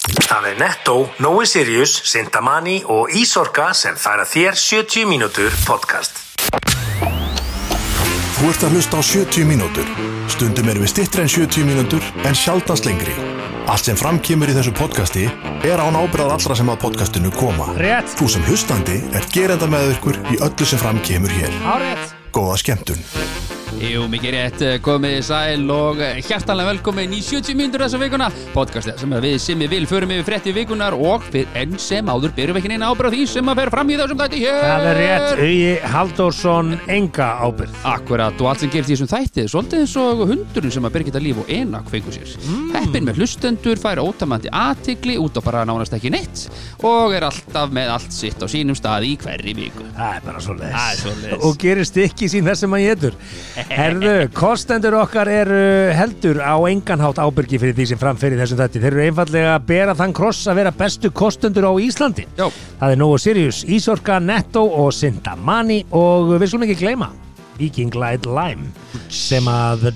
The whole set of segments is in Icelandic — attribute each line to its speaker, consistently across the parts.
Speaker 1: Það er Netto, Nói Sirius, Sintamani og Ísorka sem færa þér 70 mínútur podcast.
Speaker 2: Þú ert að hlusta á 70 mínútur. Stundum erum við stittri en 70 mínútur en sjaldast lengri. Allt sem framkýmur í þessu podcasti er án ábyrðar allra sem að podcastinu koma.
Speaker 3: Rétt.
Speaker 2: Þú sem hlustandi er gerenda með ykkur í öllu sem framkýmur hér.
Speaker 3: Hárétt
Speaker 2: Góða skemmtun.
Speaker 3: Jú, mikið rétt, eh, komið þið sæl og hjartalega velkomin í 70 mínútur þessa vikuna Podcastið sem að við sem við vil förum yfir frétti vikunar og fyr, enn sem áður byrjum ekki neina ábyrð á því sem að fer fram í þessum þætti hér
Speaker 4: Það er rétt, Hugi Halldórsson enga ábyrð
Speaker 3: Akkurat og allt sem gerist í þessum þætti er svolítið eins og hundurinn sem að Birgitta Líf og Enak fengur sér
Speaker 4: Mm.
Speaker 3: Heppin með hlustendur fær ótamandi aðtigli út á bara nánast ekki neitt og er alltaf með allt sitt á sínum stað í hverri viku
Speaker 4: Það er bara
Speaker 3: Það er svoleiðis.
Speaker 4: svoleiðis Og gerist ekki sín þess sem hann getur Herðu, kostendur okkar eru heldur á engan hátt ábyrgi fyrir því sem framferði þessum þetta Þeir eru einfallega að bera þann kross að vera bestu kostendur á Íslandi
Speaker 3: Jó.
Speaker 4: Það er Nóa Sirius, Ísorka, Netto og Sintamani Og við skulum ekki gleyma Viking Light Lime Sem að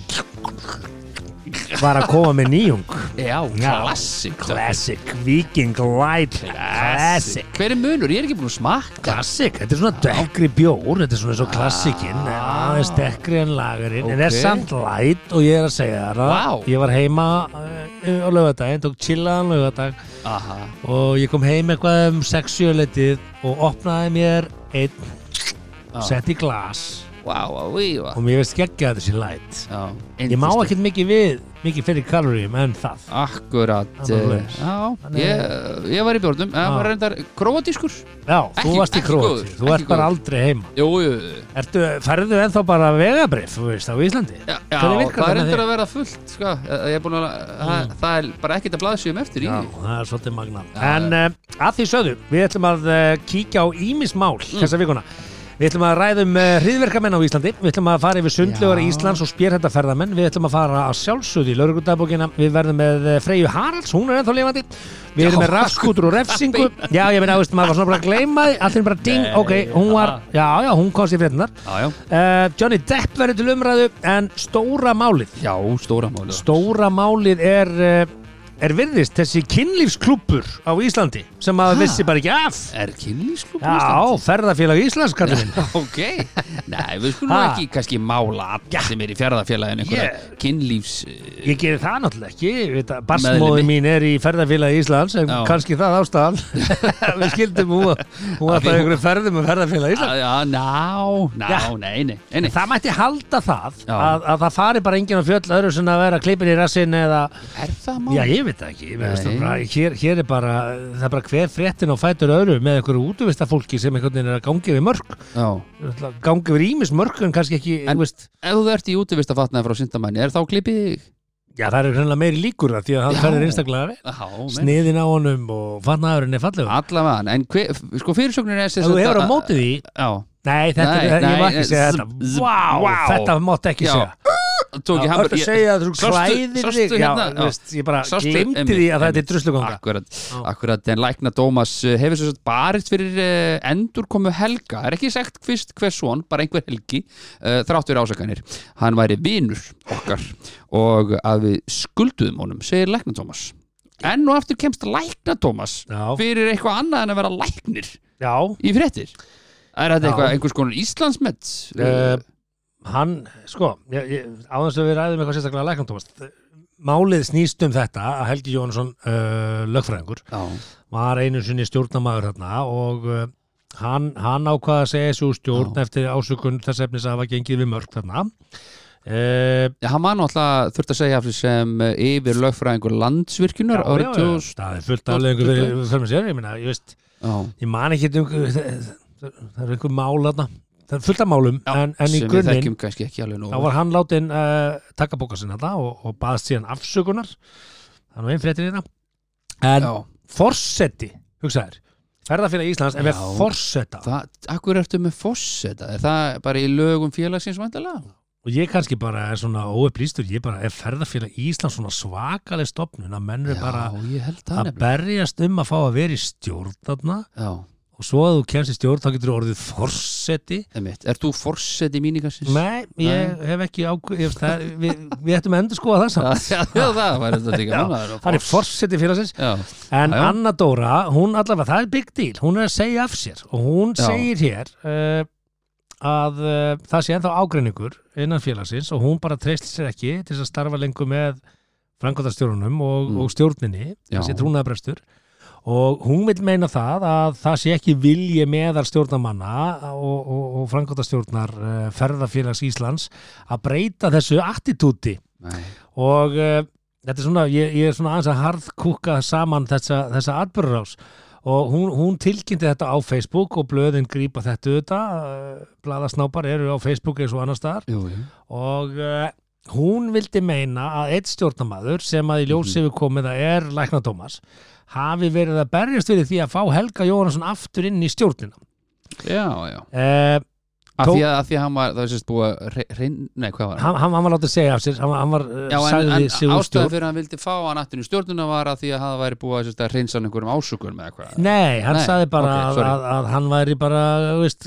Speaker 4: var að koma með nýjung
Speaker 3: Já,
Speaker 4: Já,
Speaker 3: klassik
Speaker 4: Classic, Viking Light Classic
Speaker 3: Hver er munur? Ég er ekki búin að smakka
Speaker 4: Klassik, þetta er svona dekkri bjór Þetta er svona svo klassikinn
Speaker 3: Ah.
Speaker 4: en aðeins dekkri en lagarinn En er
Speaker 3: Ókei.
Speaker 4: samt læt og ég er að segja þér að
Speaker 3: Vá.
Speaker 4: Ég var heima uh, á laugardaginn Tók chillaðan laugardag
Speaker 3: Aha
Speaker 4: Og ég kom heim eitthvað um sexjöletið Og opnaði mér einn
Speaker 3: Já.
Speaker 4: Sett í glas
Speaker 3: Vá, vá, ví, vá
Speaker 4: Og mér veist geggja þessi læt
Speaker 3: Já,
Speaker 4: Ég má
Speaker 3: yndisleg.
Speaker 4: ekkert mikið við Mikið fyrir kaloríum en það
Speaker 3: Akkurat
Speaker 4: Það var
Speaker 3: eh,
Speaker 4: leis.
Speaker 3: Já,
Speaker 4: Þannig-
Speaker 3: ég, ég var í bjórnum Það var reyndar króatískur
Speaker 4: Já, þú
Speaker 3: Ekki-
Speaker 4: varst í
Speaker 3: ekki
Speaker 4: króti
Speaker 3: góður,
Speaker 4: Þú
Speaker 3: ekki
Speaker 4: ert bara
Speaker 3: góður.
Speaker 4: aldrei heima
Speaker 3: Jú, jú, jú.
Speaker 4: Ertu, færðu ennþá bara vegabrif, þú veist, á Íslandi?
Speaker 3: já, já
Speaker 4: Hvernig virkar það
Speaker 3: það er
Speaker 4: með
Speaker 3: reyndar
Speaker 4: þig? Mm.
Speaker 3: að vera fullt sko. Eh, Ég er búin að það, það er bara ekkert að blaðsjöfum eftir í
Speaker 4: Já,
Speaker 3: því.
Speaker 4: það er svolítið magnað
Speaker 3: Já,
Speaker 4: En uh, að því sögðu, við ætlum að uh, kíkja á ímismál
Speaker 3: Mm.
Speaker 4: þessa vikuna Við ætlum að ræðum uh, hriðverkamenn á Íslandi Við ætlum að fara yfir sundlegar
Speaker 3: Já.
Speaker 4: Íslands og spjérhættaferðamenn Við ætlum að fara að sjálfsögðu í laurugutabókina Við verðum með uh, Freyju Haralds, hún er ennþá lifandi Við erum
Speaker 3: Já.
Speaker 4: með rafskútur og refsingu Já, ég meina, þú veist, maður var svona bara að gleyma því Allir bara ding,
Speaker 3: Nei,
Speaker 4: ok, hún var, já, já, hún kom sér fréttinar
Speaker 3: Já, já,
Speaker 4: uh, Johnny Depp verður til umræðu En stóra málið
Speaker 3: já, stóra máli
Speaker 4: Stóra málið er eh, er virðist þessi kynlífsklúppur á Íslandi sem að vissi bara ekki af
Speaker 3: Er kynlífsklub
Speaker 4: Já, ferðarfélag Íslands kallum minn
Speaker 3: Ok, nei, við skulum
Speaker 4: Ha.
Speaker 3: ekki kannski mála alla sem er í fjárðafélagin einhverja yeah. kynlífs eh,
Speaker 4: Ég geri það náttúrulega ekki Barsmóði mín er í ferðarfélag Íslands en
Speaker 3: Já.
Speaker 4: kannski það ástæðan Við skildum hún að- hún að
Speaker 3: Af því
Speaker 4: það
Speaker 3: hún-
Speaker 4: einhverju ferðum um ferðarfélag Íslands
Speaker 3: Já, ná, ná,
Speaker 4: Já.
Speaker 3: nei, nei, nei, nei.
Speaker 4: Það mætti halda það
Speaker 3: Já.
Speaker 4: að, að það fari bara enginn á fjöll öðru sem að vera klippin í rassin eða
Speaker 3: Er það mál?
Speaker 4: Já, ég veit það ekki,
Speaker 3: Nei.
Speaker 4: Nei. Bara, hér, hér er bara, það er bara hver fréttin á fætur öðru með einhverju útvistafólki sem einhvern veginn er að gangi við mörg,
Speaker 3: já.
Speaker 4: gangi við ímis mörg en kannski ekki,
Speaker 3: En-
Speaker 4: þú veist,
Speaker 3: Ef þú ert í útivistafatnaði frá sindamanni, er þá klippið þig?
Speaker 4: já það eru hreinlega meiri líkur það því að hann
Speaker 3: Já.
Speaker 4: færir einstaklega vel,
Speaker 3: Já, menn.
Speaker 4: sniðin á honum og fatnaðurinn er fallegur.
Speaker 3: Allavega, en hver, sko fyrirsögnin er sem
Speaker 4: Ef þú
Speaker 3: sagt
Speaker 4: hefur á
Speaker 3: að-
Speaker 4: móti því,
Speaker 3: Já,
Speaker 4: nei, þetta,
Speaker 3: Nei,
Speaker 4: er, ég
Speaker 3: nei,
Speaker 4: var ekki að segja
Speaker 3: z-
Speaker 4: þetta,
Speaker 3: z-
Speaker 4: vá,
Speaker 3: vá.
Speaker 4: þetta mátt ekki
Speaker 3: Já,
Speaker 4: segja.
Speaker 3: tók
Speaker 4: Það
Speaker 3: ég hambur
Speaker 4: er að segja að þú
Speaker 3: Sástu-
Speaker 4: klæðir
Speaker 3: sástu
Speaker 4: þig, já,
Speaker 3: hérna?
Speaker 4: þú veist, ég bara
Speaker 3: Sástu-
Speaker 4: glemdi
Speaker 3: einmitt,
Speaker 4: því að þetta
Speaker 3: einmitt.
Speaker 4: er druslugonga.
Speaker 3: Akkurat, akkurat, en lækna Dómas uh, hefur svo barist fyrir uh, endurkomu helga, er ekki sagt fyrst hver svon, bara einhver helgi uh, þráttur ásakanir, hann væri vinur okkar og að við skulduðum honum, segir lækna Dómas enn og aftur kemst lækna Dómas
Speaker 4: Já.
Speaker 3: fyrir eitthvað annað en að vera læknir
Speaker 4: Já,
Speaker 3: í fréttir er þetta
Speaker 4: Já.
Speaker 3: eitthvað, einhvers konar Íslandsmet
Speaker 4: Eh, hann, sko ég, ég, á þess að við ræðum eitthvað sérstaklega læknum Tómas, þ- málið snýst um þetta að Helgi Jónsson uh, lögfræðingur
Speaker 3: já,
Speaker 4: var einu sinni stjórnamaður þarna og uh, hann, hann ákvaða að segja þessu úr stjórn
Speaker 3: Já.
Speaker 4: eftir ásökun þess efnis að hafa gengið við mörg þarna uh,
Speaker 3: Já, hann var náttúrulega þurft að segja af því sem eh, yfir lögfræðingur landsvirkjunar árið 2000
Speaker 4: það er fullt afleðingu fyrir, fyrir sér, ég meina, ég veist
Speaker 3: Já,
Speaker 4: ég man ekki um, það er einhver mál þarna það er fullt af málum,
Speaker 3: Já,
Speaker 4: en, en í
Speaker 3: sem við
Speaker 4: grunninn
Speaker 3: þekkjum kannski ekki alveg nú
Speaker 4: þá var hann látin uh, taka bóka sinna þetta og, og baðst síðan afsökunar það er nú einn fréttir hérna en
Speaker 3: Já,
Speaker 4: forseti, hugsaður ferðarfélag Íslands en við
Speaker 3: Já.
Speaker 4: forseta
Speaker 3: það, akkur ertu með fosseta er það bara í lögum félagsins vandalega?
Speaker 4: og ég kannski bara er svona óupplýstur ég bara er ferðarfélag Íslands svona svakaleg stopnun að menn
Speaker 3: Já,
Speaker 4: eru bara
Speaker 3: ég held það
Speaker 4: að
Speaker 3: nefnilega
Speaker 4: berjast um að fá að vera í stjórn þarna
Speaker 3: Já,
Speaker 4: og svo að þú kemst í stjórn þá getur þú orðið forseti
Speaker 3: Einmitt. Er þú forseti míningarsins?
Speaker 4: Nei, ég hef ekki ákveð við, við ættum að endur skoða það saman
Speaker 3: Já, já, það var þetta líka núna, það er
Speaker 4: hann er forseti félagsins
Speaker 3: Já,
Speaker 4: en
Speaker 3: Já, já.
Speaker 4: Anna Dóra, hún allavega, það er big deal hún er að segja af sér og hún
Speaker 3: Já.
Speaker 4: segir hér uh, að uh, það sé ennþá ágreiningur innan félagsins og hún bara treyst sér ekki til þess að starfa lengur með frangotastjórunum og,
Speaker 3: Mm.
Speaker 4: og stjórninni
Speaker 3: Já.
Speaker 4: þessi trúnaðabrestur og hún vil meina það að það sé ekki vilji meðar stjórnamanna og, og, og frangotastjórnar uh, ferðafélags Íslands að breyta þessu attitúti
Speaker 3: Nei.
Speaker 4: og uh, þetta er svona, ég, ég er svona aðeins að harðkúka saman þessa, þessa atbyrðurás og hún, hún tilkynnti þetta á Facebook og blöðin grípa þetta auðvitað, uh, blaðasnápar eru á Facebook eins og annar staðar
Speaker 3: jú, jú
Speaker 4: og uh, hún vildi meina að eitt stjórnamaður sem að í
Speaker 3: Mhm.
Speaker 4: ljósi hefur komið að er Lækna Tómas hafi verið að berjast fyrir því að fá Helga Jóhannesson aftur inn í stjórnina.
Speaker 3: Já, já
Speaker 4: Uh,
Speaker 3: Af
Speaker 4: Tó-
Speaker 3: því að, af því að hann var, það var sérst búið að rey- reyn, nei, hvað var hann?
Speaker 4: hann, hann var látið að segja af sér, hann, var- hann var uh,
Speaker 3: Já, en,
Speaker 4: sagði sig
Speaker 3: en
Speaker 4: úr
Speaker 3: ástæðan
Speaker 4: stjórn.
Speaker 3: fyrir að hann vildi fá hann aftur í stjórnuna var að því að hann væri búið að, sérst, að reynsa hann einhverjum ásökunum eða hvað
Speaker 4: Nei, hann
Speaker 3: Nei,
Speaker 4: sagði bara
Speaker 3: ok,
Speaker 4: að,
Speaker 3: sorry.
Speaker 4: að, að hann væri bara þú veist,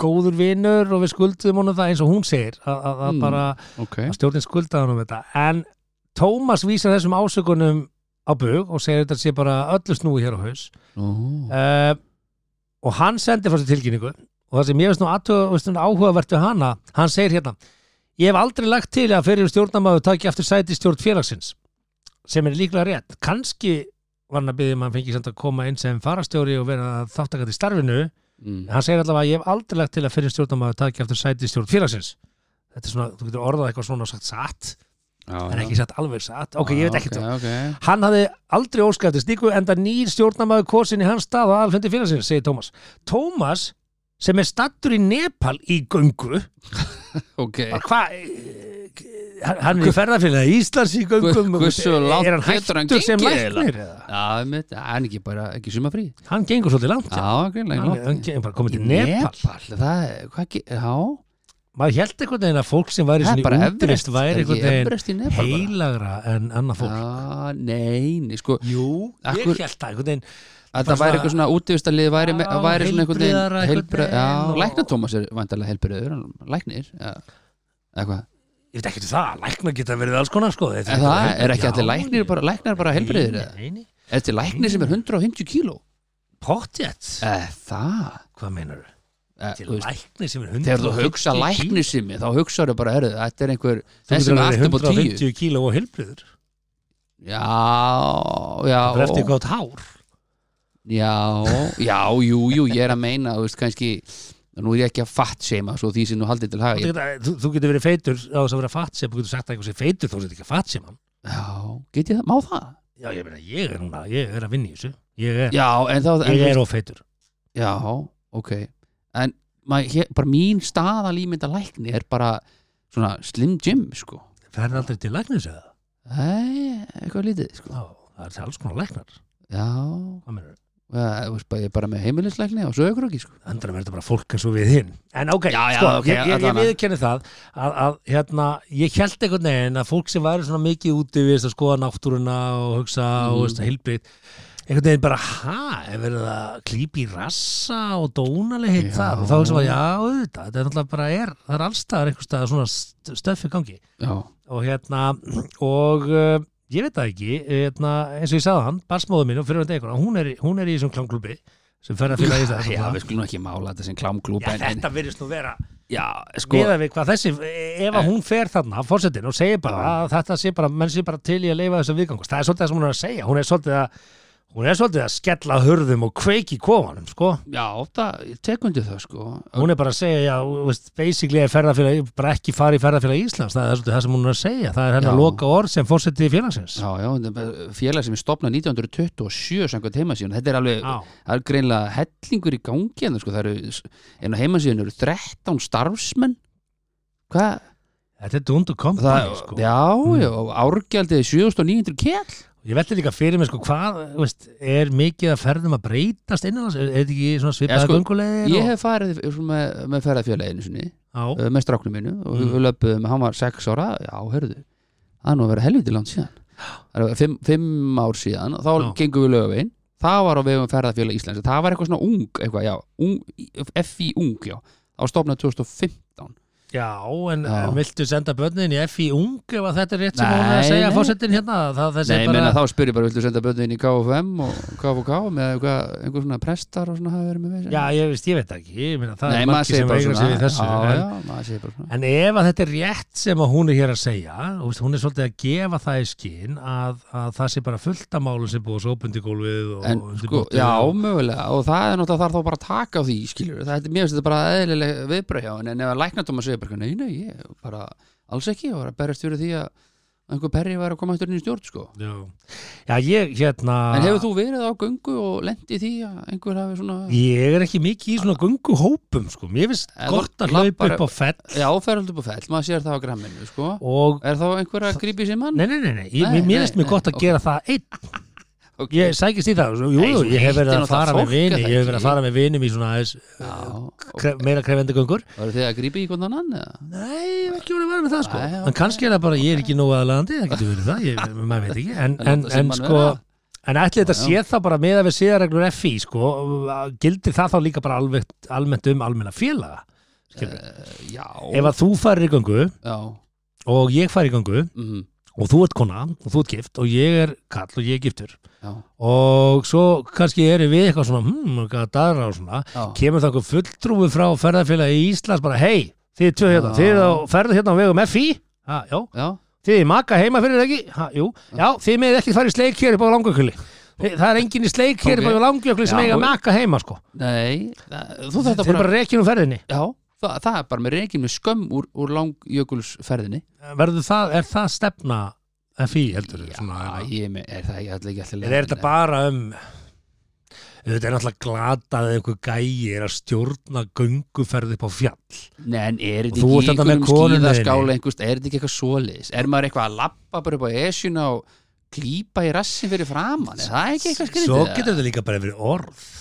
Speaker 4: góður vinur og við skuldum honum það eins og hún segir að, að, að
Speaker 3: Mm.
Speaker 4: bara
Speaker 3: Ok,
Speaker 4: að stjórnin skuldaði honum þetta en Tómas vísar þessum ásökunum á bug og segir þetta sé bara öllu snúi hér á haus
Speaker 3: nú,
Speaker 4: uh, og hann sendi frá sér tilkynningu og það sem ég veist nú athuga- veist nú áhugavert við hana, hann segir hérna ég hef aldrei lagt til að fyrir stjórnamaður taki aftur sæti í stjórn félagsins sem er líklega rétt, kannski var hann að byggja um að hann fengi samt að koma inn sem farastjóri og vera þáttakandi í starfinu
Speaker 3: mm.
Speaker 4: hann segir allavega að ég hef aldrei lagt til að fyrir stjórnamaður taki aftur sæti í stjórn félagsins þetta er svona, þú getur orðað eitthvað svona og sagt satt
Speaker 3: já,
Speaker 4: en ekki sagt alveg satt, ok,
Speaker 3: Já,
Speaker 4: ég veit ekkert
Speaker 3: ok, ok.
Speaker 4: Hann hafði aldrei óskæfti slíku enda nýr stjórnamaður kosin í hans stað og aðalfundi félagsins, segir Tómas. Tómas, sem er stattur í Nepal í göngu,
Speaker 3: Eh. ok
Speaker 4: bara hvað, eh, hann hann er í ferðarfélagi Íslands í göngum, um-
Speaker 3: Gu- hversu langt
Speaker 4: er hann
Speaker 3: getur hann
Speaker 4: hættur sem
Speaker 3: gengið
Speaker 4: læknir? eða?
Speaker 3: Já, einmitt, en ekki bara, ekki sumafrí
Speaker 4: Hann gengur svolítið langt. Já.
Speaker 3: Já, greinlega
Speaker 4: Hann
Speaker 3: langt.
Speaker 4: hann er bara komið
Speaker 3: Í
Speaker 4: til Nepal.
Speaker 3: það, er- hvað ekki, já
Speaker 4: Maður held einhvern veginn að fólk sem væri
Speaker 3: Það er bara
Speaker 4: svona í útrist
Speaker 3: Everest,
Speaker 4: væri
Speaker 3: er ekki
Speaker 4: einhvern
Speaker 3: Everest í
Speaker 4: veginn
Speaker 3: Nepal bara?
Speaker 4: heilagra en annað fólk.
Speaker 3: Já, nei, nei, sko
Speaker 4: Jú, ég
Speaker 3: Akkur-
Speaker 4: held það einhvern veginn.
Speaker 3: að
Speaker 4: Bara
Speaker 3: það væri eitthvað
Speaker 4: svona-
Speaker 3: svona útíðustalið væri, me-
Speaker 4: Já,
Speaker 3: væri svona einhvern
Speaker 4: heilbrigðara
Speaker 3: veginn
Speaker 4: einhvern
Speaker 3: heilbrið,
Speaker 4: veginn
Speaker 3: já,
Speaker 4: og-
Speaker 3: lækna Tómas er vantarlega heilbriður, hann læknir já, eða hvað,
Speaker 4: Ég veit ekki til það, lækna geta verið alls konar sko.
Speaker 3: En það er ekki allir læknir bara, læknar bara heilbriður, eða
Speaker 4: Nei, nei, nei.
Speaker 3: er þetta læknir sem er 150 kíló,
Speaker 4: Pottjett?
Speaker 3: eða það
Speaker 4: Hvað meinar þú?
Speaker 3: eða,
Speaker 4: Til
Speaker 3: þú veist,
Speaker 4: lækni sem er 150
Speaker 3: þegar þú hugsa lækni sem þá hugsaður bara, herðu, þetta er einhver
Speaker 4: Þú
Speaker 3: þessi
Speaker 4: getur að
Speaker 3: er
Speaker 4: vera
Speaker 3: allt upp á 10
Speaker 4: 150 kíló og heilbriður
Speaker 3: já, já
Speaker 4: Það er eftir hvað átt hár
Speaker 3: Já, já, jú, jú, ég er að meina þú veist, kannski, nú er ég ekki að fatt seima svo því sem nú haldið til haga
Speaker 4: Þú
Speaker 3: ég,
Speaker 4: getur- Þú þú getur verið feitur á þess að vera fatsem Þú getur sagt að einhver sem feitur þú getur ekki fatsem
Speaker 3: Já, get ég það, má það?
Speaker 4: Já, ég meina, ég er núna, ég er að vinna í þessu Ég er,
Speaker 3: Já, en þá en,
Speaker 4: ég er ofeitur
Speaker 3: Já, ok En mað, hér, bara mín staðalímynda lækni er bara svona slim jim, sko
Speaker 4: Það er aldrei til læknis eða
Speaker 3: Nei, eitthvað lítið, sko
Speaker 4: Já, það er til alls konar læknar
Speaker 3: Já,
Speaker 4: Hvað meinar
Speaker 3: eh, þú veist, bara- ég er bara með heimilislækni og sögurokki, sko
Speaker 4: Andra verður bara fólk eins og við hinn En ok,
Speaker 3: Já, já,
Speaker 4: sko,
Speaker 3: ok,
Speaker 4: ég, ég, ég
Speaker 3: allavega.
Speaker 4: viðkenni það að, að hérna, ég held einhvern veginn að fólk sem væri svona mikið úti við þess að skoða náttúruna og hugsa
Speaker 3: Mm.
Speaker 4: og veist að hilbrið einhvern veginn bara, ha, er verið að klípa í rassa og dónali heitt
Speaker 3: Já.
Speaker 4: það og þá hugsa maður, já, auðvitað þetta er náttúrulega bara er, það er allstaðar einhvers staðar svona st- stöffi gangi
Speaker 3: Já,
Speaker 4: og hérna, og uh, ég veit það ekki, hérna, eins og ég sagði hann barsmóðu mín og fyrir þetta einhvern, hún er, í- hún er í þessum klangklubbi sem fer að fyrir að í það sko.
Speaker 3: já, við skulum nú ekki mála þetta sem klámklúb
Speaker 4: Já,
Speaker 3: en- en-
Speaker 4: þetta virðist nú vera
Speaker 3: já, sko Eh.
Speaker 4: miðað við hvað þessi, ef að hún fer þarna fórsetin og segir bara að þetta sé bara menn sé bara til í að leifa þessu viðgangust það er svolítið það sem hún er að segja, hún er svolítið að hún er svolítið að skella hurðum og kveiki kofanum, sko,
Speaker 3: Já, það, ég tek undir það, sko
Speaker 4: hún er bara að segja já, þú veist, basically er ferðarfélag bara ekki fara í ferðarfélag Íslands, það er svolítið það sem hún er að segja það er hennar
Speaker 3: Já.
Speaker 4: loka orð sem fórseti félagsins
Speaker 3: Já, já, þetta er bara félag sem er stopnað 1927 samkvæmt heimasíðun, þetta er alveg
Speaker 4: Já.
Speaker 3: það er greinlega hellingur í gangi en, sko, það eru, en á heimasíðun eru 13 starfsmenn hvað?
Speaker 4: þetta er dund og kom
Speaker 3: Það,
Speaker 4: sko.
Speaker 3: Já, já, og árgjaldið er 7900 kell
Speaker 4: ég veldi líka fyrir mig, sko, hvað þú veist, er mikið að ferðum að breytast innan, er er þetta ekki svona svipaða
Speaker 3: sko,
Speaker 4: göngulegir
Speaker 3: Ég
Speaker 4: og...
Speaker 3: hef farið með, með ferðafélaginu sinni
Speaker 4: Já.
Speaker 3: eh, með stráknum mínu og
Speaker 4: Mm.
Speaker 3: við löpum, hann var 6 ára, já, hörðu það er nú að vera helviti langt síðan 5 ár síðan, þá
Speaker 4: Já.
Speaker 3: gengum við lögavegin það var á vegum ferðarfélag Íslands það var eitthvað svona ung, eitthvað, já ung, FI ung, já, það var stofnað 2015
Speaker 4: Já, en,
Speaker 3: Já.
Speaker 4: en viltu senda börnin í FI ung ef að þetta er rétt sem
Speaker 3: Nei,
Speaker 4: hún er að segja
Speaker 3: nei.
Speaker 4: fósettin hérna það,
Speaker 3: Nei,
Speaker 4: þessi
Speaker 3: ég
Speaker 4: bara,
Speaker 3: meina þá spyr ég bara, viltu senda börnin inn í KFM og KFK með eitthvað, einhver svona prestar og svona hafa verið með með
Speaker 4: Já, ég veist, ég veit það ekki ég meina, það
Speaker 3: Nei,
Speaker 4: er
Speaker 3: maður
Speaker 4: margir
Speaker 3: segir
Speaker 4: sem
Speaker 3: bara
Speaker 4: veigra
Speaker 3: svona
Speaker 4: sig við þessu
Speaker 3: Já,
Speaker 4: en,
Speaker 3: já, maður segir bara svona
Speaker 4: en ef að þetta er rétt sem að hún er hér að segja þú veist, hún er svolítið að gefa það í skinn að, að það sé bara fullt af málum sem búið svo opundi gólfið og
Speaker 3: En
Speaker 4: undir
Speaker 3: sko,
Speaker 4: borðið
Speaker 3: já,
Speaker 4: og-
Speaker 3: mögulega og það er náttúrulega þarf þá bara að taka á því skilur, það er mér finnst þetta bara eðlileg viðbröð hjá henni, en ef að læknadóma segir bara nei, nei, ég bara alls ekki og var að berjast fyrir því að einhver perri var að koma eftir inn í stjórn sko
Speaker 4: já. já, ég hérna
Speaker 3: En hefur þú verið á göngu og lent í því að einhver hafi svona
Speaker 4: Ég er ekki mikið í svona gunguhópum sko. Mér finnst
Speaker 3: En
Speaker 4: gott
Speaker 3: þú
Speaker 4: að hlaupa
Speaker 3: lappar-
Speaker 4: upp á fell
Speaker 3: Já, feraldu upp á fell, maður sér það á gramminu sko
Speaker 4: og
Speaker 3: Er þá einhver að grípi sem hann?
Speaker 4: Nei, nei, nei, nei. Ég,
Speaker 3: Nei,
Speaker 4: mér- mér finnst
Speaker 3: nei,
Speaker 4: mér gott
Speaker 3: nei,
Speaker 4: að
Speaker 3: ok.
Speaker 4: gera það einn
Speaker 3: Ok.
Speaker 4: Ég sækist í það, svo- jú,
Speaker 3: Nei,
Speaker 4: jú,
Speaker 3: svona
Speaker 4: ég hef verið
Speaker 3: eitt er
Speaker 4: að fara með
Speaker 3: náttúrulega fólk,
Speaker 4: vini
Speaker 3: er það
Speaker 4: Ég hef verið að
Speaker 3: ekki?
Speaker 4: fara með vinum í svona aðeins
Speaker 3: Já,
Speaker 4: kre, meira krefendi göngur
Speaker 3: Var þið að grípi í hvern annan? eða?
Speaker 4: Nei, ég hef ekki verið að vera með það sko
Speaker 3: Nei, ok.
Speaker 4: En kannski er það bara, ég er ekki nógu aðlandi Það getur verið það, ég, maður veit ekki En,
Speaker 3: En
Speaker 4: en,
Speaker 3: láta símann
Speaker 4: en sko
Speaker 3: vera.
Speaker 4: En ætli þetta sé þá bara með að við séðareglur FI sko, gildi það þá líka bara alveg, almennt um almenna félaga Skilur.
Speaker 3: Já,
Speaker 4: Ef að þú farir í gangu
Speaker 3: já
Speaker 4: og ég farir í gangu
Speaker 3: mhm,
Speaker 4: og þú ert kona og þú ert gift og ég er kall og ég er giftur
Speaker 3: Já,
Speaker 4: og svo kannski erum við eitthvað svona hmm, eitthvað að daðra og svona
Speaker 3: já
Speaker 4: kemur það einhver fulltrúi frá ferðarfélagi í Íslands bara hei, þið tvö hérna,
Speaker 3: Já.
Speaker 4: þið eru á ferðu hérna á vegum FI ha, já,
Speaker 3: Já,
Speaker 4: þið er maka heima fyrir ekki ha, jú, já, þið meðið ekki farið í sleik hér upp á langaukjöli það er engin í sleik hér upp
Speaker 3: Ok.
Speaker 4: á langaukjöli sem
Speaker 3: Já,
Speaker 4: eiga
Speaker 3: og-
Speaker 4: maka heima sko,
Speaker 3: nei það- Þú
Speaker 4: þeir
Speaker 3: þetta
Speaker 4: eru bara reikin um ferðinni
Speaker 3: Já, það, það er bara með reygin með skömm úr, úr langjökulsferðinni
Speaker 4: verður það, er það stefna FI heldur
Speaker 3: Já,
Speaker 4: hérna-
Speaker 3: ég er með, er það ekki allir ekki allir
Speaker 4: Eða er þetta bara um Þetta er náttúrulega glatað eða einhver gæi er að stjórna gönguferð upp á fjall
Speaker 3: Nei, en er
Speaker 4: Þú ert
Speaker 3: þetta ekki
Speaker 4: þarna með
Speaker 3: einhverjum
Speaker 4: konunni þinni.
Speaker 3: skíðaskála einhvers, er þetta ekki eitthvað svoleiðis? Er maður eitthvað að lappa bara upp á esjuna og klípa í rassin fyrir framann? Er það ekki eitthvað skrítið?
Speaker 4: Svo getur þetta líka bara verið orð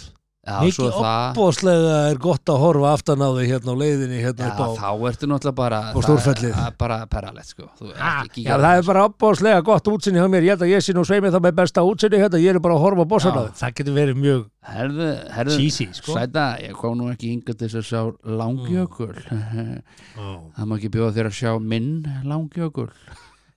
Speaker 3: Já, svo
Speaker 4: Mikið
Speaker 3: það
Speaker 4: opbóðslega er gott að horfa aftan á þig hérna á leiðinni hérna
Speaker 3: Já,
Speaker 4: upp á
Speaker 3: þá ertu náttúrulega bara
Speaker 4: á stórfellið.
Speaker 3: það er bara perralett, sko Þú ert
Speaker 4: Ha,
Speaker 3: ekki
Speaker 4: Já, það er bara opbóðslega gott útsinni hjá mér Ég held að ég sé nú sveimið það með besta útsinni hérna Ég er bara að horfa á bossan á
Speaker 3: Já.
Speaker 4: þig Það getur verið mjög
Speaker 3: Herðu, herðu
Speaker 4: Cheesy, sko.
Speaker 3: Sæta, ég kom nú ekki yngur til þess að sjá langjökul
Speaker 4: Mm.
Speaker 3: Það má ekki bjóða þér að sjá minn langjökul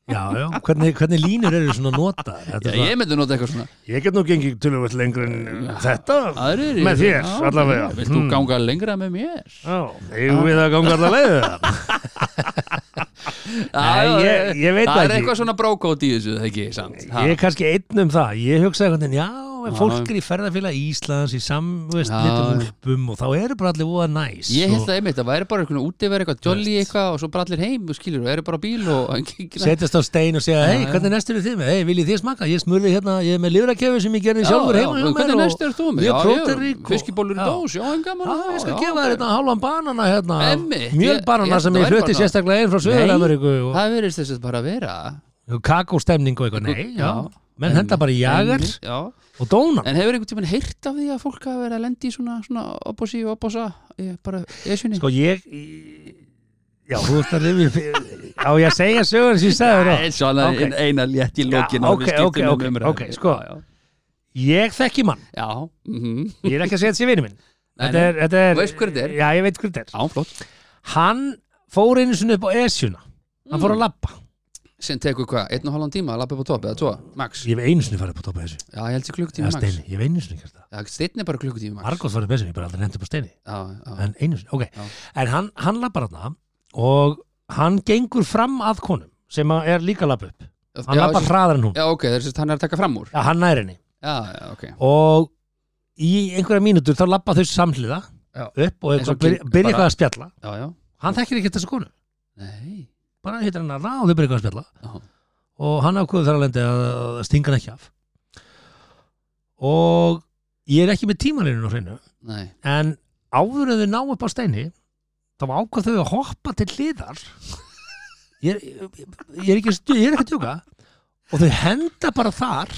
Speaker 4: Já, já, hvernig, hvernig línur eru svona notað? Þetta
Speaker 3: Já,
Speaker 4: er
Speaker 3: ég myndi nota eitthvað svona
Speaker 4: svona- ég get nú gengið tölvöld lengur en þetta
Speaker 3: Aðrir,
Speaker 4: Með þér,
Speaker 3: Já,
Speaker 4: allavega.
Speaker 3: Vilt þú
Speaker 4: Hmm.
Speaker 3: ganga lengra með mér?
Speaker 4: Já, eigum við að ganga allar leiðið það
Speaker 3: Já, já,
Speaker 4: ég- ég veit
Speaker 3: það
Speaker 4: það
Speaker 3: er
Speaker 4: ekki.
Speaker 3: eitthvað svona brókótt í þessu, það ekki, samt Ha.
Speaker 4: Ég er kannski einn um það, ég hugsaði einhvern veginn, já, en
Speaker 3: Já.
Speaker 4: fólk er í ferðarfélag Íslands í
Speaker 3: Já.
Speaker 4: samvistlitum úlpum og þá eru bara allir voða næs
Speaker 3: Ég held
Speaker 4: og
Speaker 3: það einmitt, það væri bara eitthvað útiver eitthvað, jolly eitthvað og svo bara allir heim, skilur, og eru bara á bíl og
Speaker 4: setjast á stein og segja, hei,
Speaker 3: já.
Speaker 4: hvernig næst eru þið með, hei, viljið þið smaka, ég smurði hérna, ég er með lifrakefi sem ég gerði
Speaker 3: Já,
Speaker 4: sjálfur
Speaker 3: já,
Speaker 4: heima hjá mér
Speaker 3: Hvernig næst er þú
Speaker 4: ég
Speaker 3: með?
Speaker 4: er
Speaker 3: Já, já,
Speaker 4: próterík og-
Speaker 3: Fiskibólur í
Speaker 4: Já.
Speaker 3: dós, já, en gaman
Speaker 4: Já,
Speaker 3: að það,
Speaker 4: ég skal
Speaker 3: já,
Speaker 4: gefa þér
Speaker 3: ok.
Speaker 4: hérna hálfan banana hérna,
Speaker 3: Einmitt, ég-
Speaker 4: mjölbanana
Speaker 3: ég-
Speaker 4: sem
Speaker 3: það
Speaker 4: ég
Speaker 3: væri
Speaker 4: hluti
Speaker 3: bara-
Speaker 4: sérstaklega einn frá Suður-Ameríku og
Speaker 3: Það verðist þess að bara vera
Speaker 4: og kakóstemning og eitthvað, nei, já, menn henda bara í jagar
Speaker 3: Einmitt, já.
Speaker 4: og dóna
Speaker 3: En hefur einhvern tímann heyrt af því að fólk hafa verið að lendi í svona, svona opposi og opposa Ég bara, ég sinni
Speaker 4: Sko ég í- Já, þú ert að rifja Á ég að segja sögur sem ég sagði þér á
Speaker 3: svona
Speaker 4: ok.
Speaker 3: ein- eina létt í lokin
Speaker 4: Já,
Speaker 3: og við
Speaker 4: ok,
Speaker 3: skiptum
Speaker 4: ok,
Speaker 3: um
Speaker 4: ok,
Speaker 3: umræðu.
Speaker 4: ok, sko.
Speaker 3: Já, já.
Speaker 4: Ég þekki mann,
Speaker 3: Já, mhm.
Speaker 4: ég er ekki að segja þetta sé vinur minn
Speaker 3: Nei,
Speaker 4: Þetta er, þetta er
Speaker 3: Þú veist hver þetta er?
Speaker 4: Já, ég veit hver þetta er
Speaker 3: já, flott
Speaker 4: Hann fór einu sinni upp á Esjuna Hann
Speaker 3: Mm.
Speaker 4: fór að labba
Speaker 3: Sem tekur hvað, einn og halvan tíma að lappa upp á topi, eða tvo, max
Speaker 4: Ég hef einu sinni farið upp á topa Esju
Speaker 3: Já, ég held sér klukkutíma
Speaker 4: Eða
Speaker 3: max
Speaker 4: steini, ég hef einu sinni gert það
Speaker 3: Já, steinn er bara klukkutíma max
Speaker 4: Margóð farið upp á Esjuna, ég bara aldrei nefnt upp á steini
Speaker 3: Já, já,
Speaker 4: En einu sinni, ok
Speaker 3: Já.
Speaker 4: En hann, hann labbar hann Og hann gengur fram að konum Sem að er líka að labba upp Hann
Speaker 3: Já,
Speaker 4: labbar
Speaker 3: sem-
Speaker 4: hraðar en hún
Speaker 3: já, ok, þess að hann er að taka fram úr
Speaker 4: Já, hann nær henni
Speaker 3: Já, já, ok
Speaker 4: og í einhverja mínútur þá lappa þau samhliða
Speaker 3: Já.
Speaker 4: upp og
Speaker 3: Eins og
Speaker 4: eitthvað, byrja, byrja
Speaker 3: kyn- bara-
Speaker 4: eitthvað að spjalla
Speaker 3: Já, já,
Speaker 4: hann þekkir ekki þessu konu
Speaker 3: nei
Speaker 4: bara hittir hann að ráð og þau byrja eitthvað að spjalla
Speaker 3: Já,
Speaker 4: og hann ákvöðu þar að lendi að að stinga hann ekki af og ég er ekki með tímalinu á hreinu
Speaker 3: nei
Speaker 4: en áður en þau ná upp á steini þá ákvað þau að hoppa til hliðar ég er, ég, ég er ekki að stu- ég er ekki að tjóka og þau henda bara þar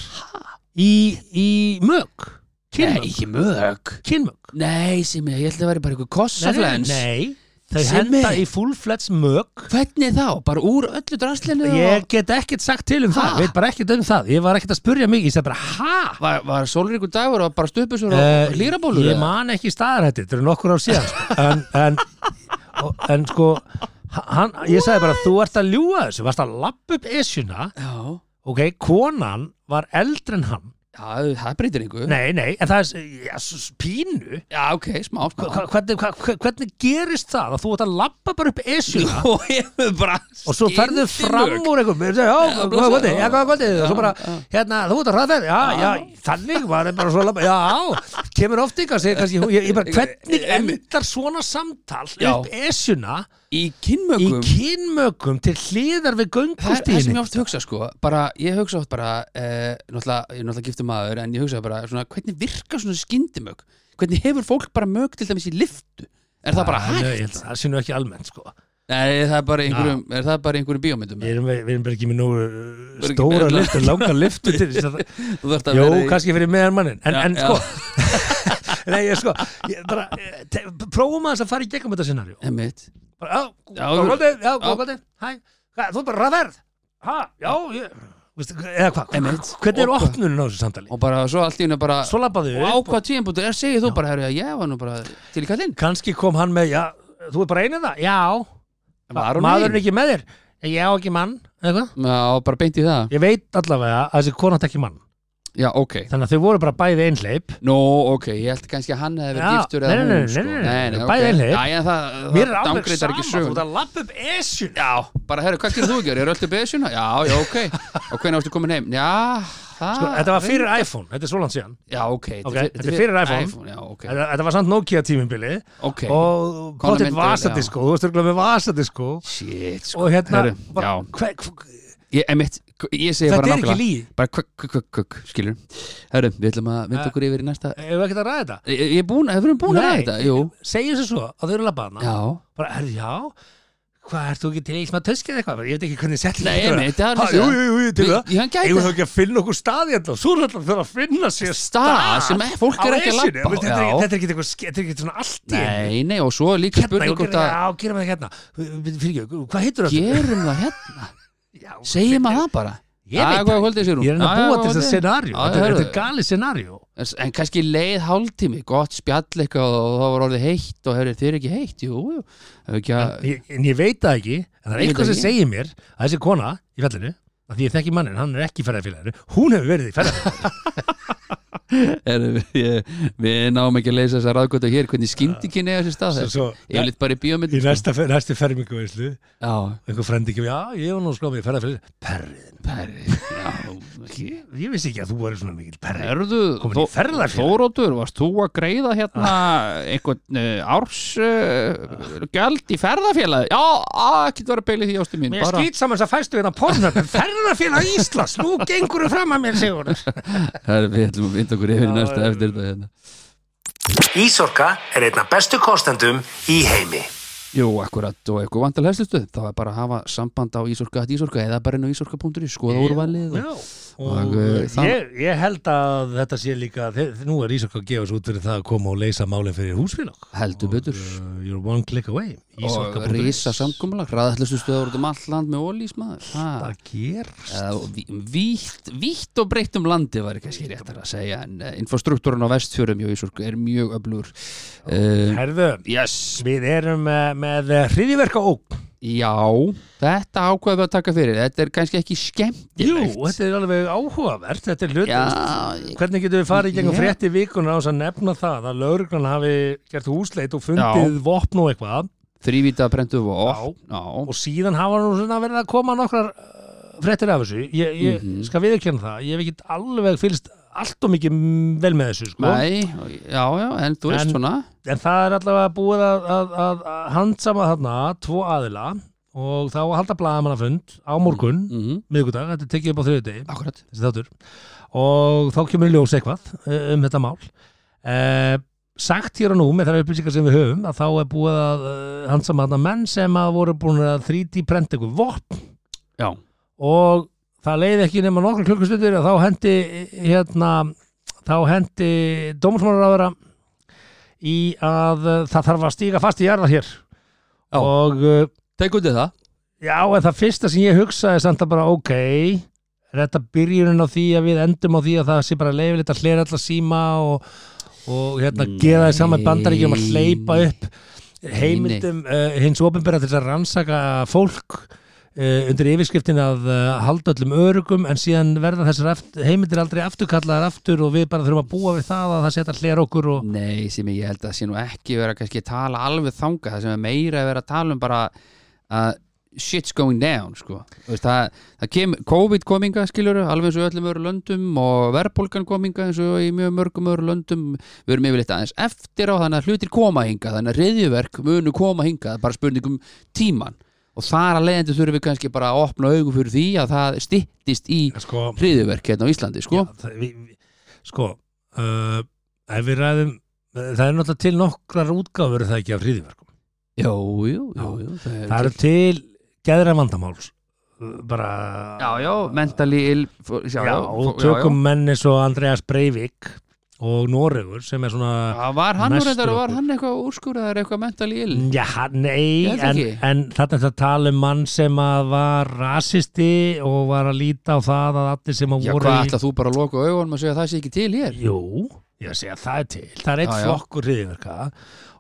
Speaker 4: í, í mög
Speaker 3: Nei,
Speaker 4: kynmög,
Speaker 3: ekki mög
Speaker 4: kynmög.
Speaker 3: Nei, sem ég, ég held að það væri bara eitthvað
Speaker 4: Nei,
Speaker 3: kossaflens
Speaker 4: Nei, þau
Speaker 3: Sem
Speaker 4: henda
Speaker 3: er?
Speaker 4: í full-fledged mög
Speaker 3: Hvernig þá? Bara úr öllu draslinu
Speaker 4: ég get ekkert sagt til um
Speaker 3: Ha?
Speaker 4: það veit bara ekkert um það, ég var ekkert að spurja mig ég sagði bara, hæ?
Speaker 3: og Var, var sólríkur dagur og bara stöpusur og
Speaker 4: Eh,
Speaker 3: uh, lýrabólur?
Speaker 4: ég man ekki staðarhætti, þetta eru nokkur ár síðan sko. en, en, og, en sko hann, ég sagði bara þú ert að ljúga þessu, varst að lappa upp esjuna,
Speaker 3: Já,
Speaker 4: ok, konan var eldri en hann
Speaker 3: já það breytir einhver
Speaker 4: nei, nei, en það er ja, s- pínu
Speaker 3: Já, ok, smá, smá
Speaker 4: Hva- hvernig, hva- hva- hvernig gerist það að þú ert að lappa bara upp esjuna
Speaker 3: Og hefur bara
Speaker 4: og svo ferðu fram
Speaker 3: skyndilög.
Speaker 4: úr einhver já, já,
Speaker 3: blessa,
Speaker 4: góða kvöldi,
Speaker 3: já,
Speaker 4: já, góða kvöldi og svo bara,
Speaker 3: já.
Speaker 4: hérna, þú ert að hraðferð já, já, þannig var það bara svo labba- já, kemur oft ykkar segir kannski, ég, ég bara, hvernig
Speaker 3: Einmitt.
Speaker 4: endar svona samtal
Speaker 3: Já.
Speaker 4: upp esjuna
Speaker 3: Í
Speaker 4: í
Speaker 3: kynmögum
Speaker 4: kynmökum til hliðar við
Speaker 3: Það er það sem
Speaker 4: göngustíðinni
Speaker 3: ég oft hugsa sko bara, ég hugsa oft bara eh, náttúrulega, ég er náttúrulega gifti maður en ég hugsa bara svona, hvernig virka svona skyndimög hvernig hefur fólk bara mög til dæmis í liftu er það bara hægt?
Speaker 4: Ah, Nei, Ah. ég held að það sé nú ekki almennt sko
Speaker 3: Nei, það er bara einhverjum, er það bara einhverjum bíómyndum
Speaker 4: Við erum, við erum bara ekki með nógu uh,
Speaker 3: ekki
Speaker 4: stóra
Speaker 3: með alla-
Speaker 4: lyftu, langa lyftu til þess að
Speaker 3: Þú þarft að
Speaker 4: Jó,
Speaker 3: vera í-
Speaker 4: kannski fyrir meðan mannin En,
Speaker 3: Já,
Speaker 4: en
Speaker 3: já.
Speaker 4: sko Nei, ég sko ég bara, eh, te- Prófum aðeins að fara í gegnum þetta scenari
Speaker 3: Einmitt.
Speaker 4: Já,
Speaker 3: Já,
Speaker 4: góð
Speaker 3: þú-
Speaker 4: kvöldi, já,
Speaker 3: já.
Speaker 4: góð kvöldi Hæ, hvað, þú er bara ræðverð Hæ, já, ég Vistu, Eða hvað,
Speaker 3: Einmitt.
Speaker 4: hvernig er
Speaker 3: Og-
Speaker 4: opnunin á þessu samtali?
Speaker 3: og bara svo allt í hennu bara
Speaker 4: Svo labbaðu
Speaker 3: og á hvað tíðanbútu er segið þú bara herri að ég var nú bara til í kallinn
Speaker 4: Kanski kom hann með, já, þú er bara einið það Já,
Speaker 3: Var hún
Speaker 4: maðurinn
Speaker 3: ein?
Speaker 4: ekki með þér Ég á ekki mann, eða hvað
Speaker 3: Já, bara beint í það
Speaker 4: Ég veit allavega að þessi kona átti ekki mann
Speaker 3: Já, ok
Speaker 4: Þannig að þau voru bara bæði einhleip
Speaker 3: Nú, ok, ég held kannski að hann hefði verið
Speaker 4: Já,
Speaker 3: giftur
Speaker 4: nei,
Speaker 3: eða
Speaker 4: nei,
Speaker 3: hún,
Speaker 4: nei,
Speaker 3: sko.
Speaker 4: nei, nei,
Speaker 3: nei, nei,
Speaker 4: bæði einhliða.
Speaker 3: Já, já, það, það
Speaker 4: Mér er alveg
Speaker 3: downgradar
Speaker 4: sama,
Speaker 3: ekki
Speaker 4: þú
Speaker 3: söguna.
Speaker 4: ert að lappa upp esjun
Speaker 3: Já, bara herru, hvað gerir þú að gera? Ég er öll upp esjuna? Já, já, ok Og hvernig ástu komin heim? Já, það
Speaker 4: Sko, þetta var fyrir iPhone, þetta er svo langt síðan
Speaker 3: Já, ok,
Speaker 4: Ok, þetta er fyrir iPhone.
Speaker 3: Já, ok,
Speaker 4: Þetta þetta var samt Nokia tímimbili
Speaker 3: ok
Speaker 4: og
Speaker 3: Konan
Speaker 4: potið
Speaker 3: myndi-
Speaker 4: vasadisko, þú veist örgulega með vasadisko
Speaker 3: Shit, sko
Speaker 4: og hérna
Speaker 3: Herru,
Speaker 4: bara,
Speaker 3: já.
Speaker 4: hver, hver,
Speaker 3: ég, emitt, ég segi
Speaker 4: Þetta
Speaker 3: bara
Speaker 4: er ekki
Speaker 3: nákvæmlega
Speaker 4: lígi
Speaker 3: Bara kukk, kukk, kukk, kukk, skilur Herru, við ætlum að vinda
Speaker 4: Eh.
Speaker 3: okkur yfir í næsta
Speaker 4: Hefur ekkert að ræða þetta?
Speaker 3: Ég, ég er búin, við erum búin að ræða
Speaker 4: Nei.
Speaker 3: þetta, jú
Speaker 4: Segjum þessu svo að þau eru labbaðna
Speaker 3: Já,
Speaker 4: bara, herri, já, hvað, ert þú ekki til í smá töskið eitthvað? Ég veit ekki hvernig sett
Speaker 3: nei, emitt, það er
Speaker 4: Ha, Jú, jú, jú, ég til það
Speaker 3: Ég hann gæti
Speaker 4: Eigum þau ekki að finna okkur stað hérna Svo er alltaf þurfa að finna sér
Speaker 3: Stað sem e- fólk
Speaker 4: á
Speaker 3: er ekki að
Speaker 4: Esjunni.
Speaker 3: labba á,
Speaker 4: Þetta er
Speaker 3: já.
Speaker 4: ekki- þetta er ekki eitthvað- þetta er ekki svona allt í einu.
Speaker 3: Nei, nei, og svo er líka
Speaker 4: Hérna,
Speaker 3: spurning
Speaker 4: ég
Speaker 3: hvort
Speaker 4: gerði-
Speaker 3: að
Speaker 4: já, gerum það hérna Fyrir ekki, hvað heitur það?
Speaker 3: Gerum það hérna Segjum að það bara
Speaker 4: Ég veit
Speaker 3: það
Speaker 4: það
Speaker 3: kvöldið, segir hún.
Speaker 4: Ég er hérna að
Speaker 3: Já, já,
Speaker 4: búa
Speaker 3: góða
Speaker 4: til þess að
Speaker 3: kvöldið.
Speaker 4: scenaríu
Speaker 3: Já,
Speaker 4: Þetta er-
Speaker 3: heyrðu.
Speaker 4: þetta er gali scenaríu
Speaker 3: En en kannski leið hálftími, gott spjall eitthvað og þá var orðið heitt og hefur þið ekki heitt, jú, jú. Ef Ekki að,
Speaker 4: Ég- En ég veit það ekki En það er
Speaker 3: Ég veit
Speaker 4: eitthvað
Speaker 3: það
Speaker 4: sem segir mér að þessi kona í fellinu að því ég þekki mannin, hann er ekki ferðarfélaginu hún hefur verið í ferðarfélaginu
Speaker 3: er, við, við náum ekki að leysa þess að ráðgóta hér, hvernig skyndi kynni eða sér stað þess.
Speaker 4: Svo- svo-
Speaker 3: Ég vil bara í bíómynd.
Speaker 4: í næsta, fer- næstu fermingu
Speaker 3: Já,
Speaker 4: einhver frendi ekki, já, ég var nú sko með ferðarfélaginu perriðin,
Speaker 3: perri, já, ekki.
Speaker 4: ég vissi ekki að þú verið svona mikil perri
Speaker 3: Erðu,
Speaker 4: Komin í ferðafélag.
Speaker 3: Þórótur, varst þú að greiða hérna einhvern uh, árs uh, gjald í ferðafélagi? Já, á, ekki það var að beila í því ástu mín.
Speaker 4: Mér bara... skýt saman þess að fæstu hérna pornhöf ferðarfélag Íslands, nú gengur þú fram að mér Sigur
Speaker 3: Herru, Við ætlum að vinda okkur yfir í
Speaker 4: Já,
Speaker 3: næsta
Speaker 4: já.
Speaker 3: eftir þetta hérna.
Speaker 1: Ísorka er einna bestu kostendum í heimi.
Speaker 3: Jú, akkurat og eitthvað vantal hlæslustu þá er bara að hafa samband á ísorka ísorka eða bara inn á ísorka.ri skoða úrvalið og...
Speaker 4: Já, og,
Speaker 3: Og, eh, það-
Speaker 4: ég, ég held að þetta sé líka þeir, nú er Ísak að gefa svo út fyrir það að koma og leysa máli fyrir húsfélag
Speaker 3: Heldur betur.
Speaker 4: og, uh, You're one click away
Speaker 3: og
Speaker 4: Ísaka.is.
Speaker 3: risa samkomulag hraðhlæslustu stöður út um allt land með ólís maður
Speaker 4: Það
Speaker 3: Það-
Speaker 4: gerst
Speaker 3: eða ví- vítt, vítt og breytt um landi var kannski réttar að segja en eh, infrastruktúran á vestfjörum hjá ísorka er mjög öflugur uh,
Speaker 4: Herðu,
Speaker 3: Yes,
Speaker 4: við erum uh, með hriðiverka ók
Speaker 3: já þetta ákveðum við að taka fyrir þetta er kannski ekki
Speaker 4: Jú,
Speaker 3: skemmtilegt
Speaker 4: þetta er alveg áhugavert Þetta er hlut
Speaker 3: Já,
Speaker 4: Hvernig getum við farið í gegnum
Speaker 3: Já.
Speaker 4: frétti vikuna á þess að nefna það að lauruglan hafi gert húsleit og fundið vopn og eitthvað
Speaker 3: þrývita prentu og
Speaker 4: Já. og síðan hafa nú svona verið að koma nokkrar uh, fréttir af þessu ég, ég
Speaker 3: Mhm.
Speaker 4: skal viðurkenna það, ég hef ekki alveg fylgst allt og mikið m- vel með þessu sko.
Speaker 3: Nei, já, já, en þú veist
Speaker 4: En-
Speaker 3: svona
Speaker 4: en það er allavega búið að, að, að, að handsama þarna tvo aðila og þá að halda blaðamannafund á morgun, mm.
Speaker 3: mm
Speaker 4: miðvikudag þetta er tekið upp á þriðudegi,
Speaker 3: Akkurat
Speaker 4: þessi þáttur og þá kemur í ljós eitthvað eh, um þetta mál eh, sagt hér og nú með þær upplýsingar sem við höfum að þá er búið að eh, handsama þarna menn sem að voru búin að 3D prenta ykkur vopn
Speaker 3: Já,
Speaker 4: og það leiði ekki nema nokkra klukkustundir að þá hendi hérna, þá hendi dómsmálaráðara í að uh, það þarf að stíga fast í jarðar hér
Speaker 3: Já.
Speaker 4: og uh,
Speaker 3: Tek undir það
Speaker 4: já, en það fyrsta sem ég hugsaði samt að bara, ok er þetta byrjunin á því að við endum á því að það sé bara leifilegt að hlera alla síma og, og hérna
Speaker 3: Nei.
Speaker 4: gera það saman bandaríkjum að hleypa upp heimildum uh, hins ofinbera til þess að rannsaka fólk Uh, undir yfirskriftin að uh, halda öllum örugum en síðan verða þessar aft- heimildir aldrei afturkallaðar aftur og við bara þurfum að búa við það að það setja hlera okkur og
Speaker 3: Nei, sem ég held að sé nú ekki vera kannski að tala alveg þanga það sem er meira að vera að tala um bara að shit's going down sko. Þú veist, það, það kem, COVID kominga skilur alveg eins og í öllum öru löndum og verðbólgan kominga eins og í mjög mörgum öru löndum við erum yfirleitt aðeins eftir á þannig að hlutir koma hinga þannig að reyðjuverk munu koma hinga bara spurningum tíman og þar að leiðandi þurfum við kannski bara að opna augum fyrir því að það styttist í
Speaker 4: sko,
Speaker 3: hriðjuverk hérna á Íslandi sko.
Speaker 4: Já, það, vi, vi, sko uh, ef við ræðum það er náttúrulega til nokkrar útgáfur er það ekki af hríðiverkum
Speaker 3: Jú, jú, jú, jú það
Speaker 4: það eru til geðra vandamáls Uh, bara
Speaker 3: já, já, mentally ill fó- já,
Speaker 4: já,
Speaker 3: já,
Speaker 4: og
Speaker 3: fó- já,
Speaker 4: tökum menn eins og Andreas Breivik og Noregur sem er svona
Speaker 3: já. Já, var hann,
Speaker 4: Næstur
Speaker 3: reyndar, var
Speaker 4: okkur.
Speaker 3: hann eitthvað úrskurðar eitthvað mentally ill
Speaker 4: já, hann- nei,
Speaker 3: Ég held
Speaker 4: en,
Speaker 3: ekki.
Speaker 4: en þarna er þetta tala um mann sem að var rasisti og var að líta á það að allir sem að
Speaker 3: já,
Speaker 4: voru
Speaker 3: hvað
Speaker 4: í
Speaker 3: ætlað þú bara að loka augunum og segja að það sé ekki til hér
Speaker 4: Jú, ég segi að það er til Það er eitt
Speaker 3: Já, já.
Speaker 4: flokkur hriðiverka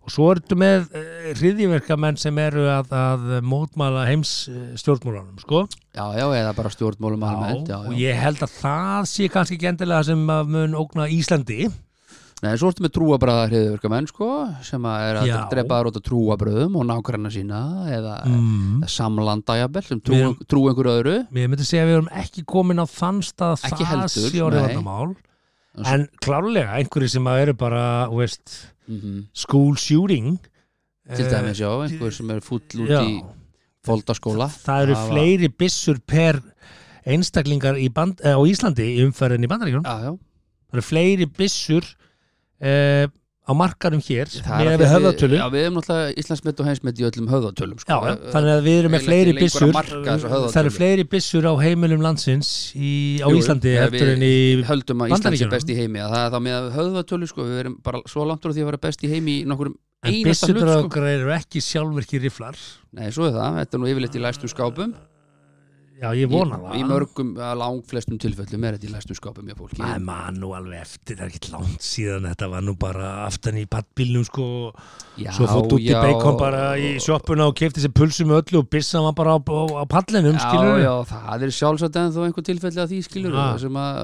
Speaker 4: og svo ertu með uh, hriðiverkamenn sem eru að, að mótmæla heims eh, stjórnmálanum sko.
Speaker 3: já, já, eða bara stjórnmálum almennt já,
Speaker 4: og
Speaker 3: já.
Speaker 4: ég held að það sé kannski ekki endilega sem að mun ógna Íslandi
Speaker 3: Nei, svo ertu með trúabræða hriðverkamenn sko, sem að er að
Speaker 4: Já.
Speaker 3: drepa þar út af trúabröðum og nákvæmna sína eða
Speaker 4: mm.
Speaker 3: samlanda jafnvel sem
Speaker 4: Við
Speaker 3: trú,
Speaker 4: erum-
Speaker 3: trú einhverju öðru
Speaker 4: Mér myndi segja að við erum ekki komin á þann stað að
Speaker 3: Ekki
Speaker 4: það
Speaker 3: heldur,
Speaker 4: sé orðið
Speaker 3: nei.
Speaker 4: vandamál
Speaker 3: En svo-
Speaker 4: en klárlega einhverju sem að eru bara þú veist,
Speaker 3: mm
Speaker 4: school shooting
Speaker 3: til
Speaker 4: eh,
Speaker 3: dæmis, já, einhver sem er fúll út
Speaker 4: já.
Speaker 3: í foldaskóla
Speaker 4: það eru
Speaker 3: var-
Speaker 4: fleiri byssur per einstaklingar í band, eh, á Íslandi í umferðin í bandaríkjum
Speaker 3: já, já,
Speaker 4: það eru fleiri byssur eh, á markarum hér
Speaker 3: Það
Speaker 4: með
Speaker 3: er af því
Speaker 4: við
Speaker 3: að
Speaker 4: höfðatölu
Speaker 3: Já,
Speaker 4: já,
Speaker 3: við erum náttúrulega Íslandsmet og heimsmet í öllum höfðatölum sko.
Speaker 4: já, þannig að við erum með
Speaker 3: eiginlega
Speaker 4: fleiri
Speaker 3: ekki lengur að
Speaker 4: byssur
Speaker 3: marka þessa höfðatölu.
Speaker 4: það eru fleiri byssur á heimilum landsins í, á
Speaker 3: Jú, jú,
Speaker 4: Íslandi
Speaker 3: ja,
Speaker 4: heldur
Speaker 3: við-
Speaker 4: en í
Speaker 3: höldum að Ísland sé
Speaker 4: Bandaríkjunum.
Speaker 3: best í heimi að það er þá með að höfðatölu sko, við erum bara svo langt úr því að vera best í heimi í nokkurum
Speaker 4: en
Speaker 3: einasta hlut
Speaker 4: byssunar
Speaker 3: sko.
Speaker 4: okkar eru ekki sjálfverki riflar
Speaker 3: Nei, svo er það, þetta er nú yfirleitt í læstu skápum
Speaker 4: já, ég vona
Speaker 3: Í, í
Speaker 4: það
Speaker 3: mörgum, að langflestum tilfellum er þetta í læstu skápum hjá fólki
Speaker 4: Það er maður nú alveg eftir, það er ekki langt síðan þetta var nú bara aftan í pattbílnum sko,
Speaker 3: já,
Speaker 4: svo fótt út í
Speaker 3: já,
Speaker 4: bacon bara í sjoppuna og kefti sér pulsu með öllu og byssan var bara á, á, á pallinum,
Speaker 3: Já,
Speaker 4: skilur
Speaker 3: já, það er sjálfsagt en þó einhver tilfelli að því skilur
Speaker 4: Ah.
Speaker 3: sem að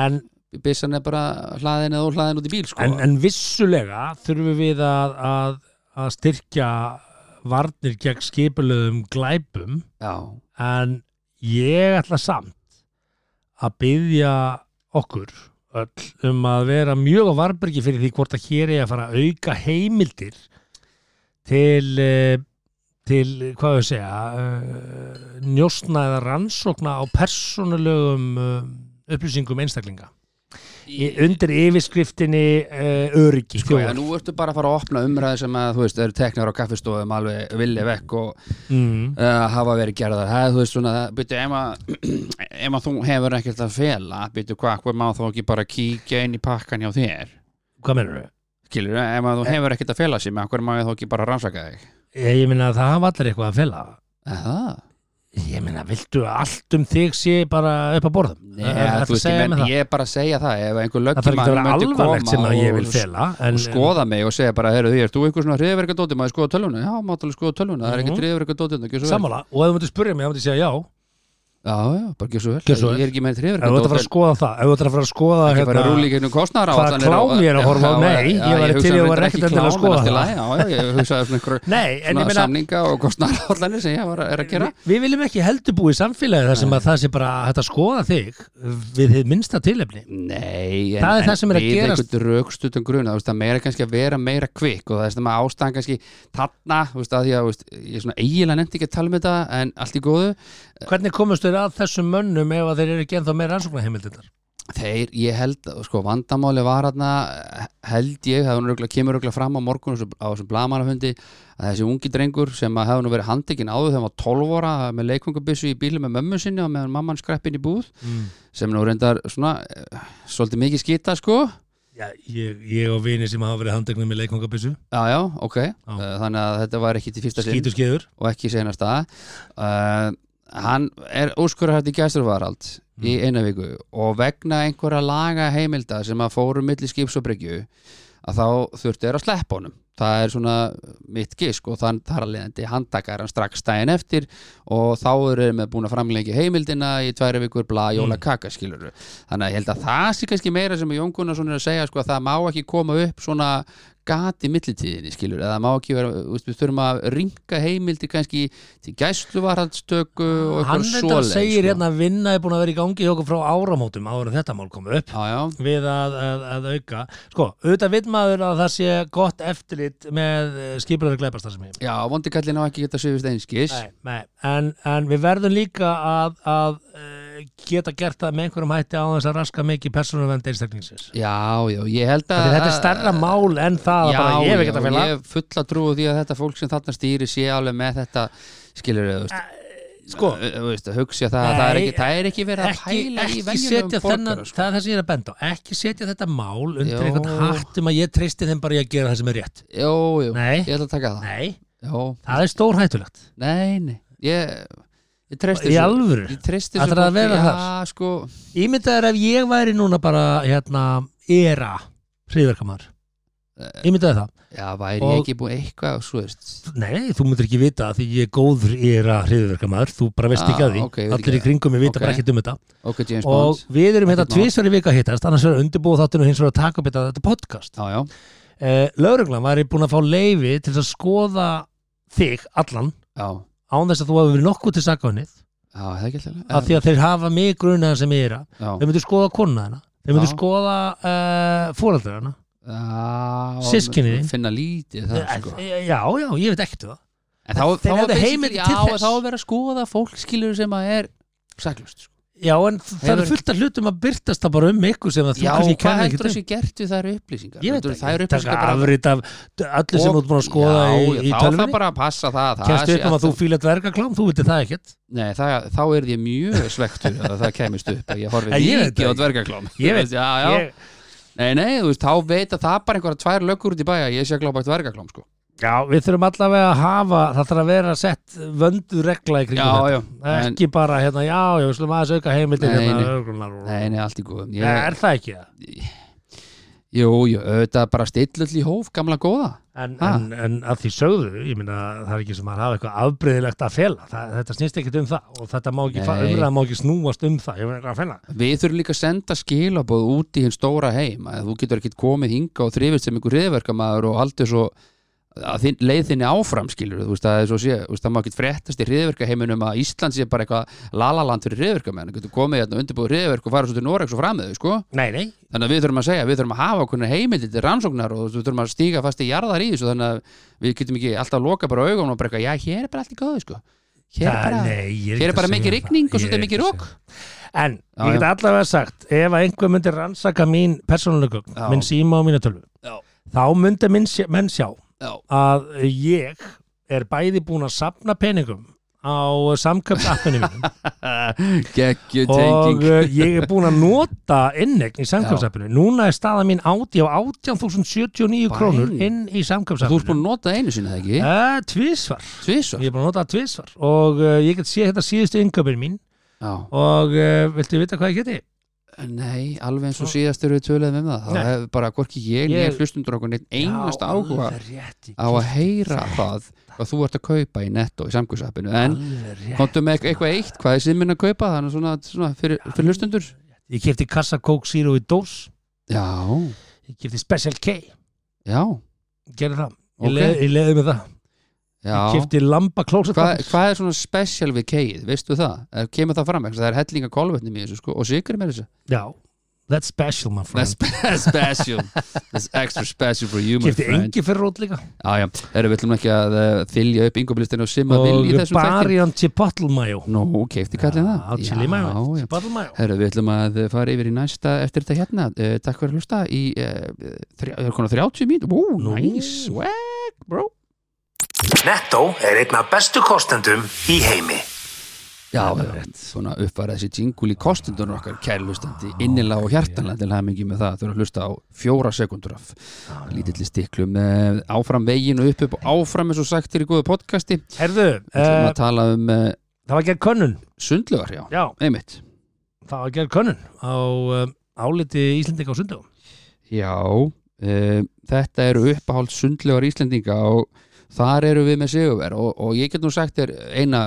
Speaker 4: En
Speaker 3: byssan er bara hlaðin eða óhlaðin út í bíl sko.
Speaker 4: en, en vissulega þurfum við að, að, að styrkja varnir gegn skipulöðum glæpum
Speaker 3: Já,
Speaker 4: en ég ætla samt að byggja okkur öll um að vera mjög á varbergi fyrir því hvort að hér er að fara að auka heimildir til eh, til, hvað við segja eh, njósna eða rannsókna á persónulegum eh, upplýsingum einstaklinga Í- undir yfirskriftinni uh, öryggi
Speaker 3: Sko,
Speaker 4: þjóðar.
Speaker 3: en nú ertu bara að fara að opna umræði sem að, þú veist, eru teknar á kaffistofum alveg vilja vekk og uh,
Speaker 4: mm.
Speaker 3: hafa verið gerðar. Það, er, þú veist, svona, byrju, ef að, ef að þú hefur ekkert að fela, byrju, hvað, hver má þá ekki bara kíkja inn í pakkan hjá þér?
Speaker 4: hvað mennur þau?
Speaker 3: Skilur, ef
Speaker 4: Eh.
Speaker 3: að þú hefur ekkert að fela sér með, hver má ég þá ekki bara rannsaka þig?
Speaker 4: Ég, ég meina að það hafa allir eitthvað að fela
Speaker 3: Er Það?
Speaker 4: ég meina, viltu að allt um þig sé bara upp að borðum?
Speaker 3: Nei,
Speaker 4: Er- er
Speaker 3: þú
Speaker 4: Eh, að
Speaker 3: veist, ég,
Speaker 4: segja
Speaker 3: menn,
Speaker 4: mér það?
Speaker 3: ég er bara að segja það, ef einhver
Speaker 4: það þarf ekki að
Speaker 3: löggjum
Speaker 4: vera alvarlegt sem að ég vil fela en,
Speaker 3: og skoða mig og segja bara, heyrðu, er þú einhver svona hriðverkadóti, maður skoða tölvuna, já, maður skoða tölvuna, það er
Speaker 4: Mhm.
Speaker 3: ekkert hriðverkadóti, gjör svo vel.
Speaker 4: sammála, og ef þú myndir spyrja mig, þá myndir ég segja já ef
Speaker 3: Já, já, bara gjör svo vel,
Speaker 4: Gjörðu svo vel.
Speaker 3: ég er ekki með
Speaker 4: þú ert að fara að
Speaker 3: hriðverkadóti
Speaker 4: skoða það ef þú ert að fara að skoða hérna-
Speaker 3: ekki bara rúli í gegnum kostnara
Speaker 4: Hvaða klám ég er að horfa á? Nei, ég væri til í að vera ekkert endilega að skoða það.
Speaker 3: Já, já, ég hugsaði svona einhver
Speaker 4: nei, en
Speaker 3: svona
Speaker 4: ég meina
Speaker 3: samninga og kostnara sem ég var, er að gera
Speaker 4: Við, við viljum ekki heldur búið samfélagi þar sem að það sé bara hægt að skoða þig við þið minnsta tilefni
Speaker 3: Nei, en,
Speaker 4: Það er það sem er að
Speaker 3: við
Speaker 4: gerast.
Speaker 3: einhvern raukstutum gruna, þú veist, það meira kannski að vera meira kvikk og það er sem að ástæðan kannski þarna, þú veist, að því að, þú veist, ég er svona eiginlega nefndi ekki að tala með þetta en allt í góðu,
Speaker 4: Hvernig komust þeir að þessum mönnum ef að þeir eru ekki ennþá meira rannsóknarheimildindar?
Speaker 3: Þeir, ég held, sko, vandamáli var hérna, held ég, það nú röglega, kemur röglega fram á morgun þessu- á þessum blamaranfundi að þessi ungi drengur sem að hefði nú verið handtekinn áður þegar hann var 12 ára með leikfungabissu í bílu með mömmu sinni og meðan mamman skreppin í búð
Speaker 4: Mm.
Speaker 3: sem nú reyndar svona, eh, svolítið mikið skita, sko
Speaker 4: Já, ég, ég og vini sem hafa verið handeknum með leikvangabissu,
Speaker 3: já, já, ok Uh, þannig að þetta var ekki til fyrsta sinn
Speaker 4: skýtur skeiður
Speaker 3: og ekki senast að uh, hann er úrskurðarhætt í gæsturvarald í eina viku og vegna einhverja laga heimilda sem að fóru milli skips og bryggju að þá þurfti er að sleppa honum það er svona mitt gisk og þann þar að leiðandi handtakar hann strax daginn eftir og þá eru með búin að framlengja heimildina í tværi vikur bla
Speaker 4: Mm.
Speaker 3: jóla kaka skilur þannig að ég held að það sé kannski meira sem Jón Gunnarsson er að segja sko að það má ekki koma upp svona gat í millitíðinni skilur eða það má ekki vera, þú veist, við þurfum að ringa heimildi kannski til gæsluvarhaldstöku og
Speaker 4: Ah, Hann
Speaker 3: eitthvað sko.
Speaker 4: þetta
Speaker 3: svoleið
Speaker 4: segir hérna að vinna er búin að vera í gangi hjá okkur frá áramótum áður en þetta mál kom upp
Speaker 3: Já, já,
Speaker 4: við að, að, að auka sko, auðvitað vill maður að það sé gott eftirlit með eh, skipulari glæpastar sem heim
Speaker 3: já, vondi kallin á ekki geta sögust einskis
Speaker 4: nei, nei. En, en við verðum líka að, að uh, geta gert það með einhverjum hætti á þess að raska mikið persónuvernd einstaklingsins
Speaker 3: Já, já, ég held að
Speaker 4: þetta er stærra
Speaker 3: Eh,
Speaker 4: mál en það að bara ég hef ekkert að finna
Speaker 3: ég hef fulla trú á því að þetta fólk sem þarna stýri sé alveg með þetta skilur þau,
Speaker 4: sko,
Speaker 3: eh, þú veist, að hugsa það að það er
Speaker 4: Nei,
Speaker 3: ekki, það er ekki verið að
Speaker 4: ekki,
Speaker 3: pæla í
Speaker 4: ekki
Speaker 3: venjulegum
Speaker 4: setja þennan
Speaker 3: borgarum sko.
Speaker 4: það er það sem ég er að benda á, ekki setja þetta mál undir
Speaker 3: Jó.
Speaker 4: einhvern hattum að ég treysti þeim bara í að gera það sem er rétt
Speaker 3: Jú, jú,
Speaker 4: Nei.
Speaker 3: ég ætla að taka það
Speaker 4: nei,
Speaker 3: Jó,
Speaker 4: það er stórhættulegt
Speaker 3: nei, nei Ég, ég treysti
Speaker 4: í
Speaker 3: þessu-
Speaker 4: alvöru
Speaker 3: Ég treysti
Speaker 4: Ætlarðu að vera
Speaker 3: Já,
Speaker 4: þar?
Speaker 3: sko
Speaker 4: Ímyndaður ef ég væri núna bara hérna, era hriðverkamar
Speaker 3: Eh.
Speaker 4: Ímyndaður það
Speaker 3: Já, væri
Speaker 4: Og-
Speaker 3: ég ekki búin eitthvað svo veist
Speaker 4: Nei, þú myndir ekki vita að því ég er góður era hriðverkamar, þú bara veist
Speaker 3: Ah,
Speaker 4: ekki að því
Speaker 3: ok, ég veit
Speaker 4: Allir í
Speaker 3: ekki.
Speaker 4: kringum ég vita
Speaker 3: Ok.
Speaker 4: bara ekkert um þetta
Speaker 3: Ok, James
Speaker 4: Og
Speaker 3: Bond
Speaker 4: við erum hérna
Speaker 3: Ekkert mál.
Speaker 4: tvisverri vika að hittast annars verður undirbúið þáttinu og hins verður að taka upp þetta, þetta podcast
Speaker 3: Já, já,
Speaker 4: eh, Lauruglan væri búin að fá leifi til þess að skoða þig allan
Speaker 3: já
Speaker 4: án þess að þú hafi verið nokkuð til sakaunni
Speaker 3: Já, það er ekki alltaf
Speaker 4: af því að þeir hafa mig grunaðan sem era
Speaker 3: Já,
Speaker 4: Þeir myndir skoða konuna hennar Þeir myndir
Speaker 3: Já.
Speaker 4: skoða uh, fóraldur hennar
Speaker 3: Já,
Speaker 4: Systkini þín.
Speaker 3: Finna lítið það sko
Speaker 4: Eh, Já, já, ég veit ekkert um það
Speaker 3: En þá, þá
Speaker 4: Þeir
Speaker 3: er
Speaker 4: hefðu
Speaker 3: basically-
Speaker 4: heimild
Speaker 3: já,
Speaker 4: til þess.
Speaker 3: þá er verið að skoða fólk skilur sem að er saklust sko.
Speaker 4: Já, en það
Speaker 3: Hefur-
Speaker 4: er fullt af hlutum að byrtast það bara um ykkur sem að þú
Speaker 3: Já,
Speaker 4: kannski
Speaker 3: hvað
Speaker 4: kennir
Speaker 3: heldur
Speaker 4: ekki
Speaker 3: þessi gert við þær upplýsingar?
Speaker 4: Ég veit
Speaker 3: Heldur
Speaker 4: ekki,
Speaker 3: þær
Speaker 4: taka
Speaker 3: upplýsingar bara
Speaker 4: afrit af allir sem þú ert búin að skoða
Speaker 3: já,
Speaker 4: í, í
Speaker 3: já, þá er það
Speaker 4: tölvunni
Speaker 3: bara að passa það að það
Speaker 4: Kennstu
Speaker 3: sé
Speaker 4: ykkur að þú
Speaker 3: alltaf-
Speaker 4: fílat verkaklám, þú veitir það ekkert
Speaker 3: Nei, það, þá er ég mjög svektur að það kemist upp að ég horfi
Speaker 4: En ég veit
Speaker 3: mikið á
Speaker 4: það.
Speaker 3: dvergaklám
Speaker 4: Ég veit-
Speaker 3: já, já.
Speaker 4: Ég-
Speaker 3: Nei, nei, þú veist, þá veit að það er bara einhverja tvær löggur út í bæja ég sé að glápa dvergaklám sko.
Speaker 4: Já, við þurfum allavega að hafa það þarf að vera sett vöndu regla í kringum
Speaker 3: Já, já,
Speaker 4: þetta
Speaker 3: en-
Speaker 4: ekki bara hérna, já, já, við slum aðeins auka heimildin
Speaker 3: Nei,
Speaker 4: hérna,
Speaker 3: nei.
Speaker 4: lögreglunar og-
Speaker 3: Nei, nei, allt í góðum
Speaker 4: Nei,
Speaker 3: ég,
Speaker 4: Er það ekki það?
Speaker 3: Jú, jú, auðvitað bara stilla öll í hóf, gamla góða
Speaker 4: En,
Speaker 3: Ha?
Speaker 4: en, en að því sögðu, ég meina það er ekki sem að hafa eitthvað afbreyðilegt að fela það, þetta snýst ekkit um það og þetta má ekki, fa-
Speaker 3: Nei.
Speaker 4: umræða má ekki snúast um það ég meina eitthvað að fela
Speaker 3: Við þurfum líka að senda skilaboð út í hinn stóra heim að þú getur ekkit komið hinga og þrifist sem einhver hriðverkamaður og haldur svo að þinn, leið þinni áfram skilur þú veist að það er svo sé, þú veist það má ekkit fréttast í hriðverkaheiminum að Ísland sé bara eitthvað lalaland fyrir hriðverkamenn, þú getur komið hérna undirbúið hriðverk og fara svo til Noregs og framöðu sko
Speaker 4: Nei, nei,
Speaker 3: þannig að við þurfum að segja, við þurfum að hafa okkur heimildi til rannsóknar og þú veist, við þurfum að stíga fast í jarðar í þessu þannig að við getum ekki alltaf að loka bara augunum og bara eitthvað, já hér er bara allt í góðu sko hér er
Speaker 4: Það-
Speaker 3: bara,
Speaker 4: nei, ég
Speaker 3: hér
Speaker 4: ekki
Speaker 3: er bara
Speaker 4: að
Speaker 3: mikið
Speaker 4: segja um
Speaker 3: rigning og
Speaker 4: það. Ég
Speaker 3: svolítið
Speaker 4: er
Speaker 3: mikið
Speaker 4: ekki að
Speaker 3: rók
Speaker 4: segja um það. En
Speaker 3: Já,
Speaker 4: ég get allavega sagt, ef að einhver myndi rannsaka mín persónuleikum,
Speaker 3: Já.
Speaker 4: minn síma og mínu tölvu,
Speaker 3: Já.
Speaker 4: þá myndi minn, sjá- menn sjá
Speaker 3: Já.
Speaker 4: að ég er bæði búin að sapna peningum á samköpsappinu mínum
Speaker 3: Gekkju
Speaker 4: og
Speaker 3: tenging
Speaker 4: uh, ég er búin að nota innegn í samköpsappinu. Núna er staða mín átti á 18.079 krónur
Speaker 3: Bæ.
Speaker 4: inn í
Speaker 3: Þú ert
Speaker 4: samköpsappinu.
Speaker 3: búin að nota það einu sinni, eða ekki?
Speaker 4: Uh, tvísvar,
Speaker 3: Tvísvar?
Speaker 4: ég er búin að nota það tvísvar og uh, ég get séð þetta síðustu yngöpin mín
Speaker 3: Já.
Speaker 4: og uh, viltu vita hvað ég geti?
Speaker 3: Nei, alveg eins og síðast eru við töluðum um það.
Speaker 4: Nei.
Speaker 3: Það hefur bara hvorki ég, ég...
Speaker 4: Ég-
Speaker 3: hlustundur okkur neitt einasta
Speaker 4: Já,
Speaker 3: áhuga
Speaker 4: alveg rétt, ég
Speaker 3: á að
Speaker 4: keypti
Speaker 3: heyra
Speaker 4: þetta.
Speaker 3: það hvað þú ert að kaupa í netto í samkvöðsappinu. En
Speaker 4: Alveg rétt.
Speaker 3: komdu með eit- eitthvað eitt, hvað er sem minn að kaupa þannig svona, svona fyrir, fyrir hlustundur?
Speaker 4: ég kefti kassa Coke Zero í dós
Speaker 3: Já,
Speaker 4: ég kefti Special K
Speaker 3: já,
Speaker 4: gerði það,
Speaker 3: Ok.
Speaker 4: ég, leið, ég leiði með það ég
Speaker 3: já.
Speaker 4: kefti Lamba Closet
Speaker 3: Hvað,
Speaker 4: Pappers.
Speaker 3: hvað er svona special við keið, veistu það? Er- Kemur það fram, ekki? það er hellinga kolvetnum í þessu sko, og sigur með þessu.
Speaker 4: já, that's special my
Speaker 3: That's
Speaker 4: friend
Speaker 3: spe- special. That's extra special for you, my
Speaker 4: kefti
Speaker 3: friend.
Speaker 4: engi fyrir rót líka
Speaker 3: Já, já, erum við ætlum ekki að uh, þylja upp yngobilistinu og simma vil í
Speaker 4: og Ah,
Speaker 3: þessum þætti
Speaker 4: Barian Chipotle Mayo
Speaker 3: Nú, keifti kallið
Speaker 4: á
Speaker 3: það
Speaker 4: Chili Mayo
Speaker 3: já, já
Speaker 4: Chipotle Mayo
Speaker 3: Herru, við ætlum að eh, fara yfir í næsta eftir þetta hérna uh, Takk fyrir að hlusta í uh, þrjá, er konar 30 mín Ú,
Speaker 4: Nú.
Speaker 3: nice, swag, bro
Speaker 1: Netto er einn af bestu kostendum í heimi.
Speaker 3: Já, já, svona uppvarað þessi jingul í kostendunum okkar kærlustandi, innilega og hjartanlega til hamingi með það, þau eru að hlusta á fjóra sekundur af lítilli stiklum eh, áfram veginn og upp upp og áfram eins og sagt er í góðu podcasti við
Speaker 4: Herðu,
Speaker 3: ætlum
Speaker 4: uh,
Speaker 3: að tala um uh,
Speaker 4: það var gerð könnun
Speaker 3: sundlugar, já,
Speaker 4: Já,
Speaker 3: einmitt
Speaker 4: það var gerð könnun á uh, áliti Íslendinga á sundum
Speaker 3: Já, uh, þetta eru uppáhald sundlugar Íslendinga og þar eru við með sigurver og, og ég get nú sagt þér eina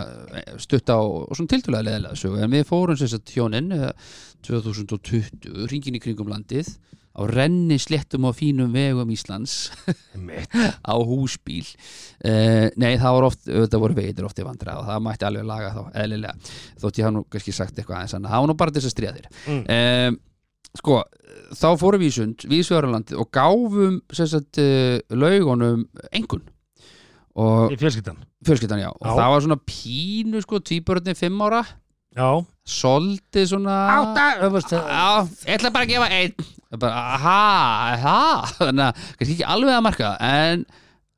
Speaker 3: stutta og, og svona tildulega leðilega sögur en við fórum sem sagt hjónin eh, 2020 ringin í kringum landið á renni sléttum og fínum vegum Íslands
Speaker 4: Mitt
Speaker 3: á húsbíl uh, nei það voru oft, þetta voru veitir oft í vandra og það mætti alveg laga þá eðlilega þótt ég hafði nú kannski sagt eitthvað aðeins annað, það var nú bara til þess að stríða þér
Speaker 4: Mm.
Speaker 3: mm. sko, þá fórum við í sund viðsvegarlandi og gáfum sem sagt, uh, laugunum engun og
Speaker 4: Í fjölskyldan
Speaker 3: fjölskyldan já, og
Speaker 4: Já.
Speaker 3: það var svona pínu sko, tvíbörðin fimm ára
Speaker 4: Já eh,
Speaker 3: soldið svona
Speaker 4: þú veist það
Speaker 3: Já, ég ætla bara að gefa einn Það er bara, aha, aha þannig að kannski ekki alveg að marka það, en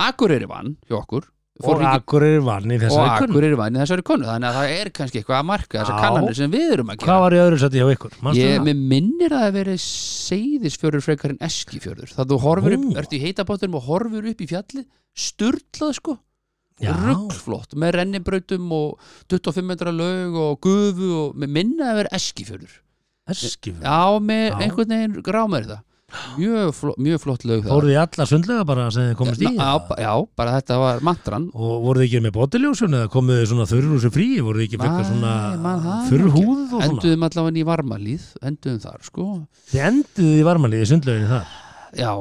Speaker 3: Akureyri vann hjá okkur Fór
Speaker 4: Og
Speaker 3: hringi-
Speaker 4: Akureyri vann í
Speaker 3: og
Speaker 4: þessari könnun
Speaker 3: Akureyri vann í þessari konu þannig að það er kannski eitthvað að marka þessar
Speaker 4: Já.
Speaker 3: kannanir sem við erum að gera
Speaker 4: Hvað var í öðru sæti hjá ykkur? Manstu
Speaker 3: Ég,
Speaker 4: það?
Speaker 3: mér minnir að það verið seyðisfjörður frekar en eskifjörður það þú horfur upp,
Speaker 4: Nú.
Speaker 3: ertu í heitabóttunum og horfur upp í fjallið sturlað sko,
Speaker 4: Já.
Speaker 3: ruggflott með rennibrautum og 25 metra lög og gufu og mér minna að vera eskifjörður
Speaker 4: Eskifjörður.
Speaker 3: Já, með
Speaker 4: Já.
Speaker 3: einhvern veginn grámaður það Mjög, fló, mjög flott lög það
Speaker 4: Fóruð þið alla sundlega bara sem þið komist í?
Speaker 3: Já,
Speaker 4: eða?
Speaker 3: ba- já, bara þetta var mantran
Speaker 4: Og voruð þið ekki með botiljósun eða komuð þið svona þurrúsu frí? Voruð þið ekki fekka
Speaker 3: Nei, man,
Speaker 4: svona
Speaker 3: það er
Speaker 4: þurrhúð og svona?
Speaker 3: Enduðum allavega í varmalíð Enduðum þar, sko
Speaker 4: Þið enduðu í varmalið í sundleginni þar.
Speaker 3: Já,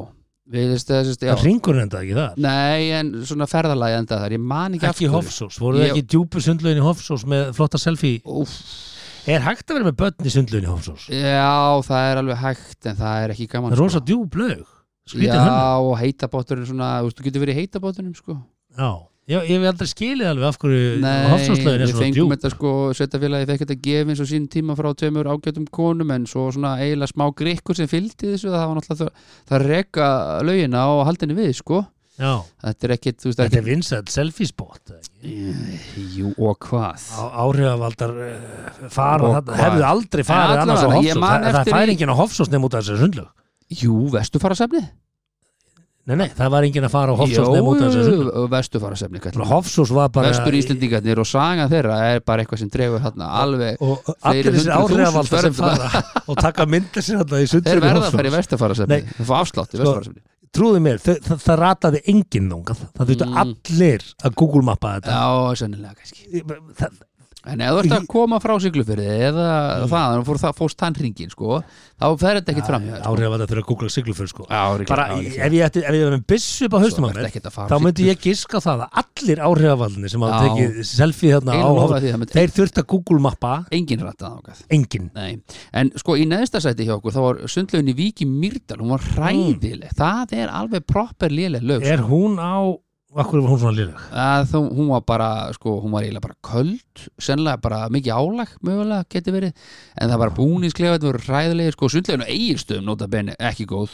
Speaker 3: við veist það, sérst,
Speaker 4: Það
Speaker 3: já
Speaker 4: ringur enda ekki þar.
Speaker 3: Nei, en svona ferðalagi enda þar Ég man
Speaker 4: Ekki
Speaker 3: ekki, af hverju.
Speaker 4: Hofsós. Voruð þið
Speaker 3: Ég-
Speaker 4: ekki í djúpu sundleginni Hofsós með flotta selfie?
Speaker 3: Úff,
Speaker 4: Er hægt að vera með börn í sundleginni Hofsós?
Speaker 3: Já, það er alveg hægt En það er ekki
Speaker 4: Það
Speaker 3: gaman sko.
Speaker 4: er rosa djúb lög. Skrítið hann.
Speaker 3: Já, og heitabótturinn svona Þú veist, þú getur verið í heitabóttunum, sko
Speaker 4: Já. Ég, ég hef aldrei skilið alveg af hverju Hofsóslögin er
Speaker 3: við
Speaker 4: svona
Speaker 3: fengum
Speaker 4: djúb.
Speaker 3: þetta sko sveitafélagi fekk þetta gefins og sín tíma frá tveimur ágætum konum en svo svona eiginlega smá grikkur sem fylgdi þessu það var náttúrulega það, það reka lögina og haldinu við sko
Speaker 4: Já.
Speaker 3: þetta er ekkit, þú veist,
Speaker 4: Þetta
Speaker 3: það
Speaker 4: er
Speaker 3: er
Speaker 4: vinsætt selfie spot. eða ekki?
Speaker 3: ekki jú og hvað
Speaker 4: á, áhrifavaldar uh, fara
Speaker 3: Og
Speaker 4: þarna,
Speaker 3: hvað?
Speaker 4: hefðu aldrei
Speaker 3: En
Speaker 4: farið annars á
Speaker 3: allavega, ég
Speaker 4: Hofsós,
Speaker 3: man
Speaker 4: það, það
Speaker 3: eftir
Speaker 4: fær
Speaker 3: í-
Speaker 4: enginn á Hofsós nefn út af þessu sundlög
Speaker 3: jú, vestu fara sefni
Speaker 4: nei, nei, það var enginn að fara á Hofsós nefn út af þessu sundlög
Speaker 3: vestu fara sefni
Speaker 4: Hofsós var bara
Speaker 3: vestur Íslendingarnir og saga þeirra er bara eitthvað sem dregur þarna alveg
Speaker 4: og
Speaker 3: Fleiri
Speaker 4: allir þessir
Speaker 3: hundruð þúsund
Speaker 4: áhrifavaldar sem
Speaker 3: ferðum.
Speaker 4: fara og taka myndir sér alltaf í
Speaker 3: þeir
Speaker 4: sundlög
Speaker 3: verða að fara í vestu fara sefni
Speaker 4: Nei.
Speaker 3: það fá afslátt í
Speaker 4: Sko,
Speaker 3: vestu fara sefni
Speaker 4: trúðu mér, það, það, það rataði enginn þungað, það þurftu
Speaker 3: Mm.
Speaker 4: allir að Google mappa þetta
Speaker 3: já, sennilega kannski
Speaker 4: það,
Speaker 3: En ef þú ert að koma frá siglufyrði eða það, þá fór það fóst tann hringin sko, þá fer þetta ekkert fram hjá þér, sko.
Speaker 4: áhrifavaldar þurfa að Google siglufur sko.
Speaker 3: Já, líklega,
Speaker 4: bara,
Speaker 3: já,
Speaker 4: í-
Speaker 3: líklega.
Speaker 4: ef ég ætti- ef ég var með byssu upp á haustum á
Speaker 3: Svo
Speaker 4: mér
Speaker 3: ertu ekkert að fara
Speaker 4: þá
Speaker 3: á
Speaker 4: myndi ég giska á það að allir áhrifavaldinni sem hafa
Speaker 3: Já.
Speaker 4: tekið selfie þarna á
Speaker 3: Eiginlega lofaði
Speaker 4: Hofsós-
Speaker 3: því, það myndi-
Speaker 4: þeir þurft að Google mappa
Speaker 3: engin rætta þákað
Speaker 4: engin
Speaker 3: Nei. En sko í neðsta sæti hjá okkur þá var sundlaugin í Víki Mýrdal, hún var hræðileg það er alveg proper léleg lög
Speaker 4: Mm.
Speaker 3: sko.
Speaker 4: er hún á, akkur var hún svona léleg
Speaker 3: að þó, hún var bara, sko, hún var eiginlega bara köld, sennilega bara mikið álag mögulega geti verið, en það var bara búningsklefa, þetta voru hræðilegir, sko sundlaugin á eiginstöðum nota bene, ekki góð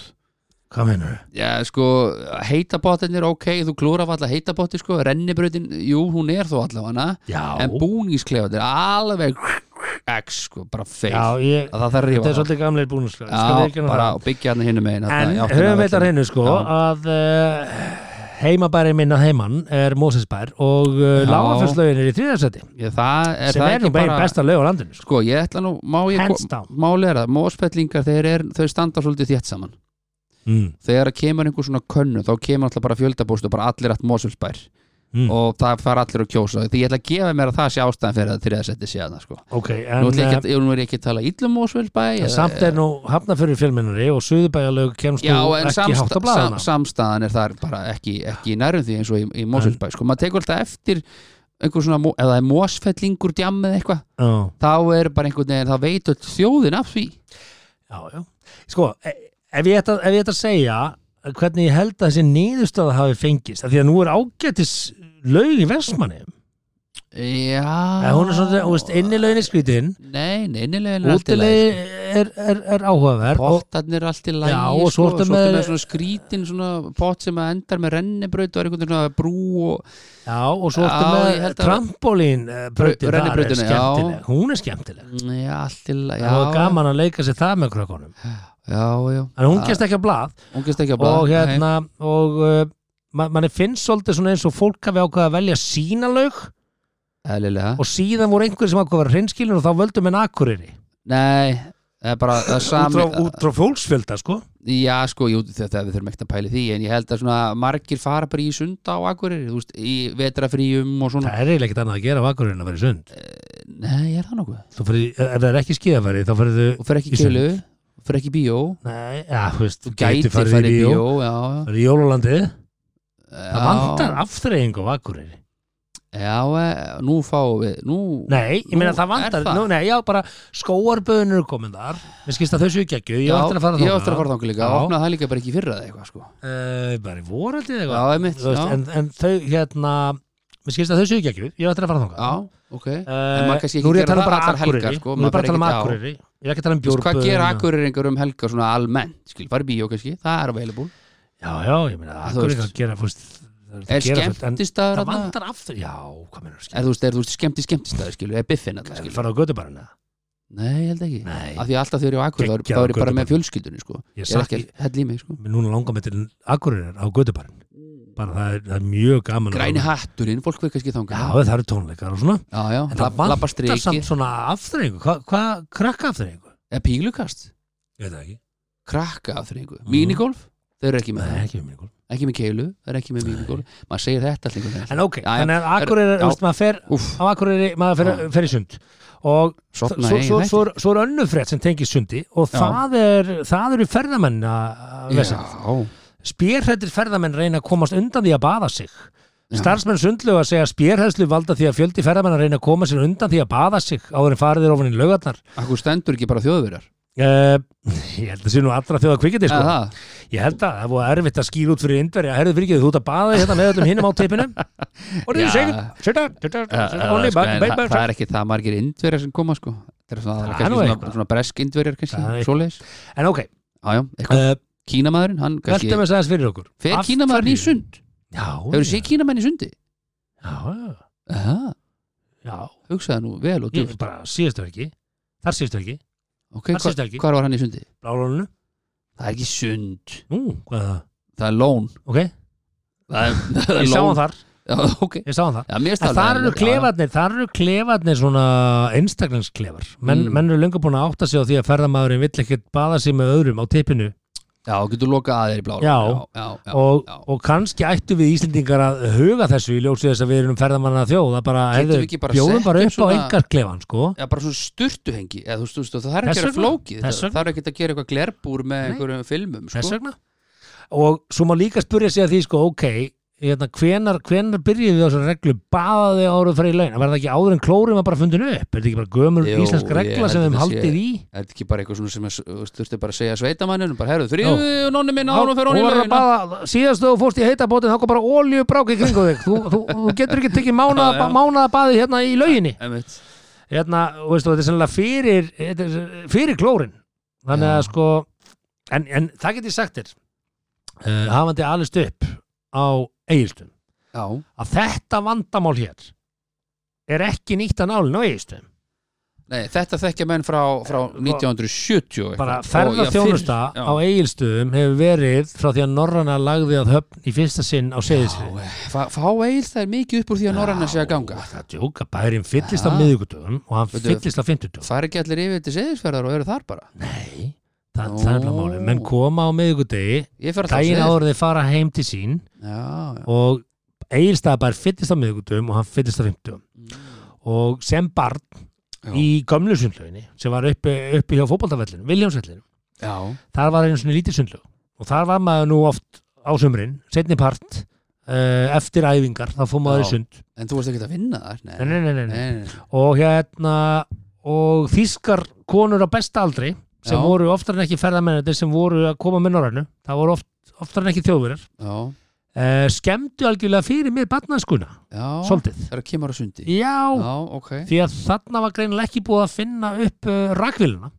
Speaker 4: hvað mennur þau?
Speaker 3: Já, sko, heitabottinir, ok, þú klúrar alltaf heitabotti, sko, rennibrautin, jú, hún er þó allavega
Speaker 4: já,
Speaker 3: en búningsklefandir, alveg x, sko, bara feil
Speaker 4: já ég,
Speaker 3: að það þarf að
Speaker 4: þetta er
Speaker 3: rífa
Speaker 4: svolítið sko. gamleir búnuslag
Speaker 3: Já, bara og byggja hann hinn um einn
Speaker 4: en höfum þetta reynu sko
Speaker 3: Já.
Speaker 4: að uh, heimabæri minn að heimann er Mósinsbær og uh,
Speaker 3: Já.
Speaker 4: lágafjörslögin er í þriðarsæti
Speaker 3: Það er
Speaker 4: sem
Speaker 3: það
Speaker 4: er nú
Speaker 3: ekki
Speaker 4: bara
Speaker 3: bara
Speaker 4: besta lög á landinu sko.
Speaker 3: Sko, ég ætla nú, má ég
Speaker 4: Hands down.
Speaker 3: Máli er það, mósfellingar, þeir, er, þau standa svolítið þétt saman
Speaker 4: mm.
Speaker 3: Þegar kemur einhver svona könnu, þá kemur alltaf bara fjöldabúst og bara allir allt mósfellsbær
Speaker 4: Mm.
Speaker 3: og það fara allir að kjósa því ég ætla að gefa mér að það sé ástæðan fyrir að þriðasetti sé aðna sko
Speaker 4: ok, en
Speaker 3: Nú, ætla ég
Speaker 4: uh,
Speaker 3: ekki, að- nú er ég ekki að tala um íllum Ósvöldbæ
Speaker 4: samt er nú hafnafjörður fjölmennari og suðubæjarlög kemst
Speaker 3: Já,
Speaker 4: nú
Speaker 3: en
Speaker 4: ekki
Speaker 3: samsta,
Speaker 4: hátt á
Speaker 3: sam,
Speaker 4: blaðana
Speaker 3: samstaðan er þar bara ekki, ekki í nærum því eins og í, í Mósvöldbæ sko, maður tekur alltaf eftir einhver svona, mó- ef það er mósfellingur djam eða eitthvað,
Speaker 4: já
Speaker 3: þá er bara einhvern veginn þá veit öll þjóðin af því
Speaker 4: Já, já. Sko, e- ef ég ætta, ef ég ætta að segja eh, hvernig ég held að þessi niðurstöða hafi fengist, af því að nú er ágætis laug í versmanni
Speaker 3: Já Ah.
Speaker 4: En hún er svona, þú veist, innilegin í skrítin
Speaker 3: Nei, nei, innilegin er allt í lagi
Speaker 4: Útilegin er, er, er áhugaverð og,
Speaker 3: Pottarnir er allt í lagi
Speaker 4: Já, og svo ertu
Speaker 3: svo ertu
Speaker 4: með-
Speaker 3: með svona skrítin svona pott sem að endar með rennibraut og er einhvern veginn svona brú og
Speaker 4: Já, og svo ertu
Speaker 3: Já, ég
Speaker 4: með
Speaker 3: held að-
Speaker 4: trampolín eh, brautin þar er
Speaker 3: Rennibrautina, já.
Speaker 4: skemmtileg Hún er skemmtileg
Speaker 3: Já, allt í lagi
Speaker 4: Það var
Speaker 3: Já,
Speaker 4: gaman að leika sér það með krökkunum
Speaker 3: já, já
Speaker 4: En hún gæst ekki að blað
Speaker 3: Hún gæst ekki að blaða
Speaker 4: og hérna og uh, ma- manni finnst svolítið svona eins og fólk hafi ákveða að velja sína laug
Speaker 3: Eðlilega
Speaker 4: og síðan voru einhverjir sem ákveða að vera hreinskilin og þá völdum en akureyri
Speaker 3: Nei, það er bara það er
Speaker 4: út
Speaker 3: sami
Speaker 4: frá- út frá fólksfjölda sko
Speaker 3: Já, sko, jú, þetta við þurfum ekkert að pæli því en ég held að svona margir fara bara í sunda á Akureyri, þú veist, í vetrafríum og svona,
Speaker 4: það er eiginlega ekkert annað að gera á akureyri en að vera í sund
Speaker 3: nei, er það nokkuð
Speaker 4: Þú fyrir, ef það er ekki skíðafæri þá fyrir þú
Speaker 3: og fer
Speaker 4: Í
Speaker 3: ekki í
Speaker 4: sund.
Speaker 3: kjölu, fer ekki í bíó
Speaker 4: Nei, já, þú veist,
Speaker 3: þú gæti
Speaker 4: farið
Speaker 3: farið í bíó, já,
Speaker 4: farið í jólulandið,
Speaker 3: já
Speaker 4: það vantar afþreying á Akureyri.
Speaker 3: Já, eh, nú fáum við, nú
Speaker 4: Nei, ég meina
Speaker 3: Nú,
Speaker 4: það
Speaker 3: er
Speaker 4: vantar,
Speaker 3: það?
Speaker 4: Nú, nei, já, bara skóarböðunir er komin þar, mér skilst að þau séu geggju, ég ætti að fara
Speaker 3: ég ætti að fara þangað líka,
Speaker 4: Já.
Speaker 3: opnaði það líka bara ekki í fyrra eða eitthvað, sko
Speaker 4: Uh, bara í voraldið
Speaker 3: Já,
Speaker 4: eitthvað,
Speaker 3: einmitt,
Speaker 4: Þú veist,
Speaker 3: já,
Speaker 4: en, en þau, hérna, mér skilst að þau séu geggju, ég ætti að fara þangað.
Speaker 3: já, ok
Speaker 4: Uh,
Speaker 3: en maður kannski ekki
Speaker 4: nú er ég að
Speaker 3: gera
Speaker 4: tala um
Speaker 3: það
Speaker 4: bara
Speaker 3: allar helgar,
Speaker 4: Akureyri,
Speaker 3: sko,
Speaker 4: nú er
Speaker 3: maður
Speaker 4: ég bara að tala um Akureyri, ég er ekki að tala um
Speaker 3: fer ekkert á- Þú veist, hvað gera
Speaker 4: bjórböðuna.
Speaker 3: Akureyringar um helgar svona almennt, skil, farið í bíó kannski, það er available
Speaker 4: Já, já, ég meina,
Speaker 3: Þú
Speaker 4: Akureyri
Speaker 3: veist.
Speaker 4: er að gera, þú veist, það er
Speaker 3: Er
Speaker 4: að gera fullt, en
Speaker 3: skemmtistaður
Speaker 4: það
Speaker 3: þarna?
Speaker 4: vantar aftur, já, hvað mennur
Speaker 3: Er þú veist, er þú veist skemmti skemmtistæði skilu, er biffin alltaf
Speaker 4: skilur,
Speaker 3: skilu?
Speaker 4: fara á gödubarinn eða?
Speaker 3: Nei, ég held ekki.
Speaker 4: Nei.
Speaker 3: Af því að alltaf þegar ég á akkur, þá er,
Speaker 4: Geggjaður
Speaker 3: þá er ég bara
Speaker 4: götubarn.
Speaker 3: með fjölskyldunni, sko.
Speaker 4: Ég
Speaker 3: Ég er ekki
Speaker 4: sakna-
Speaker 3: að hella í mig, sko.
Speaker 4: Mér núna langar mig til Akureyrar á Götubarn bara það er, það er mjög gaman að-
Speaker 3: Græni hatturinn, fólk veit kannski
Speaker 4: Já,
Speaker 3: þangar.
Speaker 4: það eru tónleikar og svona
Speaker 3: Já, já,
Speaker 4: En það
Speaker 3: lab, labba
Speaker 4: vantar samt
Speaker 3: streikir.
Speaker 4: svona afþreyingu Hvað, hva, krakka afþreyingu?
Speaker 3: Eða pílukast,
Speaker 4: Ég veit það ekki
Speaker 3: krakka af þrengu.
Speaker 4: Mhm.
Speaker 3: Minigolf, þau eru ekki með
Speaker 4: Nei,
Speaker 3: það.
Speaker 4: ekki með minigolf
Speaker 3: Ekki með keilu, þau eru ekki með minigolf. Maður segir þetta alltaf einhvern veginn.
Speaker 4: En ok,
Speaker 3: Já, já.
Speaker 4: þannig að Akureyrar,
Speaker 3: Já.
Speaker 4: þú veist, maður fer
Speaker 3: Úff,
Speaker 4: á Akureyri, maður fer,
Speaker 3: Já.
Speaker 4: fer í sund og svo,
Speaker 3: sopna
Speaker 4: svo,
Speaker 3: eigin
Speaker 4: svo,
Speaker 3: þætti.
Speaker 4: svo, er- svo er önnur frétt sem tengir sundi og
Speaker 3: Já.
Speaker 4: það er, það eru ferðamenn að að
Speaker 3: Já,
Speaker 4: lesa. Spérhættir ferðamenn reyna að komast undan því að baða sig. Starfsmenn sundlöga segja að spérhæðslu valda því að fjöldi ferðamenn að reyna að koma sér undan því að baða sig áður en farið er ofan í lögarnar.
Speaker 3: akkur stendur ekki bara þjóðverjar.
Speaker 4: Uh, ég held að sé nú allra þjóða kvikindi
Speaker 3: Eða
Speaker 4: sko.
Speaker 3: það?
Speaker 4: Ég held að það voru erfitt að skýra út fyrir indverja. Herðu fyrir ekki þú ert að baða þig hérna með öllum hinnum á teipinu. Og
Speaker 3: Já.
Speaker 4: þið segir, sjöta, sjöta,
Speaker 3: Eða-
Speaker 4: sjöta,
Speaker 3: eða,
Speaker 4: only
Speaker 3: sko,
Speaker 4: back,
Speaker 3: en
Speaker 4: back,
Speaker 3: Það
Speaker 4: back,
Speaker 3: það er
Speaker 4: back.
Speaker 3: ekki það margir indverjar sem koma, sko. Það er svona,
Speaker 4: Það er
Speaker 3: kannski
Speaker 4: nú
Speaker 3: svona,
Speaker 4: eitthvað.
Speaker 3: svona bresk
Speaker 4: Það er
Speaker 3: indverjar, kannski,
Speaker 4: eitthvað.
Speaker 3: svoleiðis.
Speaker 4: En ok,
Speaker 3: Já, já, eitthvað
Speaker 4: uh,
Speaker 3: Kínamaðurinn, hann kannski
Speaker 4: veltum við þess aðeins fyrir okkur.
Speaker 3: Fer
Speaker 4: Af
Speaker 3: kínamaðurinn í
Speaker 4: hverju?
Speaker 3: sund?
Speaker 4: Já,
Speaker 3: Hefur
Speaker 4: já.
Speaker 3: séð kínamenn í sundi?
Speaker 4: Já,
Speaker 3: Aha,
Speaker 4: já, já.
Speaker 3: hugsaði nú vel og
Speaker 4: Ég
Speaker 3: djúpt
Speaker 4: bara síðastu ekki. Þar síðastu ekki.
Speaker 3: Ok,
Speaker 4: þar sést
Speaker 3: hva,
Speaker 4: það ekki.
Speaker 3: hvar var hann í sundi?
Speaker 4: Blálónu.
Speaker 3: Það er ekki sund
Speaker 4: Nú, hvað er það?
Speaker 3: Það er lón
Speaker 4: Ok,
Speaker 3: Það er, það
Speaker 4: ég sá hann þar.
Speaker 3: Já, ok
Speaker 4: Ég sá hann þar.
Speaker 3: Já, mér
Speaker 4: En
Speaker 3: stálega
Speaker 4: þar eru klefarnir, þar eru klefarnir svona einstaklingsklefar menn,
Speaker 3: Mm.
Speaker 4: menn eru lengur búin að átta sig á því að ferðamaðurinn vill ekkert baða sig með öðrum á teipinu
Speaker 3: Já, getur lokað að þeir í blá
Speaker 4: Já.
Speaker 3: já, já,
Speaker 4: og,
Speaker 3: já.
Speaker 4: og kannski ættu við Íslendingar að huga þessu í ljósi þess að við erum ferðamanna þjóð að bara,
Speaker 3: Getum við ekki bara
Speaker 4: bjóðum
Speaker 3: sett
Speaker 4: bara
Speaker 3: upp
Speaker 4: upp á
Speaker 3: svona-
Speaker 4: engarklefan sko
Speaker 3: Já, bara svona sturtuhengi eða, þú veist, þú veist, Það er
Speaker 4: Þess
Speaker 3: ekki að gera
Speaker 4: vegna.
Speaker 3: flókið
Speaker 4: Þess
Speaker 3: Það
Speaker 4: vegna.
Speaker 3: það er ekki að gera eitthvað glerbúr með
Speaker 4: Nei.
Speaker 3: einhverjum filmum
Speaker 4: þess
Speaker 3: sko.
Speaker 4: vegna og svo má líka spyrja sig að því sko ok, hérna, hvenar, hvenar byrjuðu á þessar reglu baða þig áruð fyrir laun var það ekki áður en klórum að bara fundin upp er það ekki bara gömur
Speaker 3: Jú,
Speaker 4: íslensk
Speaker 3: ég
Speaker 4: regla
Speaker 3: held
Speaker 4: sem
Speaker 3: að
Speaker 4: þeim
Speaker 3: það sé-
Speaker 4: haldið í
Speaker 3: Er þetta ekki bara eitthvað svona sem er, þú veist, þurfti bara að segja sveitamanninu bara herðu þrýðu nonni minn
Speaker 4: Hún
Speaker 3: áður og fer hún í
Speaker 4: var að
Speaker 3: laugina
Speaker 4: baða, síðast þú fórst í heitabótin þá kom bara ólju brák í kringu þig þú, þú, þú getur ekki tekið
Speaker 3: Já, já.
Speaker 4: mánaða baðið hérna í lauginni
Speaker 3: Einmitt.
Speaker 4: hérna, og veistu, þetta er sennilega fyrir þetta er fyrir klórin þannig að
Speaker 3: Já.
Speaker 4: sko en, en það get ég sagt þér uh, hafandi alist upp á eigistum
Speaker 3: Já
Speaker 4: að þetta vandamál hér er ekki nýtt að nálinn á eigistum
Speaker 3: Nei, þetta þekkja menn frá, frá 1970 og eitthvað.
Speaker 4: Eh, bara
Speaker 3: Og, já,
Speaker 4: ferða þjónusta
Speaker 3: fyrr- já.
Speaker 4: á eigilstöðum hefur verið frá því að Norranna lagði að höfn í fyrsta sinn á
Speaker 3: Já,
Speaker 4: seðisvið
Speaker 3: Fá, fá eil það er mikið upp úr því að Norranna sé að ganga
Speaker 4: Það er djóka, bærin fyllist á
Speaker 3: Ha?
Speaker 4: miðugudöfum og hann
Speaker 3: Veitu-
Speaker 4: fyllist á fimmtudöfum
Speaker 3: Far ekki allir yfir til seðisferðar og eru þar bara
Speaker 4: Nei, það,
Speaker 3: Nú.
Speaker 4: það er bara málið Menn koma á miðugudegi,
Speaker 3: Ég fer alltaf
Speaker 4: daginn
Speaker 3: Seyðisferð.
Speaker 4: áður þeir fara heim til sín
Speaker 3: Já, já,
Speaker 4: og eigilstaðabær fyllist á miðugudöfum og hann fyllist á fimmtudöfum og sem barn
Speaker 3: Mm. Já.
Speaker 4: í gömlu sundlauginni sem var uppi, uppi hjá fótboltavellinu, Viljámsvellinu
Speaker 3: já
Speaker 4: þar var einu svona lítið sundlaug og þar var maður nú oft á sumrin setni part, uh, eftir æfingar þá fór maður
Speaker 3: Já.
Speaker 4: í sund
Speaker 3: En þú varst ekki að vinna þar Nei,
Speaker 4: nei, nei, nei, nei.
Speaker 3: nei, nei.
Speaker 4: og hérna og þýskar konur á besta aldri sem
Speaker 3: Já.
Speaker 4: voru oftar en ekki ferðamennir sem voru að koma með norrænu það voru oft, oftar en ekki þjóðverjar
Speaker 3: Já,
Speaker 4: uh, skemmtu algjörlega fyrir mér barnaskuna
Speaker 3: já,
Speaker 4: svolítið.
Speaker 3: það er að kemur á sundi
Speaker 4: já,
Speaker 3: já, ok
Speaker 4: því að þarna var greinilega ekki búið að finna upp uh, rakvilina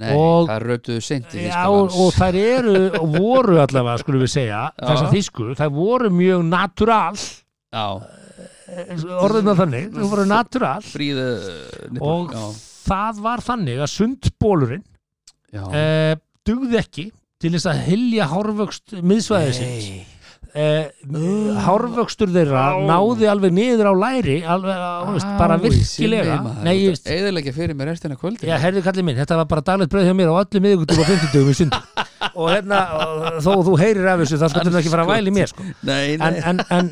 Speaker 3: Nei,
Speaker 4: Og-
Speaker 3: það rötuðu seint í
Speaker 4: Já, og, og
Speaker 3: Þýskalands
Speaker 4: þær eru, og voru allavega, skulum við segja,
Speaker 3: Já.
Speaker 4: þessar þýskur, þær voru mjög natúral,
Speaker 3: já, Eh,
Speaker 4: orðin að þannig, þær voru natúral
Speaker 3: fríðu
Speaker 4: og það var þannig að sundbólurinn
Speaker 3: já, já.
Speaker 4: uh, dugði ekki til þess að hylja hárvöxt miðsvæðisins.
Speaker 3: Nei.
Speaker 4: Uh, hárvöxtur þeirra
Speaker 3: Á.
Speaker 4: náði alveg niður á læri, alveg, á, veist, bara
Speaker 3: Á,
Speaker 4: virkilega.
Speaker 3: sinni, maður.
Speaker 4: Nei, ég veist,
Speaker 3: Eyðileggja fyrir mér restina kvöldi
Speaker 4: Já, herðu kallið minn, þetta var bara daglegt bröð hjá mér á öllum miðugutugum og fimmtudugum í sundi og hérna, og þó þú heyrir af þessu þá sko til ekki fara að væli mér sko.
Speaker 3: Nei,
Speaker 4: en, en, en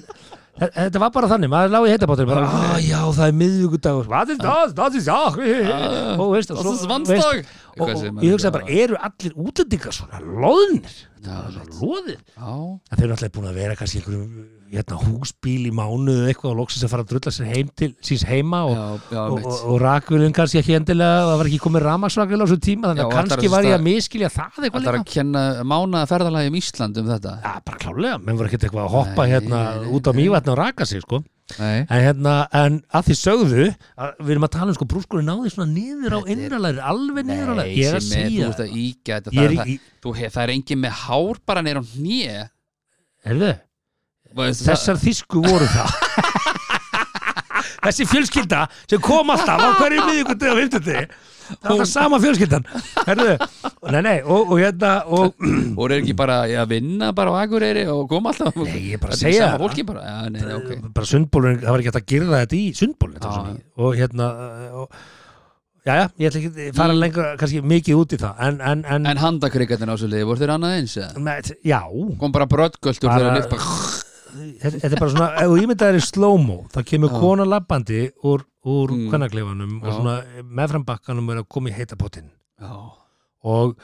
Speaker 4: þe- þetta var bara þannig maður lág í heitabátur bara, "Ah, já, það er miðugudagur hvað er það, það er það og ah, veist, og,
Speaker 3: Svo
Speaker 4: svo-
Speaker 3: svansdag
Speaker 4: veist, og, og, og ég hugsaði bara, eru allir útlendingar svona loðnir svona loðir
Speaker 3: Já,
Speaker 4: en þeir eru alltaf búin að vera kannski í einhverjum hérna, húsbíl í mánuðu eitthvað og loksins að fara að drulla sér heim til síns heima og,
Speaker 3: já, já,
Speaker 4: og,
Speaker 3: mitt
Speaker 4: og, og rakvölinn kannski ekki endilega það var ekki komið ramaksrakvöl á svo tíma þannig
Speaker 3: Já,
Speaker 4: að
Speaker 3: og ætlar
Speaker 4: kannski
Speaker 3: að-
Speaker 4: var ég að miskilja það eitthvað
Speaker 3: Það er
Speaker 4: líka
Speaker 3: að kenna mánaða ferðalagi um Ísland um þetta
Speaker 4: Já, bara klálega, menn voru ekkert eitthvað að hoppa
Speaker 3: Nei,
Speaker 4: hérna
Speaker 3: nei,
Speaker 4: út á
Speaker 3: nei.
Speaker 4: mývatn og raka sig sko.
Speaker 3: Nei,
Speaker 4: en hérna, en að því sögðu að, við erum að tala um sko brúskurinn náði svona niður á
Speaker 3: Þetta er-
Speaker 4: innralæri, alveg niður á læri ég er að
Speaker 3: Simmi, þú
Speaker 4: segja
Speaker 3: veist að íkja þetta
Speaker 4: Ég er
Speaker 3: það, er,
Speaker 4: í-
Speaker 3: það, þú, hef- það er engin með hár bara neyra á hnýja
Speaker 4: Herðu, þessar þýsku voru það þessi fjölskylda sem kom alltaf á hverju miðjúkundi og vimtundi það var það sama fjölskyldan Herðu, nei, nei, og, og hérna og
Speaker 3: og er ekki bara að vinna bara á Akureyri og koma alltaf
Speaker 4: Nei, ég er bara að
Speaker 3: Þetta er
Speaker 4: segja
Speaker 3: sama
Speaker 4: það.
Speaker 3: fólki bara, já, nei, nei, ok
Speaker 4: bara sundbólun, það var ekki hægt að girða þetta í sundbólun þetta var
Speaker 3: Já.
Speaker 4: svo mikið. og hérna uh, og, já, já, ég ætla ekki að fara lengra kannski mikið út í það en, en, en,
Speaker 3: En handakrikarnir á svo liði, voru þeir annað eins eða?
Speaker 4: Með, já,
Speaker 3: Kom bara bröddgöldur
Speaker 4: Bara-
Speaker 3: þegar að lyfta
Speaker 4: þetta þetta er bara svona ef þú ímyndaðir í slow-mo, þá kemur
Speaker 3: Já.
Speaker 4: kona labbandi úr, úr mm.
Speaker 3: Mm.
Speaker 4: kvennakleifanum og
Speaker 3: Já.
Speaker 4: svona meðframbakkanum er að koma í heitapotinn
Speaker 3: Já,
Speaker 4: og,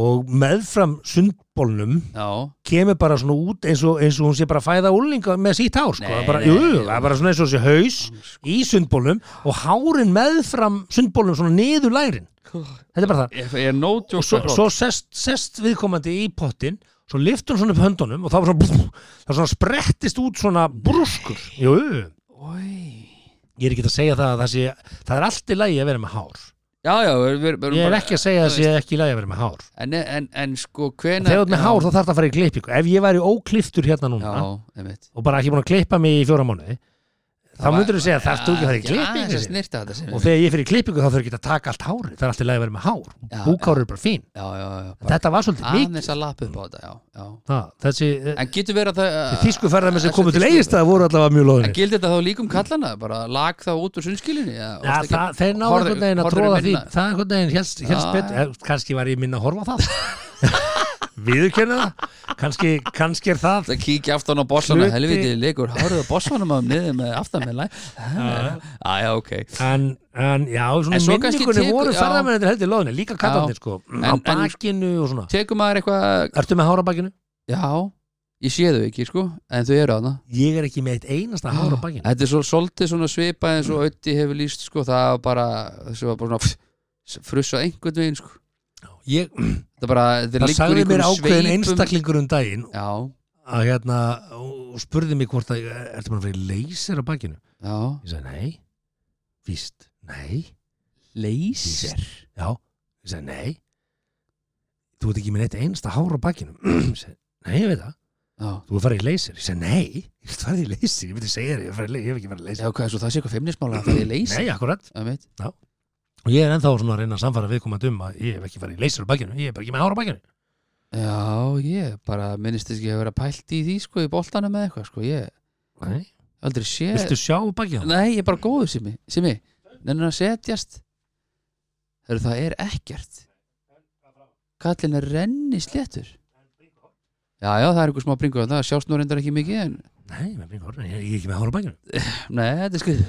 Speaker 4: og meðfram sundbólnum
Speaker 3: já,
Speaker 4: kemur bara svona út eins og, eins og hún sé bara að fæða úlinga með sítt hár sko.
Speaker 3: Nei,
Speaker 4: Það er bara,
Speaker 3: nei,
Speaker 4: jú,
Speaker 3: nei.
Speaker 4: það er bara svona eins og sé haus í sundbólnum og hárin meðfram sundbólnum svona niður lærin þetta er bara það
Speaker 3: ég ég er no joke
Speaker 4: og svo,
Speaker 3: með brott.
Speaker 4: svo sest, sest viðkomandi í pottin svo lyftur hún svona upp höndunum og það var svona, það svona sprettist út svona brúskur jú,
Speaker 3: Oj.
Speaker 4: ég er ekki að segja það að það sé það er allt í lagi að vera með hár
Speaker 3: Já, já, við, við, við erum
Speaker 4: ég er
Speaker 3: bara-
Speaker 4: ekki að segja að það sé ekki í lagi að vera með hár
Speaker 3: en, en, en sko, hvenær
Speaker 4: þegar þú ert með
Speaker 3: já,
Speaker 4: hár þá þarf það að fara í klippingu ef ég væri ókliftur hérna núna
Speaker 3: Já, einmitt
Speaker 4: og bara ekki búin að klippa mig í fjóra mánuði þá
Speaker 3: var-
Speaker 4: myndur þú segja að það þú ekki að það er
Speaker 3: Já, þess að
Speaker 4: klippingu sinni.
Speaker 3: snyrta þetta sem
Speaker 4: og þegar ég fyrir klippingu þá þurfur ekki að taka allt hárið það er alltaf leið að vera með hár,
Speaker 3: Já,
Speaker 4: búkárið er bara fín
Speaker 3: Já, já, já bara
Speaker 4: þetta var svolítið mikið
Speaker 3: Aðeins að lappa upp á þetta, já, já
Speaker 4: það, þessi eh,
Speaker 3: En getur verið að það
Speaker 4: þýsku ferðarmenn sem
Speaker 3: þessi
Speaker 4: komu til
Speaker 3: þýsku-
Speaker 4: eigist voru allavega mjög
Speaker 3: En
Speaker 4: loðinir
Speaker 3: gildi þetta þá líkum kallana? Bara lag þá út úr sunnskilinni? Já,
Speaker 4: ja, það, þeir náðu
Speaker 3: horfðu-
Speaker 4: einhvern veginn að
Speaker 3: horfðu
Speaker 4: tróða því
Speaker 3: minna. Ah,
Speaker 4: það einhvern veginn helst, helst
Speaker 3: Já,
Speaker 4: betur
Speaker 3: já.
Speaker 4: eh, kannski var ég minna að horfa á það viðurkenna það kannski, kannski er það
Speaker 3: Það kíkja aftan á bossana,
Speaker 4: Hluti-
Speaker 3: helviti leikur Hárið á bossanum að niður með aftan með lag Já, já, ok
Speaker 4: en, en já, svona
Speaker 3: En svo kannski
Speaker 4: minningunni
Speaker 3: tekur-
Speaker 4: voru
Speaker 3: já.
Speaker 4: ferðarmennir heldur loðinir líka kattarnir sko, á
Speaker 3: En- en-
Speaker 4: bakinu og svona
Speaker 3: Tekum maður eitthvað
Speaker 4: Ertu með hár á bakinu?
Speaker 3: Já, ég sé þau ekki, sko En þau eru aðna
Speaker 4: Ég er ekki með eitt einasta hár á bakinu
Speaker 3: Þetta er svo, svolítið svona svipa eins og Ötti hefur líst, sko Það var bara, þessi var bara svona Frussað einhvern veginn, sko
Speaker 4: ég,
Speaker 3: Það, bara, þetta
Speaker 4: Það
Speaker 3: liggur í
Speaker 4: sagði mér
Speaker 3: einhverjum
Speaker 4: ákveðin
Speaker 3: sveipum.
Speaker 4: einstaklingur um daginn
Speaker 3: Já,
Speaker 4: að hérna, og spurði mig hvort að ertu maður að fyrir leysir á bakinu?
Speaker 3: já
Speaker 4: Ég sagði nei, víst, nei
Speaker 3: Leyser
Speaker 4: Já, ég sagði nei Þú ert ekki með eitt einasta hár á bakinu Ég sagði, Nei, ég veit það
Speaker 3: Já,
Speaker 4: Þú er farið í leysir, ég sagði nei Ég er farið í leysir, ég veit ég segja þér Ég, er farið í- ég hef ekki farið í
Speaker 3: já
Speaker 4: leysir
Speaker 3: hvað, svo það sé eitthvað feimnismála að það er leyser
Speaker 4: Nei, akkurat
Speaker 3: Það veit
Speaker 4: Og ég er ennþá svona að reyna að samfara viðkomandi um að ég hef ekki farið í leysir á bakinu Ég er bara ekki með hár á bakinu
Speaker 3: Já, ég bara minnist þess ekki að vera pælt í því sko í boltanum með eitthvað sko ég
Speaker 4: Nei.
Speaker 3: aldrei sé
Speaker 4: Viltu sjá bakið á?
Speaker 3: Nei, ég er bara góður Simi Simi, nennir að setjast Hörru, það er ekkert Kallin er renni sléttur Já, já, það er einhver smá bringur það sjást nú reyndar ekki mikið en
Speaker 4: Nei, með bringur, ég er ekki með hár á bakinu
Speaker 3: Nei, þetta er skrið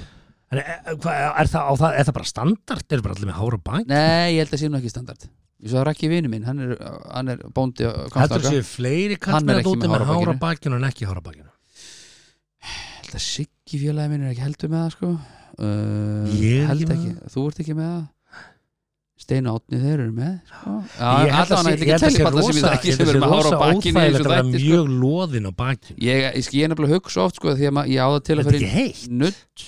Speaker 4: En er, er, það, á það, er það bara standart? Er bara allir með hár á bakinu?
Speaker 3: Nei, ég held að sé nú ekki standard Ég svo að rakki vinu minn, hann er, hann er bóndi á
Speaker 4: Heldur
Speaker 3: Hvammstanga.
Speaker 4: séu fleiri
Speaker 3: Hann
Speaker 4: kallmenn að
Speaker 3: er ekki
Speaker 4: úti
Speaker 3: með
Speaker 4: með
Speaker 3: hár á
Speaker 4: hár á bakinu en ekki hár á bakinu?
Speaker 3: Ég held að Siggi félagi minn er ekki heldur með það sko uh,
Speaker 4: Ég er ekki
Speaker 3: held
Speaker 4: með
Speaker 3: ekki, þú ert ekki með það Steina átni þeir eru með sko. Já,
Speaker 4: Ég held
Speaker 3: allavega
Speaker 4: að
Speaker 3: hann
Speaker 4: sé- ég held
Speaker 3: ætla ekki að
Speaker 4: að sé
Speaker 3: telja bara sem við
Speaker 4: rosa-
Speaker 3: ekki
Speaker 4: ég
Speaker 3: sem
Speaker 4: held
Speaker 3: við
Speaker 4: að sé
Speaker 3: erum að hára á
Speaker 4: rosa
Speaker 3: bakinu
Speaker 4: óþægilegt
Speaker 3: í þessu
Speaker 4: að vera
Speaker 3: þætti sko.
Speaker 4: mjög loðin á bakinu
Speaker 3: ég, ég, ég er nefnilega hugsa oft sko, því að ma- ég áða til að
Speaker 4: Þetta er
Speaker 3: fyrir
Speaker 4: ekki heitt.
Speaker 3: nutt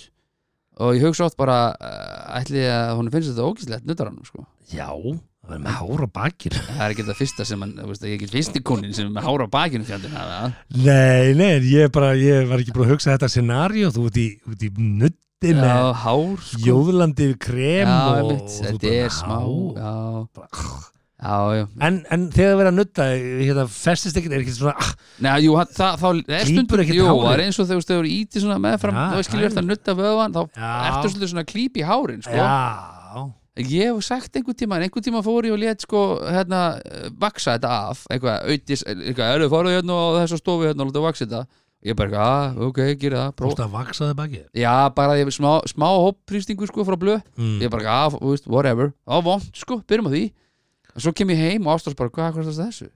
Speaker 3: og ég hugsa oft bara uh, ætli að hún finnst þetta ógíslegt nuttar hann sko.
Speaker 4: Já, það er með hár á bakinu
Speaker 3: það er ekki það fyrsta sem hann, þú veist, ég er ekki fyrsti kunin sem er með hára á bakinu fjandinn að það
Speaker 4: Nei, nei, ég, er bara, ég var ekki búin að hugsa þetta scenaríu Þú ert í, út í nutti með
Speaker 3: Já, hár sko
Speaker 4: jóðlandi yfir krem
Speaker 3: Já,
Speaker 4: og,
Speaker 3: einmitt,
Speaker 4: og þú
Speaker 3: þetta
Speaker 4: bara,
Speaker 3: er smá
Speaker 4: "Ná."
Speaker 3: Já,
Speaker 4: Bara,
Speaker 3: já, já
Speaker 4: En, en þegar það verið að nutta hérna, festist ekkert, er ekkert svona ah,
Speaker 3: Nei, jú, hann- það, þá, það er
Speaker 4: Klípur
Speaker 3: stundum
Speaker 4: ekkert
Speaker 3: Jú,
Speaker 4: hárið?
Speaker 3: það er eins og þegar þú eru íti svona meðfram
Speaker 4: Já,
Speaker 3: þá skilur þetta að nutta vöðan þá
Speaker 4: Já.
Speaker 3: ertu svolítið svona klíp í hárin sko.
Speaker 4: Já,
Speaker 3: ég hef sagt einhvern tíma einhvern tíma fór ég og let sko hérna, eh, vaksa þetta af eitthvað, auðvits, eitthvað, erum við farið hérna á þessa stofu hérna og láta vaksa þetta ég bara, eitthvað, ah, ok, gera það próf.
Speaker 4: búst að vaksa þau baki
Speaker 3: já, bara ég, smá, smá hoppfrýstingu sko frá blöð
Speaker 4: Mm.
Speaker 3: ég bara, ah, þú veist, whatever á vond, sko, byrjum á því og svo kem ég heim og ástast bara, hvað kostast þessu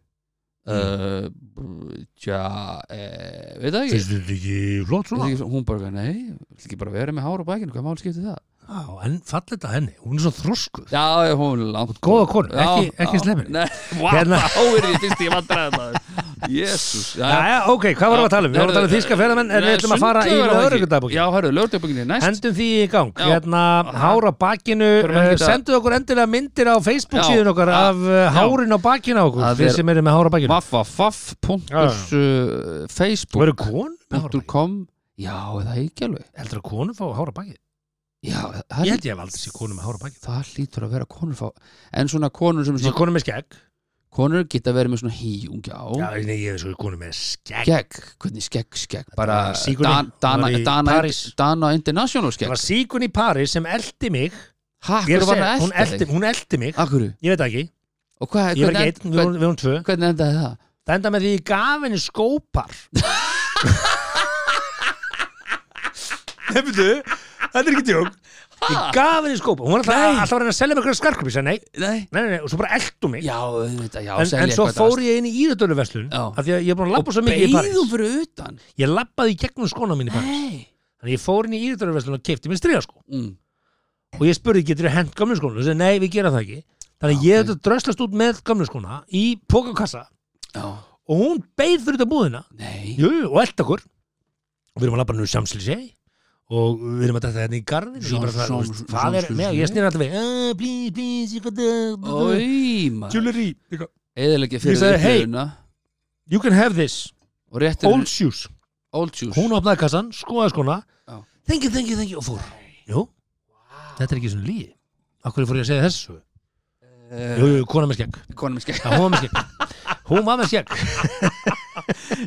Speaker 3: mm. uh, tja eh, veit það ekki
Speaker 4: Finnst þetta ekki flott svona?
Speaker 3: Ég- hún bara, nei, vil ekki bara vera með hár á bakinu hvað máli skipti það?
Speaker 4: Já, en fallit að henni, hún er svo þroskuð
Speaker 3: já, já, hún er langt
Speaker 4: Góða konu, ekki,
Speaker 3: Já,
Speaker 4: ekki
Speaker 3: já.
Speaker 4: slemmir
Speaker 3: Nei, vá,
Speaker 4: Hérna.
Speaker 3: þá er ég fyrst ég vandraði þetta Jésús
Speaker 4: Jæja, ok, hvað vorum við að tala um? Við vorum að tala um þíska ferðamenn en við ætlum að fara í
Speaker 3: Já,
Speaker 4: lögregludabókin
Speaker 3: hörru, lögregludabókin er næst
Speaker 4: Hendum því í gang,
Speaker 3: Já.
Speaker 4: hérna
Speaker 3: Aha.
Speaker 4: hára bakinu
Speaker 3: Förum ekki
Speaker 4: eh,
Speaker 3: þetta-
Speaker 4: Sendu okkur endilega myndir á Facebook
Speaker 3: Já.
Speaker 4: síðun okkar
Speaker 3: Já.
Speaker 4: af eh, hárin á bakinu á okkur
Speaker 3: Það
Speaker 4: Þið
Speaker 3: er-
Speaker 4: sem eru með hára bakinu Þú eru
Speaker 3: waffafaff.facebook.com
Speaker 4: konu með hára bakinu?
Speaker 3: Já, er það ekki alveg
Speaker 4: Heldur að konu fá hára bakinu?
Speaker 3: Já,
Speaker 4: Ég
Speaker 3: það,
Speaker 4: held ég hef aldrei sé konu með hára bakinu
Speaker 3: það lítur að vera konur fá En svona konur sem er
Speaker 4: Þessi
Speaker 3: svona,
Speaker 4: konu með skegg
Speaker 3: konur geta verið með svona híjung Já,
Speaker 4: Já, nei, ég hef svo konu með skegg
Speaker 3: skegg, hvernig skegg, skegg bara
Speaker 4: var Sigrún.
Speaker 3: Dan,
Speaker 4: Hún
Speaker 3: Dana,
Speaker 4: var í
Speaker 3: Dana,
Speaker 4: París.
Speaker 3: Dana International
Speaker 4: Það
Speaker 3: skegg
Speaker 4: var síkun í París sem eldi mig Ég er
Speaker 3: Hakkur
Speaker 4: að
Speaker 3: var
Speaker 4: segja,
Speaker 3: það
Speaker 4: hún eldi,
Speaker 3: eftir
Speaker 4: hún eldi mig
Speaker 3: Akkur,
Speaker 4: Ég veit það ekki,
Speaker 3: og
Speaker 4: ég
Speaker 3: hvað
Speaker 4: var
Speaker 3: hvernig-
Speaker 4: ekki einn, við vorum- við vorum tvö
Speaker 3: hvern- hvernig endaði það?
Speaker 4: Það enda með því ég gaf henni skópar Nefndu, þetta er ekki tjók Ég gaf henni skópar Hún var alltaf,
Speaker 3: Nei.
Speaker 4: alltaf að reyna að selja mig eitthvað skarkum Ég sagði nei,
Speaker 3: Nei,
Speaker 4: nei, nei, nei, og svo bara eldu mig
Speaker 3: já, þetta, já
Speaker 4: en, en svo fór ég inn í íðutöluverslun
Speaker 3: Já.
Speaker 4: Af því að ég er búin að labba svo mikið í
Speaker 3: beigðum
Speaker 4: París
Speaker 3: fyrir utan
Speaker 4: Ég labbaði í gegnum skóna mín í París
Speaker 3: Nei
Speaker 4: Þannig að ég fór inn í íðutöluverslun og kefti mér stríða
Speaker 3: mm.
Speaker 4: Og ég spurði, getur þið hent gamlu skóna? Þú sagði, nei, við gera það ekki Þannig að
Speaker 3: Já,
Speaker 4: ég
Speaker 3: ok.
Speaker 4: þetta dröslast út með gamlu skóna í pokakassa
Speaker 3: Já,
Speaker 4: og hún beið fyrir þetta búðina
Speaker 3: nei
Speaker 4: Jú, jú, og elda okkur og við erum að labba nú samsliðsi og við erum að dæta hérna í garðin og ég bara það,
Speaker 3: Sam-
Speaker 4: þú veist,
Speaker 3: sam-
Speaker 4: hvað er
Speaker 3: Champs-Élysées.
Speaker 4: með, ég snýr alltaf við "Ah, please, please, you got
Speaker 3: Ói, maður
Speaker 4: jewelry eitthvað.
Speaker 3: Eðilegja
Speaker 4: Ég
Speaker 3: fyrir
Speaker 4: sagði, hey.
Speaker 3: upplifuna
Speaker 4: you can have this,
Speaker 3: Og réttir
Speaker 4: old shoes
Speaker 3: old juice
Speaker 4: hún opnaði kassan, skoðaði skona
Speaker 3: Já.
Speaker 4: thank you, thank you, thank you, og fór jú, þetta er ekki svona líi akkur fór ég að segja þessu
Speaker 3: Eh,
Speaker 4: jú, jú, kona með skegg,
Speaker 3: Konum skegg
Speaker 4: Já, hún var með skegg hún var með skegg,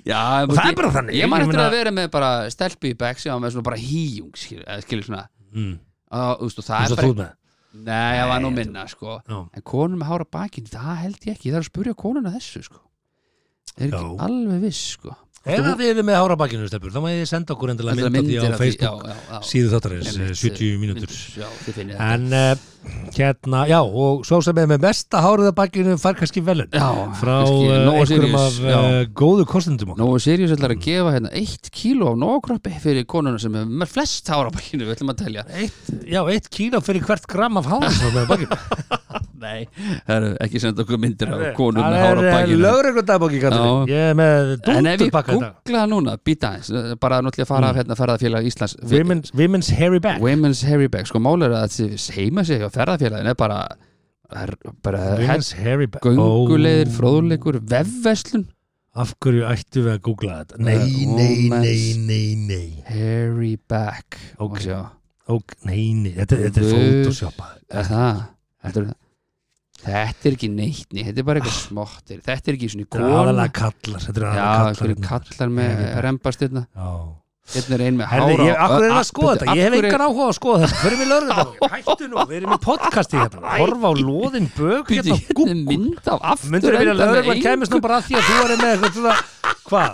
Speaker 3: Já,
Speaker 4: og það er bara þannig
Speaker 3: Ég man eftir
Speaker 4: meina-
Speaker 3: að vera með bara stelpi í back sem var með svona bara híjung skilur, eða skilur svona
Speaker 4: Mm,
Speaker 3: Á, þú veist, og
Speaker 4: eins og
Speaker 3: það er
Speaker 4: þú ert
Speaker 3: bara
Speaker 4: með
Speaker 3: Nei, það var nú minna sko
Speaker 4: Já.
Speaker 3: En konur með hára bakinn, það held ég ekki Ég þarf að spurja konuna þessu sko Það er ekki
Speaker 4: Já.
Speaker 3: alveg viss sko
Speaker 4: ef að þið eru með hára á bakinu, stelpur, þá má ég senda okkur endilega mynd af því á
Speaker 3: af því-
Speaker 4: Facebook
Speaker 3: já, já, já.
Speaker 4: síðu þáttarins,
Speaker 3: Einmitt, eh,
Speaker 4: 70 mínútur
Speaker 3: myndir, Já, þið finnir það
Speaker 4: en uh, hérna, já og svo sem er með mesta hárið að bakinu fær kannski velun
Speaker 3: Já,
Speaker 4: frá
Speaker 3: kannski
Speaker 4: uh,
Speaker 3: Nóa
Speaker 4: einhverjum
Speaker 3: Sirius,
Speaker 4: af
Speaker 3: já.
Speaker 4: uh, góðu kostendum okkar
Speaker 3: Nóa Sirius ætlar
Speaker 4: Mm.
Speaker 3: að gefa hérna eitt kíló af nógkroppi fyrir konuna sem er með flest hára á bakinu, við ætlum að telja
Speaker 4: eitt, já, eitt kíló fyrir hvert gram af hárið sem er með bakinu
Speaker 3: Nei, það eru ekki senda okkur myndir af konum
Speaker 4: það
Speaker 3: með hára á
Speaker 4: er eh,
Speaker 3: bakinu
Speaker 4: lögregludabóki
Speaker 3: Já.
Speaker 4: ég er með
Speaker 3: En ef ég
Speaker 4: dúndurpakka þetta Mm.
Speaker 3: googla núna, býta eins bara náttúrulega fara af hérna ferðarfélag Íslands
Speaker 4: Women's, women's hairy back
Speaker 3: Women's Hairy Bag sko mál er að þessi heima sig á ferðarfélagin er bara, er bara
Speaker 4: women's hairy back
Speaker 3: göngulegir, fróðleikur, vefveslun
Speaker 4: af hverju ættu við að googla þetta nei, nei, nei,
Speaker 3: Women's-
Speaker 4: nei, nei
Speaker 3: Hairy Bag
Speaker 4: Ok.
Speaker 3: Má sjá.
Speaker 4: ok, nei, nei, þetta, þetta er
Speaker 3: Guð.
Speaker 4: photoshoppað
Speaker 3: er það Heldur, þetta er ekki neitt nei, þetta er bara eitthvað smottir þetta er ekki svona í
Speaker 4: Ah. þetta er
Speaker 3: kona
Speaker 4: aðalega kallar þetta er
Speaker 3: Já,
Speaker 4: aðalega kallar
Speaker 3: einhverju
Speaker 4: hérna.
Speaker 3: kallar með
Speaker 4: Hairy bag.
Speaker 3: rembast hérna
Speaker 4: Já.
Speaker 3: hérna er ein með hára
Speaker 4: Herði, ég,
Speaker 3: á- Ah,
Speaker 4: akkur er það að skoða
Speaker 3: Af
Speaker 4: þetta, ég hef
Speaker 3: hverju-
Speaker 4: engan áhuga á að skoða þetta Förum við lögregludabóki, hættu nú, við erum í podcasti hérna Horfa á loðin bök hérna
Speaker 3: Bíddu,
Speaker 4: á
Speaker 3: hérna er
Speaker 4: Google
Speaker 3: mynd af aftur
Speaker 4: Myndur við að lögreglan kemist nú bara að því að þú erum með eitthvað svona Hvað?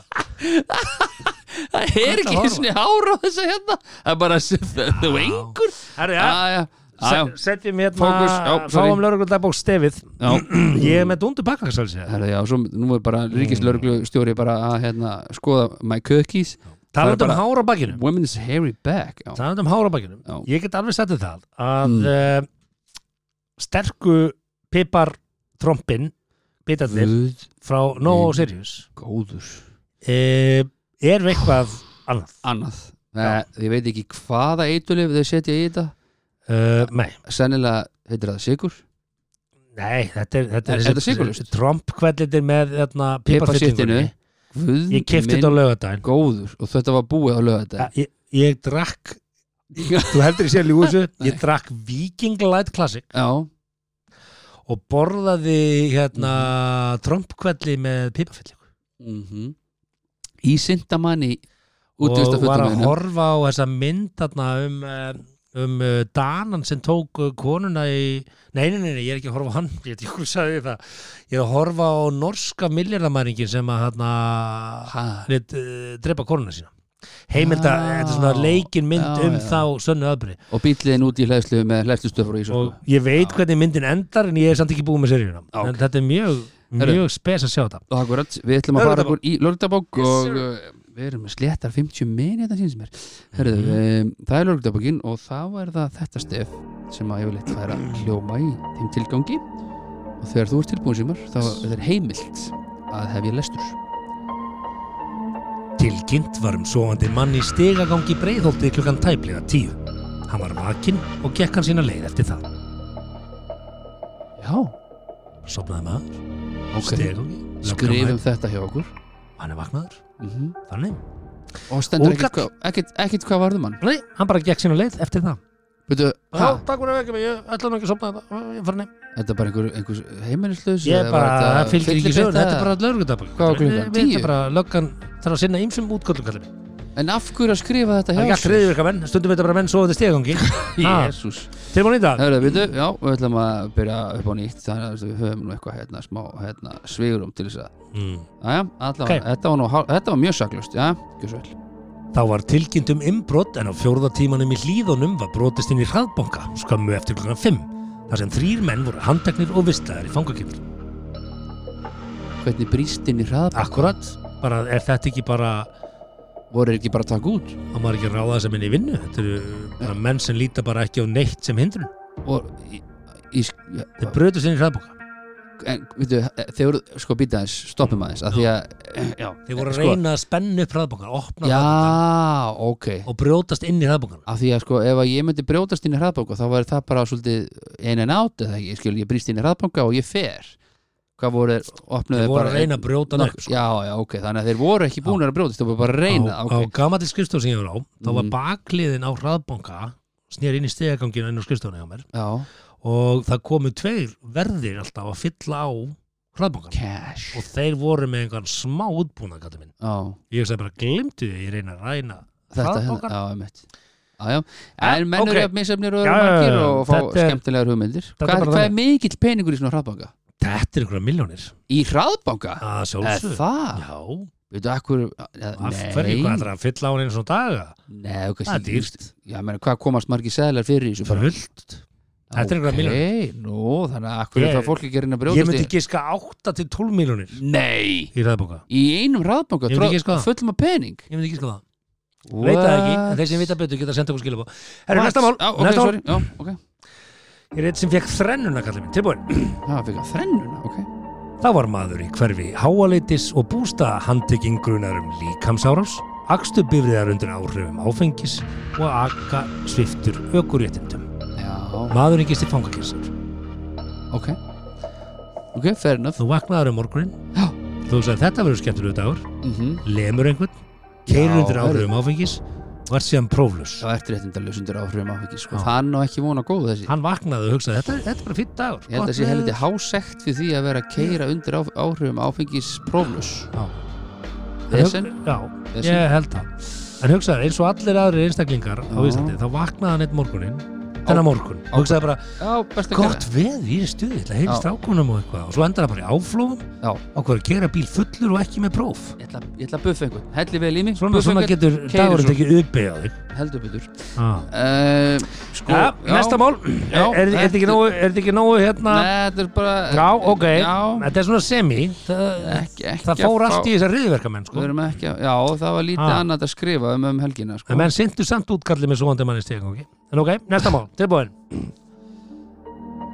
Speaker 3: það er
Speaker 4: Þetta
Speaker 3: ekki
Speaker 4: horfa.
Speaker 3: svona hára á þessu hérna það er bara þú engur
Speaker 4: Herði, ja,
Speaker 3: já, já, já.
Speaker 4: se- setjum hérna
Speaker 3: Fókus, já, sorry.
Speaker 4: Fáum lögreglundabók stefið
Speaker 3: Já.
Speaker 4: Ég er með dundu bakka, sæl sér
Speaker 3: Herra, já, svo nú er
Speaker 4: Mm.
Speaker 3: bara ríkislörglu stjóri bara að hérna, skoða my cookies Það er
Speaker 4: Talandum
Speaker 3: bara-
Speaker 4: um hára bakkinum
Speaker 3: women's hairy back já,
Speaker 4: Talandum um hára bakkinum
Speaker 3: Já.
Speaker 4: Ég get alveg settið það að eh, sterku pipartrompin bitarnir
Speaker 3: Guð
Speaker 4: frá No
Speaker 3: minn.
Speaker 4: Sirius
Speaker 3: góður
Speaker 4: e, er eitthvað annað
Speaker 3: Annað Eh, Ég veit ekki hvaða eitulif þau setja í þetta
Speaker 4: e, nei,
Speaker 3: Sennilega heitir það sigur
Speaker 4: nei, þetta er, þetta er,
Speaker 3: Er- er þetta sykurlaust?
Speaker 4: trompkvellitir með þarna,
Speaker 3: Piparsittinu
Speaker 4: piparfyllingunni
Speaker 3: Guð
Speaker 4: ég kefti
Speaker 3: minn
Speaker 4: þetta á lögadaginn
Speaker 3: Góður og þetta var búið á lögða
Speaker 4: ég, ég drakk þú heldur ég sé að ljúsu ég drakk Viking Light Classic
Speaker 3: Já,
Speaker 4: og borðaði hérna trompkvelli með pipafyllingu
Speaker 3: mm Í Sintamanni
Speaker 4: og var að
Speaker 3: útvistafutum
Speaker 4: horfa á þessa mynd þarna um, eh, um eh, Danan sem tók eh, konuna í nei, nei, nei, nei, ég er ekki að horfa á hann ég veit ekki hvað sagði það ég er að horfa á norska milljarðamæringin sem að hérna
Speaker 3: Ha.
Speaker 4: lét, uh, drepa konuna sína heimilda,
Speaker 3: Já.
Speaker 4: þetta er svona leikin mynd
Speaker 3: Já,
Speaker 4: um
Speaker 3: já.
Speaker 4: þá sönnu öðbri
Speaker 3: og bíliðin út í hlæðslu með hlæðslustöfur og ísorku
Speaker 4: og ég veit hvernig myndin endar en ég er samt ekki búið með seríuna
Speaker 3: Já, ok.
Speaker 4: en þetta er mjög,
Speaker 3: Herru.
Speaker 4: mjög spes að sjá þetta
Speaker 3: og akkurat, við ætlum að fara
Speaker 4: Lörðabók.
Speaker 3: okkur í lörgdabók og uh, við erum með sléttar 50 minn þetta síns mér Herðu,
Speaker 4: Mhm.
Speaker 3: um, það er lörgdabókin og þá er það þetta stef sem að yfirleitt færa
Speaker 4: Mhm.
Speaker 3: hljóma í þeim tilgangi og þegar þú ert tilbúin símar þá er þetta heimilt að hef ég lestur
Speaker 4: Tilkynnt var um sofandi mann í stegagangi breiðholti klukkan tæplega tíu. Hann var vakinn og gekk hann sína leið eftir það.
Speaker 3: Já,
Speaker 4: Sopnaði maður,
Speaker 3: ok,
Speaker 4: stegagangi,
Speaker 3: skrifum
Speaker 4: löggan
Speaker 3: þetta hjá okkur
Speaker 4: mætt, hann er vaknaður,
Speaker 3: mm
Speaker 4: þannig.
Speaker 3: og stendur ekkert
Speaker 4: Úrkall.
Speaker 3: hvað, ekkert, ekkert hvað varðum hann
Speaker 4: Nei, hann bara gekk sína leið eftir það.
Speaker 3: Veitu, ha,
Speaker 4: takk fyrir að vekja mig, ég ætla nú ekki að sopna þetta, ég fyrir nefn.
Speaker 3: þetta er bara einhver, einhver heimilislaus
Speaker 4: Ég
Speaker 3: eða var
Speaker 4: bara, það
Speaker 3: þetta
Speaker 4: fylgir ekki
Speaker 3: fyllibytta?
Speaker 4: sögur, þetta er bara lögurdabakur.
Speaker 3: Hvað var klukkan?
Speaker 4: Þetta
Speaker 3: Tíu?
Speaker 4: er bara, löggan þarf að sinna ymsum útköllum kallir mig.
Speaker 3: En af hverju að skrifa þetta
Speaker 4: Það er
Speaker 3: hjá
Speaker 4: ekki allt reyðvirka menn, stundum þetta bara menn sofandi í stegagangi. Ha,
Speaker 3: Jésús
Speaker 4: Tilbúin í dag?
Speaker 3: Hörðu, við já, við ætlum að byrja upp á nýtt þannig að við höfum nú eitthvað hérna smá hérna, sveigurum til þess að
Speaker 4: Mm.
Speaker 3: Jæja, allavega,
Speaker 4: Ok.
Speaker 3: þetta, var nú, hál- þetta var mjög saklust, já, gjör svo vel
Speaker 4: Þá var tilkynnt um innbrott en á fjórða tímanum í hlíðunum var brotist inn í hraðbanka skömmu eftir klukkan 5 þar sem þrýr menn voru handteknir og vistlaðir í fangakifur.
Speaker 3: Hvernig brýst inn í hraðbæk,
Speaker 4: Akkurat, bara er þetta ekki bara
Speaker 3: voru þeir ekki bara að taka út
Speaker 4: að maður ekki að ráða þess að minni í vinnu þetta eru bara menn sem líta bara ekki á neitt sem hindrun.
Speaker 3: og í, í, ja,
Speaker 4: Þeir brotist inn í hraðbanka.
Speaker 3: en, veitu, þeir voru, sko, býta aðeins, stoppum aðeins að því að, já,
Speaker 4: Þeir voru að
Speaker 3: sko,
Speaker 4: reyna að spenna upp hraðbankan, opna
Speaker 3: Já,
Speaker 4: hraðbankan
Speaker 3: ok
Speaker 4: og brjótast inn í hraðbankan.
Speaker 3: af því að sko ef að ég myndi brjótast inn í hraðbanka þá væri það bara svolítið in and out eða ekki, ég skil, ég brýst inn í hraðbanka og ég fer hvað voru, þeir- opnuðu
Speaker 4: Þeir voru
Speaker 3: bara
Speaker 4: að reyna að brjóta hann
Speaker 3: Nokk-
Speaker 4: upp. Sko.
Speaker 3: já, já, ok, þannig að þeir voru ekki búnir að brjótast þeir voru bara að reyna,
Speaker 4: á, á
Speaker 3: ok,
Speaker 4: gamalli skrifstof sem ég var á, þá var
Speaker 3: Mhm.
Speaker 4: bakliðin á hraðbanka snér inn í stegaganginu inn á skrifstofuna hjá mér
Speaker 3: já,
Speaker 4: og það komu tveir verðir alltaf að fylla á hraðbankan
Speaker 3: cash
Speaker 4: og þeir voru með einhvern smá útbúna gata minn
Speaker 3: já,
Speaker 4: ég sagði bara glimtu því að ég reyna að ræna
Speaker 3: þetta hérna,
Speaker 4: Hraðbankann?
Speaker 3: já, einmitt já, já, en mennur
Speaker 4: ok.
Speaker 3: okay. jafn misjafnir og
Speaker 4: Já,
Speaker 3: eru
Speaker 4: já, já,
Speaker 3: margir
Speaker 4: já,
Speaker 3: og fá
Speaker 4: þetta er-
Speaker 3: skemmtilegar hugmyndir
Speaker 4: er
Speaker 3: hvað er,
Speaker 4: bara
Speaker 3: hvað
Speaker 4: þannig.
Speaker 3: er mikill peningur í svona hraðbanka?
Speaker 4: þetta er einhverja miljónir
Speaker 3: í hraðbanka?
Speaker 4: að
Speaker 3: Er
Speaker 4: sjálfsög
Speaker 3: það?
Speaker 4: já,
Speaker 3: Veitu, akkur, ja,
Speaker 4: af hverju hvað
Speaker 3: nei,
Speaker 4: ætlar að fylla á hann einu svona daga
Speaker 3: nei, ok,
Speaker 4: það er dýrt
Speaker 3: Já, menn, hvað komast margir seðlar fyrir í þessu bara?
Speaker 4: fullt Þetta er einhverjar
Speaker 3: Ok, nú, þannig að akkur er
Speaker 4: Ég-
Speaker 3: það fólk ekki að reyna að
Speaker 4: ég
Speaker 3: brjótast
Speaker 4: myndi giska 8 til 12 miljónir
Speaker 3: í- Nei,
Speaker 4: í hraðbanka
Speaker 3: í
Speaker 4: Ég myndi ekki
Speaker 3: einum
Speaker 4: sko.
Speaker 3: ráðbanka
Speaker 4: skoða.
Speaker 3: fullum af pening
Speaker 4: ég myndi giska það veit það ekki, en þeir sem vita betur geta sendt okkur skilabó herru,
Speaker 3: What?
Speaker 4: næsta mál,
Speaker 3: Já, ok,
Speaker 4: næsta mál
Speaker 3: sorry, já, ok
Speaker 4: ég er eitt sem fekk þrennuna kallið minn, tilbúin
Speaker 3: Það fyrir að þrennuna, ok
Speaker 4: Það var maður í hverfi háaleitis og bústaða handtekinn grunar um líkamsárás, akstu bifriðar undir áhrifum áfengis og akka sviftur ökuréttindum.
Speaker 3: Já,
Speaker 4: Maðurinn gisti fangakessar.
Speaker 3: ok Ok, fair enough
Speaker 4: Þú vaknaður um morgunin,
Speaker 3: Já,
Speaker 4: þú sagði þetta verður skemmtilegur dagur,
Speaker 3: mhm
Speaker 4: lemur einhvern, keirur
Speaker 3: Já,
Speaker 4: undir áhrifum áfengis og var síðan próflus.
Speaker 3: Það ert réttindalaus undir áhrifum áfengi sko.
Speaker 4: Já.
Speaker 3: Þann og ekki vona góð þessi
Speaker 4: Hann vaknaði og hugsaði, þetta, þetta er bara fýtt dagur.
Speaker 3: Ég held að sé helviti hásekt fyrir því að vera að keira undir áf- áhrifum áfengis próflus Vesen?
Speaker 4: Já,
Speaker 3: Vesen?
Speaker 4: ég held það. En hugsaði, eins og allir aðrir einstaklingar á
Speaker 3: Já.
Speaker 4: Íslandi, þá vaknaði hann eitt morgunin, þennan morgun, og hugsaði bara,
Speaker 3: Já, best að
Speaker 4: gott veð í þessu stuði, ætla að heyri
Speaker 3: Já.
Speaker 4: strákunum og eitthvað og svo endar það bara í áflóðum
Speaker 3: gera Já,
Speaker 4: og hvað er að gera bíl fullur og ekki með próf
Speaker 3: ég ætla, ég ætla að buffa einhvern Helli vel í mig
Speaker 4: svona,
Speaker 3: buffa
Speaker 4: svona
Speaker 3: einhvern,
Speaker 4: getur
Speaker 3: keyrir
Speaker 4: dagurinn
Speaker 3: svo.
Speaker 4: tekið uppið á þig
Speaker 3: Heldur betur
Speaker 4: ah.
Speaker 3: uh, sko,
Speaker 4: ja, Næsta mál,
Speaker 3: Já,
Speaker 4: er, er, er þetta ekki
Speaker 3: þetta-
Speaker 4: nógu, er þetta ekki nógu hérna
Speaker 3: Nei, þetta er bara
Speaker 4: Já, ok,
Speaker 3: Já,
Speaker 4: þetta er svona semi það,
Speaker 3: ekki, ekki
Speaker 4: það
Speaker 3: að
Speaker 4: fór
Speaker 3: fá-
Speaker 4: allt í þessar riðverkamenn
Speaker 3: Við
Speaker 4: sko.
Speaker 3: erum ekki að, já, það var lítið
Speaker 4: Ha.
Speaker 3: annað að skrifa um, um helgina sko.
Speaker 4: en menn sindu samt útkallið með svoandi manni stegang En ok, næsta mál, tilbúin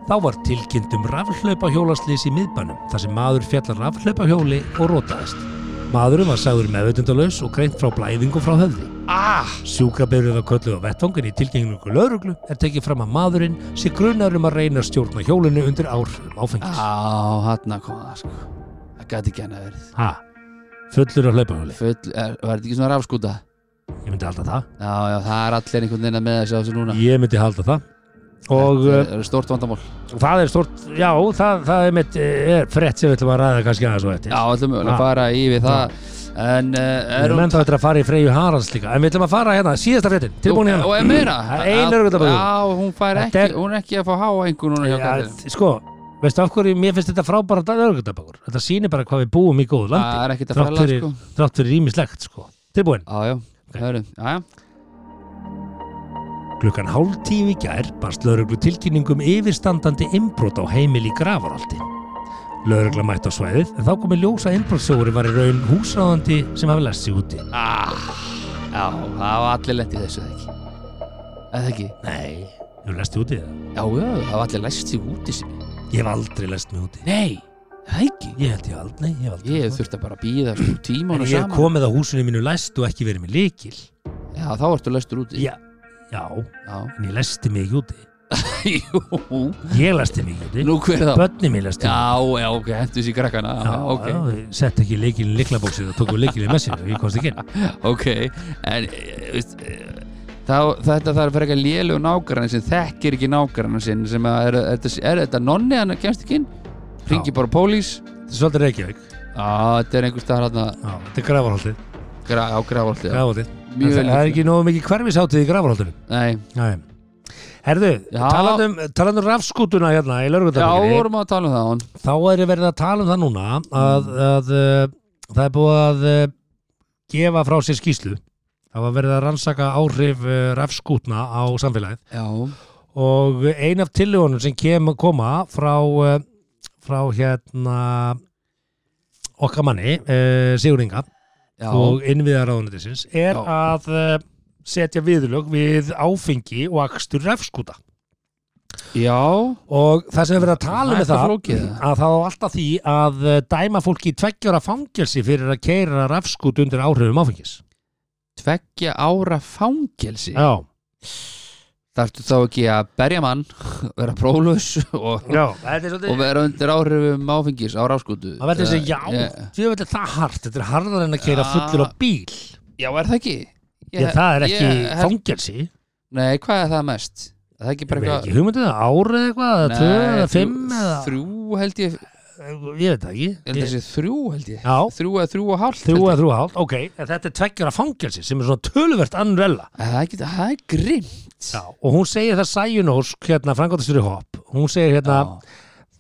Speaker 4: Þá var tilkynntum rafhlaupa hjólaslýs í miðbænum, þar sem maður fjallar rafhlaupa hjóli og rótaðist. Maðurinn var sagður meðveitundalaus og greint frá blæðingu frá höfði.
Speaker 3: Ah,
Speaker 4: Sjúkrabyrðið var kölluð á vettvangun í tilgjengingu lauruglu er tekið fram að maðurinn sé grunar um að reyna að stjórna hjólinu undir áhrifum áfengis.
Speaker 3: á, hann kom það sko Það gæti ekki hann að verið
Speaker 4: Ha, fullur af hlaupahjóli.
Speaker 3: Full, er, Var þetta ekki svona rafskúta?
Speaker 4: Ég myndi halda það.
Speaker 3: Já, já, það er allir einhvern veginn að með þessu á þessu núna
Speaker 4: Ég myndi halda það. Og
Speaker 3: Ah. Þetta
Speaker 4: uh,
Speaker 3: er stórt vandamál
Speaker 4: það er stort, já, það, það er, mitt, eh, er frett sem við ætlum að ræða kannski aðeins og eftir.
Speaker 3: Já, allir mögulega
Speaker 4: Ah.
Speaker 3: að fara yfir það En uh,
Speaker 4: Við
Speaker 3: er
Speaker 4: erum ennþá eftir að fara í Freyju Haralds líka En við ætlum að fara hérna, síðasta fréttin, tilbúin
Speaker 3: Og
Speaker 4: hérna
Speaker 3: er meira
Speaker 4: Það er ein lögreglutabæður.
Speaker 3: Já, hún fær
Speaker 4: Þetta
Speaker 3: ekki,
Speaker 4: er-
Speaker 3: hún er ekki að fá háa einhvern núna hjá
Speaker 4: ja,
Speaker 3: Katrínu.
Speaker 4: Sko, veistu af hverju, mér finnst þetta frábæra örgutabakur Þetta sýnir bara hvað við búum í góðu landi
Speaker 3: Það er ekkert að
Speaker 4: Þrátt
Speaker 3: fæla
Speaker 4: fyrir-
Speaker 3: sko
Speaker 4: Þrátt fyrir rýmislegt, sko Tilbúin
Speaker 3: Já, já, hörum, já, já
Speaker 4: Klukkan hálf tíu í gær barst lauruglu tilkynningum yfirstandandi innbrot á heimil í Grafaraldi. Laurugla mætt á svæðið en þá komið ljósa innbrotsjóri var í raun húsráðandi sem hafi lest sig úti.
Speaker 3: Ah, já, það var allir lent í þessu það ekki Er það ekki?
Speaker 4: Nei, hefur lest sig úti það?
Speaker 3: Já, já, það var allir læst sig út í sinni
Speaker 4: Ég hef aldrei lest mig úti.
Speaker 3: Nei, er það ekki
Speaker 4: Ég held ég aldrei, nei, ég hef aldrei.
Speaker 3: Ég hef þurft að bara býða sko
Speaker 4: En ég
Speaker 3: tímanu
Speaker 4: hef
Speaker 3: saman
Speaker 4: komið á húsinu mínu læst og ekki verið með líkil.
Speaker 3: Já, þá ertu læstur úti
Speaker 4: Já, já,
Speaker 3: Já,
Speaker 4: en ég lesti mig ekki úti.
Speaker 3: jú,
Speaker 4: Ég lesti mig ekki úti.
Speaker 3: nú hver þá
Speaker 4: Bönni mín lesti mig.
Speaker 3: Já, já, ok, hendur sér krakkana Já, ok,
Speaker 4: já, sett ekki leikilin liklabóksið og tókum leikilin með sér og ég komst ekki inn.
Speaker 3: ok En, eh, veist eh, Þá, þetta þarf að fyrir eitthvað lélug nágrann sem þekkir ekki nágrann sinn sem að er, er, er, er þetta nonni hann kemst ekki inn ringi bara pólís
Speaker 4: Þetta er svolítið Reykjavík.
Speaker 3: á, þetta er einhver stað hérna
Speaker 4: Já, þetta er gravarhaldið.
Speaker 3: gra, á grafaldi já.
Speaker 4: Grafarholtið.
Speaker 3: Mjög
Speaker 4: Það
Speaker 3: vel
Speaker 4: það er
Speaker 3: gert.
Speaker 4: ekki nógu mikið hverfisháttið í gravarhaldinu.
Speaker 3: Nei,
Speaker 4: Nei. Herðu,
Speaker 3: Já.
Speaker 4: talandum, talandum rafskútuna hérna í
Speaker 3: já,
Speaker 4: laurugundafíkinni,
Speaker 3: vorum að tala um það hann
Speaker 4: þá er verið að tala um það núna
Speaker 3: Mm.
Speaker 4: að, að uh, það er búið að uh, gefa frá sér skýslu. Það var verið að rannsaka áhrif uh, rafskútna á samfélagið
Speaker 3: Já,
Speaker 4: og ein af tillögunum sem kem, koma frá, uh, frá hérna okkar manni, uh, Sigur Inga,
Speaker 3: já,
Speaker 4: og innviðaráðunendisins er
Speaker 3: Já.
Speaker 4: að eh, setja viðlög við áfengi og akstur refskúta
Speaker 3: já
Speaker 4: og það sem er verið að tala um
Speaker 3: Það er
Speaker 4: með það
Speaker 3: eitthvað flókið, það.
Speaker 4: að það á alltaf því að eh, dæma fólki í tveggjóra fangelsi fyrir að keira rafskút undir áhrifum áfengis
Speaker 3: Tveggja ára fangelsi
Speaker 4: Já,
Speaker 3: Þarftu þá ekki að berja mann vera próflaus og,
Speaker 4: já, þetta er
Speaker 3: og
Speaker 4: svolítið
Speaker 3: vera undir áhrifum áfengis á ráskútu
Speaker 4: Það verður þessi, já,
Speaker 3: Eh,
Speaker 4: því að það er hart þetta er harðar en að keira
Speaker 3: Já.
Speaker 4: fullur á bíl
Speaker 3: Já, er það ekki? Ég-
Speaker 4: ég, það er ekki
Speaker 3: ég-
Speaker 4: fangelsi ég
Speaker 3: Nei, hvað er það mest? Er Það er ekki bara
Speaker 4: veit ekki, hugmyndið það árið eitthvað eða tvö
Speaker 3: Nei,
Speaker 4: eða
Speaker 3: þrjú-
Speaker 4: fimm eða,
Speaker 3: Þrjú held ég, ég
Speaker 4: ég veit það
Speaker 3: held
Speaker 4: ekki
Speaker 3: þessi þrjú held ég
Speaker 4: Já.
Speaker 3: Þrjú eða þrjú og hálft
Speaker 4: Þrjú
Speaker 3: held
Speaker 4: að þrjú og hálft, ok, en þetta er tveggjara fangelsi sem er svona töluvert annrella
Speaker 3: ég. Það er ekki, það er grimmt
Speaker 4: Já. og hún segir það Sæjunósk hérna frangóttastur í hopp, hún segir hérna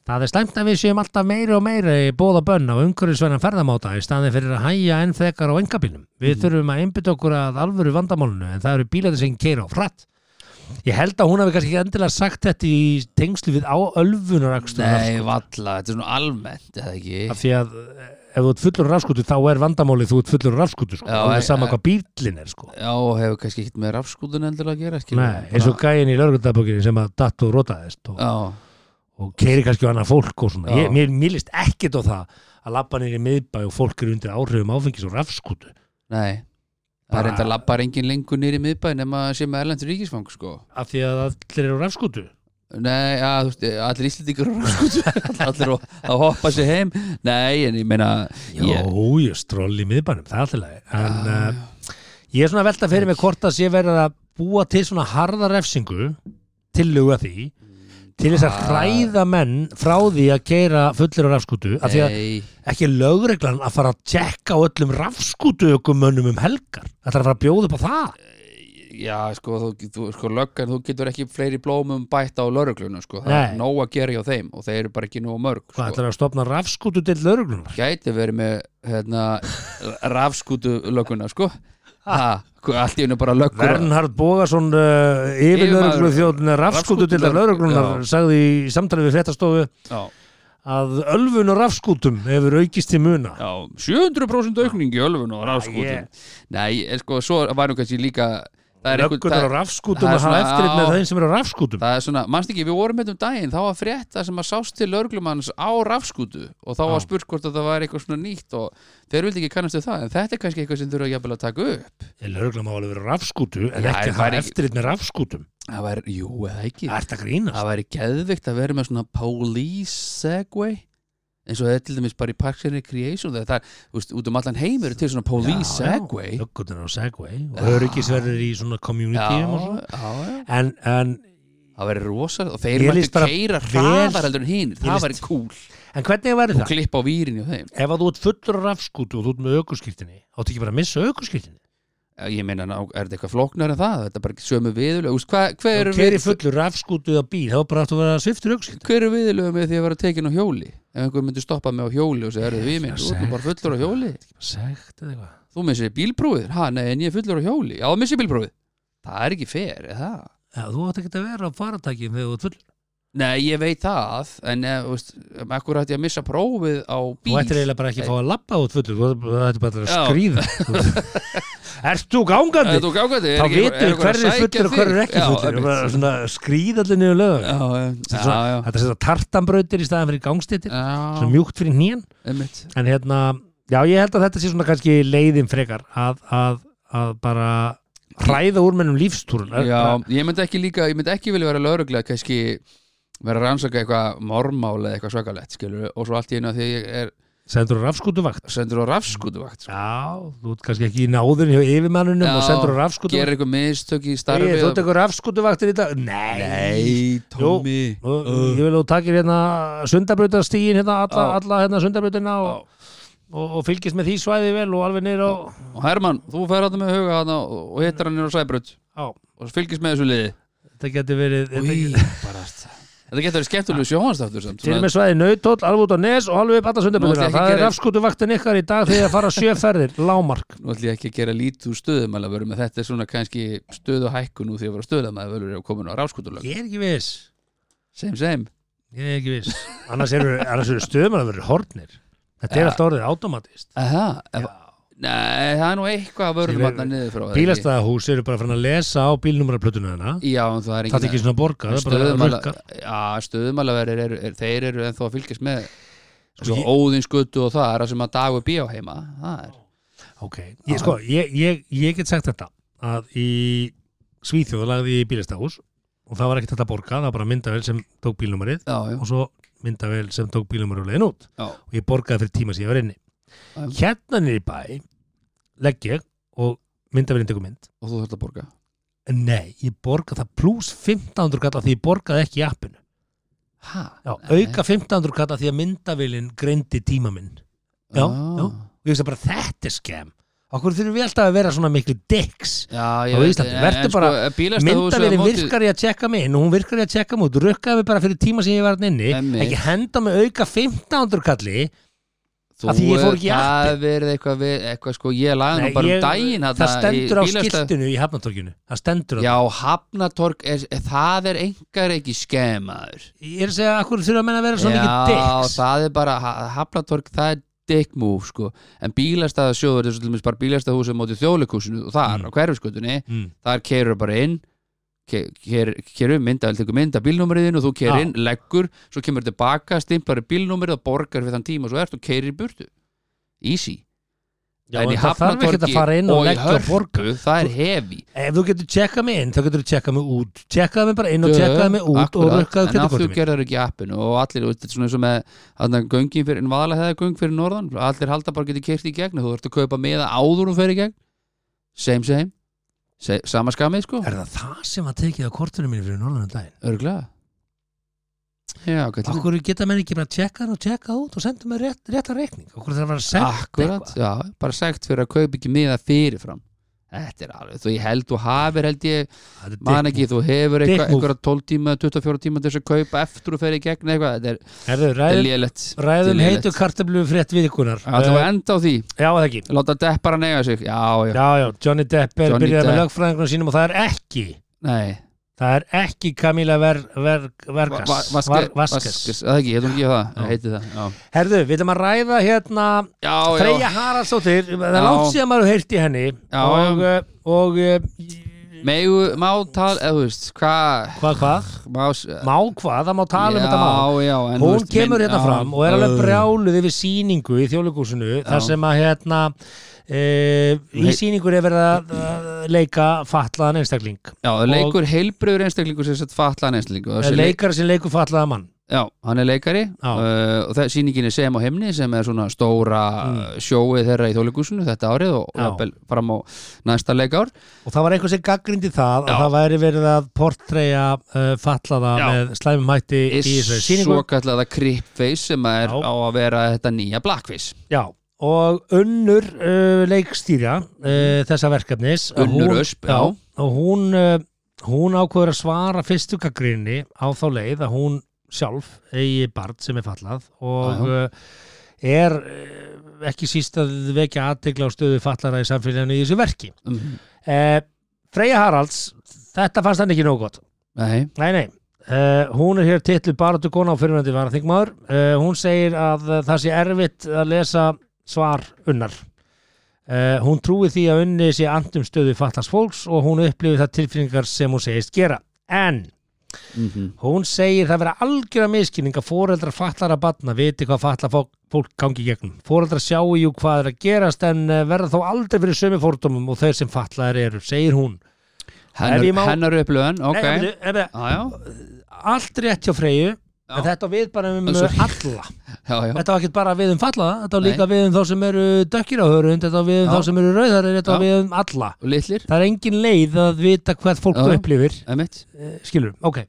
Speaker 4: það er slæmt að við séum alltaf meiri og meiri í bóða bönn á umhverfisvennan ferðamáta í staðin fyrir að hæja enn þekar á engabílum
Speaker 3: Mhm.
Speaker 4: við þurfum að einbytta okkur að alvöru vandamálinu en það eru bílarnir sem keira á frætt ég held að hún hafi kannski ekki endilega sagt þetta í tengslu við á ölfunarakstur
Speaker 3: Nei, valla, þetta er svona almennt eða ekki
Speaker 4: af því að eh, ef þú ert fullur rafskutu þá er vandamálið þú ert fullur rafskutu sko.
Speaker 3: Já,
Speaker 4: það
Speaker 3: en-
Speaker 4: er sama hvað bílinn er sko.
Speaker 3: Já, og hefur kannski ekkert með rafskútun endilega að gera skilur
Speaker 4: Nei, eins og gæin í lörgundabókinni sem að datt og rótaðist og,
Speaker 3: Já,
Speaker 4: og keiri kannski á annað fólk og svona.
Speaker 3: Já.
Speaker 4: Ég, mér, mér list ekkit á það að labba niður í miðbæ og fólk eru undir áhrifum áfengis og rafskútu.
Speaker 3: nei Það er
Speaker 4: Bara-
Speaker 3: enda lappar engin lengur nýri miðbæn nema að sé með erlendur ríkisfang sko
Speaker 4: Af því að allir eru á rafskútu.
Speaker 3: Nei, já, þú veist, allir íslendingur eru á rafskútu Allir að- að hoppa sér heim Nei, en ég meina
Speaker 4: Jó,
Speaker 3: ég-
Speaker 4: ég stról í miðbænum, það er alltaf leið. En uh, ég er svona að velta fyrir mig hvort að sé verið að búa til svona harða refsingu, tilluga því, til þess
Speaker 3: Ah.
Speaker 4: að hræða menn frá því að keira fullir á rafskútu. Af því að
Speaker 3: Nei,
Speaker 4: ekki lögreglan að fara að tjekka á öllum rafskútuökumönnum um helgar Það er að fara að bjóða upp á það
Speaker 3: já, sko, þú, þú, sko löggan, þú getur ekki fleiri blómum bætt á laurugluna, sko, það er
Speaker 4: Nei.
Speaker 3: nóg að gera hjá þeim og þeir eru bara ekki nóg mörg,
Speaker 4: Hvað
Speaker 3: sko
Speaker 4: ætlar að stopna rafskútu til lögreglunar?
Speaker 3: gæti verið með, hérna rafskútu lögguna, sko ha, hva- allt í hennu bara löggur
Speaker 4: Vernhard Bógason uh, yfir
Speaker 3: Yfirmaður-
Speaker 4: lögreglu þjóðn rafskútu til lögreglunar
Speaker 3: Já.
Speaker 4: eh, sagði í samtali við fréttastofu
Speaker 3: já,
Speaker 4: að ölfun og rafskútum hefur aukist til muna
Speaker 3: já, 700% aukning í ölfun og rafskútu
Speaker 4: ég-
Speaker 3: nei, en sko, svo var nú kannski líka það er einhver-
Speaker 4: Löggunar á
Speaker 3: það-
Speaker 4: rafskútum
Speaker 3: það er
Speaker 4: að hafa
Speaker 3: svona-
Speaker 4: eftirlit með
Speaker 3: já.
Speaker 4: þeim sem eru á rafskútum
Speaker 3: Það er svona, mannst ekki, við vorum hérna um daginn þá var frétta sem að sást til örglumanns á rafskútu og þá var spurt hvort að það var eitthvað svona nýtt og þeir vildi ekki kannast við það en þetta er kannski eitthvað sem þurfa jafnvel að taka upp
Speaker 4: Löggunar má alveg vera á rafskútu en
Speaker 3: Já,
Speaker 4: ekki
Speaker 3: það
Speaker 4: að hafa
Speaker 3: væri-
Speaker 4: eftirlit með rafskútum
Speaker 3: Það væri, jú, eða ekki
Speaker 4: Það ert að grínast
Speaker 3: Það væri geðvikt að vera með svona police segway eins og það er til dæmis bara í Parks and Recreation þegar það er, þú veist, út um allan heim eru til svona police
Speaker 4: Já, já,
Speaker 3: segway
Speaker 4: Löggurnar á Segway og
Speaker 3: Já.
Speaker 4: öryggisverðir í svona communityum og svona
Speaker 3: já,
Speaker 4: En, en,
Speaker 3: það væri rosa og þeir
Speaker 4: Mér líst
Speaker 3: mættu
Speaker 4: bara
Speaker 3: keira
Speaker 4: vel-
Speaker 3: hraðar heldur en hinn
Speaker 4: Mér
Speaker 3: það væri cool
Speaker 4: en hvernig verður
Speaker 3: og
Speaker 4: það?
Speaker 3: klippa á výrinni og þeim
Speaker 4: Ef að þú ert fullur á rafskútu og þú ert með aukurskýrtinni áttu ekki bara að missa aukurskýrtinni
Speaker 3: ég meina, ná- er þetta eitthvað flóknar en það þetta er bara ekki sömu viðlög Úst, hvað, hvað
Speaker 4: Þú
Speaker 3: eru
Speaker 4: keri
Speaker 3: við,
Speaker 4: fullur rafskútu eða bíl þá er bara aftur að vera sviftur aukurskýrtinni
Speaker 3: hver er viðlög með því að vera tekin á hjóli ef einhver myndi stoppa mig á hjóli og segja, er það við minn, þú ert nú bara fullur á hjóli
Speaker 4: Segt eða eitthvað
Speaker 3: þú missir bílprófið, ha, nei, en ég er fullur á hjóli já, missir bílprófið, það er ekki fer er það?
Speaker 4: Já, þú átt ekki að vera á faratækjum þegar þú ert fullur
Speaker 3: nei, ég veit það, en eh, þú veist, akkur ætti ég að missa prófið á
Speaker 4: Þú
Speaker 3: bíl
Speaker 4: ættir eiginlega bara ekki að fá að lappa út fullur Þú þú ættir bara að
Speaker 3: Já.
Speaker 4: skrýða Ert þú gangandi?
Speaker 3: Eh, þú gákvæði,
Speaker 4: Þá vitur hverju er fullur og hverju er ekki fullur Þú bara svona skrýðallir niður lögum
Speaker 3: já, em,
Speaker 4: Þetta er
Speaker 3: já,
Speaker 4: svona-
Speaker 3: já,
Speaker 4: þetta er svona tartanbrautir í staðan fyrir gangstéttir Svona
Speaker 3: já,
Speaker 4: mjúkt fyrir nýjan
Speaker 3: einmitt.
Speaker 4: En hérna, já ég held að þetta sé svona kannski leiðin frekar Að, að, að bara hræða úr mennum lífstúrun
Speaker 3: Já, ég myndi ekki líka, ég myndi ekki vilja vera lögreglega kannski vera að rannsaka eitthvað mormál eða eitthvað svakalett skilur og svo allt í einu að því ég er
Speaker 4: Sendur á rafskútuvakt
Speaker 3: sendur á rafskutuvakt
Speaker 4: Já, þú ert kannski ekki í náðun hjá yfirmannunum
Speaker 3: Já,
Speaker 4: og sendur á rafskútuvakt
Speaker 3: gerir eitthvað mistök í
Speaker 4: Þú
Speaker 3: starfi
Speaker 4: ert eitthvað rafskútuvaktir í dag Nei
Speaker 3: Nei, Tómi
Speaker 4: Nú, ég vil þú takir hérna sundabrautastígin hérna, alla,
Speaker 3: Já.
Speaker 4: alla hérna sundabrautina og, og, og fylgist með því svæði vel og alveg niður á,
Speaker 3: Og Herman, þú fer að það með huga hana og og hittir hann inn á sæbrut
Speaker 4: á
Speaker 3: og fylgist með þessu liði
Speaker 4: þetta getur verið þetta
Speaker 3: Í,
Speaker 4: getur-
Speaker 3: bara allt. Þetta getur verið skemmtulegu sjóhanstáttur samt
Speaker 4: til og
Speaker 3: svona-
Speaker 4: með svæði nautóll, alveg út á nes og alveg upp alla
Speaker 3: Nú ætla ég
Speaker 4: sundabrautina,
Speaker 3: ekki að
Speaker 4: það er
Speaker 3: gera-
Speaker 4: rafskutuvaktin ykkar í dag þegar það fara sjöferðir, lámark
Speaker 3: Nú ætlum ég ekki að gera lítið úr stöðum alveg en þetta er svona kannski stöðu hækkun úr því að vera stöðum að vera komin á rafskutulög
Speaker 4: ég er ekki viss,
Speaker 3: Sem, sem
Speaker 4: ég er ekki viss annars eru, annars eru stöðum að vera hornir þetta er
Speaker 3: Já.
Speaker 4: alltaf orðið automatist
Speaker 3: Aha, ef, Nei, það er nú eitthvað að vörðum
Speaker 4: Sem er-
Speaker 3: hann niður frá það, ekki?
Speaker 4: bílastæðahús eru bara fann að lesa á bílnumaraplötuna hana
Speaker 3: Já, en það er
Speaker 4: það er ekki svona borga, það er bara rukka
Speaker 3: stöðumala Já, stöðumalaverir er, er, þeir eru ennþá að fylgjast með sko,
Speaker 4: ég-
Speaker 3: óðinsguttu og það er að sem að dagu bí á heima það er,
Speaker 4: Ok, ég, sko, ég, ég, ég get sagt þetta að í Svíþjóðu lagði ég bílastahús og það var ekkert þetta borga, það var bara myndavel sem tók bílnumarið
Speaker 3: já, já,
Speaker 4: og svo myndavel sem tók bílnumarið leiðin út
Speaker 3: já,
Speaker 4: og ég borgaði fyrir tíma sem ég var inni
Speaker 3: Já.
Speaker 4: Hérna niður í bæ legg ég og myndavelin tekur mynd
Speaker 3: og þú þurft að borga
Speaker 4: en nei, ég borgaði það pluss 1500 kalla því ég borgaði ekki í appinu
Speaker 3: ha,
Speaker 4: Já,
Speaker 3: Nei.
Speaker 4: auka 1500 kalla því að myndavelin greindi tíma minn Já,
Speaker 3: Ah.
Speaker 4: já, og ég veist að bara þetta er skemm Okkur þurfum við alltaf að vera svona miklu dicks
Speaker 3: já,
Speaker 4: Á
Speaker 3: ég veit
Speaker 4: Íslandi,
Speaker 3: en-
Speaker 4: vertu
Speaker 3: en sko,
Speaker 4: bara-
Speaker 3: bílastæðahús
Speaker 4: myndavélin
Speaker 3: á móti-
Speaker 4: virkar í að tjekka mig inn og hún virkar í að tjekka mig út rukkaði mig bara fyrir tíma sem ég var hann inni
Speaker 3: Einmitt.
Speaker 4: ekki henda mig auka 1500 kalli
Speaker 3: Þú
Speaker 4: að því ég fór ekki í
Speaker 3: er- Það verið eitthvað, við- eitthvað sko, ég laði nú
Speaker 4: Nei,
Speaker 3: bara um
Speaker 4: ég-
Speaker 3: daginn
Speaker 4: það
Speaker 3: þarna í
Speaker 4: stendur á
Speaker 3: bílastæð-
Speaker 4: skiltinu í hafnatorkinu það stendur á
Speaker 3: Já, hafnatorg, er, það er engar ekki skemaður
Speaker 4: ég er að segja að hverju þurfa menn að vera svona
Speaker 3: Já,
Speaker 4: mikið dicks
Speaker 3: það er bara, ha- Hafnatorg, það er dick move, sko En bílastæðasjóður, þessu til dæmis bara bílastæðahúsið móti þjóðleikúsinu og þar
Speaker 4: Mm.
Speaker 3: á hverfiskutunni
Speaker 4: mm.
Speaker 3: þar keirur bara inn kerum mynda, vel tekur mynda bílnúmeriðin og þú keir
Speaker 4: Já.
Speaker 3: inn, leggur, svo kemur tilbaka stimplar í bílnúmerið og borgar fyrir þann tíma og svo ert og keirir í burtu Easy
Speaker 4: Já, en það þarf ekki að fara inn og,
Speaker 3: og í
Speaker 4: leggja og borga
Speaker 3: hörku, það er hefi
Speaker 4: ef þú getur tjekkað mig inn þá getur þú tjekkað mig út tjekkaði mig bara inn og tjekkaði mig út og rukkaði
Speaker 3: en af því
Speaker 4: kvittukortum
Speaker 3: gerðar ekki í appinu og allir, þú veist, þetta er svona eins og með þarna göngin fyrir, en vaðalega hefði göng fyrir norðan allir halda bara getið kert í gegn og þú ert að kaupa meða áður og fer í gegn same same, Se, sama skamið sko
Speaker 4: er það það sem að tekið á kortunum mínu fyrir norðanum daginn
Speaker 3: örgulega já, gæti verið.
Speaker 4: okkur geta menn ekki bara tjekkað inn og tjekkað út og senda mig rétt, rétta reikning okkur þarf að vera senda
Speaker 3: akkurat, já, bara sagt fyrir að kaupa ekki meða fyrirfram þetta er alveg, þú ég held þú hafir held ég,
Speaker 4: Þetta er
Speaker 3: man
Speaker 4: dick
Speaker 3: ekki þú hefur
Speaker 4: Dick
Speaker 3: eitthvað,
Speaker 4: move.
Speaker 3: einhverja 12 tíma 24 tíma til þess að kaupa eftir og fer í gegn eitthvað, þetta er,
Speaker 4: move. Herðu,
Speaker 3: þetta er
Speaker 4: ræðum,
Speaker 3: lélegt
Speaker 4: ræðum
Speaker 3: Þetta er
Speaker 4: heitu kartablu frétt viðkunar
Speaker 3: Það var enda á því
Speaker 4: Já, það ekki
Speaker 3: Láta depparan eiga sig Já, já,
Speaker 4: Já, já, Johnny Depp er
Speaker 3: Johnny
Speaker 4: byrjað með
Speaker 3: Depp.
Speaker 4: lögfræðingunum sínum og það er ekki
Speaker 3: nei
Speaker 4: það er ekki Camila Ver, Ver, Vergas Var- Vasquez.
Speaker 3: Vaskes Það ekki, heitum ekki það
Speaker 4: Já.
Speaker 3: Það heiti það Já,
Speaker 4: Herðu, við erum að ræða hérna
Speaker 3: já, já.
Speaker 4: Freyja Haraldsdóttir, það er
Speaker 3: Já.
Speaker 4: langt síðan maður heilt í henni
Speaker 3: Já,
Speaker 4: og, og, og eh,
Speaker 3: megu, má tala, eða þú veist, hvað
Speaker 4: Hvað, hvað?
Speaker 3: má, s-
Speaker 4: Má hvað, það má tala um
Speaker 3: Já,
Speaker 4: þetta mál
Speaker 3: já, en þú
Speaker 4: Hún
Speaker 3: veist,
Speaker 4: kemur
Speaker 3: minn-
Speaker 4: hérna
Speaker 3: já,
Speaker 4: fram og er alveg
Speaker 3: ö.
Speaker 4: brjáluð yfir sýningu í þjóðleikúsinu þar sem að hérna e, í sýningur er verið að eh, leika fatlaðan einstakling
Speaker 3: Já,
Speaker 4: Og-
Speaker 3: leikur heilbröður einstaklingur sem sett fatlaðan einstaklingur
Speaker 4: Eh,
Speaker 3: Þessi leik-
Speaker 4: leikara sem leikur fatlaðan mann
Speaker 3: Já, hann er leikari
Speaker 4: Já.
Speaker 3: uh, og það er sýningin er Sem á heimni sem er svona stóra mm. sjóið þeirra í þjóðleikúsinu þetta árið og, og
Speaker 4: Já.
Speaker 3: jafnvel fram á næsta leikár
Speaker 4: og það var eitthvað sem gaggrindi það
Speaker 3: Já.
Speaker 4: að það væri verið að portreya uh, fatlaða
Speaker 3: Já.
Speaker 4: með slæmum hætti í þessari sýningu
Speaker 3: svo kallaða kripface sem að
Speaker 4: Já.
Speaker 3: er á að vera þetta nýja blackface
Speaker 4: Já, og unnur uh, leikstýra uh, þessa verkefnis að
Speaker 3: Mhm. Unnur
Speaker 4: hún-
Speaker 3: Ösp, já.
Speaker 4: og hún, uh, hún ákveður að svara fyrstu gaggrinni á þá leið að hún sjálf eigi barn sem er fallað og
Speaker 3: Já,
Speaker 4: uh, er uh, ekki síst að vekja aðtegla á stöðu fallara í samfélaginu í þessu verki
Speaker 3: mm.
Speaker 4: uh, Freyja Haralds þetta fannst hann ekki nóg gott
Speaker 3: Nei,
Speaker 4: Nei, nei. Uh, hún er hér titlu Baratu Kona á fyrirvændi varaþingmaður. Uh, hún segir að uh, það sé erfitt að lesa svar unnar. Uh, hún trúi því að unni sé andum stöðu fattast fólks og hún upplifir það tilfinningar sem hún segist gera. En
Speaker 3: mm -hmm.
Speaker 4: hún segir það vera algjöra miskinning að foreldrar fatlara batna viti hvað fatla fólk, fólk gangi í gegnum. Foreldrar sjáu jú hvað er að gerast en eh, verða þó aldrei fyrir sömu fórdómum og þeir sem fatlaðir eru, segir hún.
Speaker 3: hennar,
Speaker 4: Ef ég má-
Speaker 3: hennar upplöðan ok,
Speaker 4: Nei, ef, ef, ef,
Speaker 3: já, já,
Speaker 4: allt rétt hjá Freyju
Speaker 3: Já.
Speaker 4: en þetta á við bara um
Speaker 3: En svo-
Speaker 4: uh, alla
Speaker 3: já, já.
Speaker 4: þetta var ekki bara við um fallaða þetta var
Speaker 3: Nei.
Speaker 4: líka við um þá sem eru dökkir á hörund þetta var við um
Speaker 3: Já.
Speaker 4: þá sem eru rauðar þetta
Speaker 3: Já.
Speaker 4: var við um alla
Speaker 3: og litlir,
Speaker 4: það er engin leið að vita hvað fólk
Speaker 3: Já.
Speaker 4: upplifir
Speaker 3: emitt
Speaker 4: Eh, skilur, ok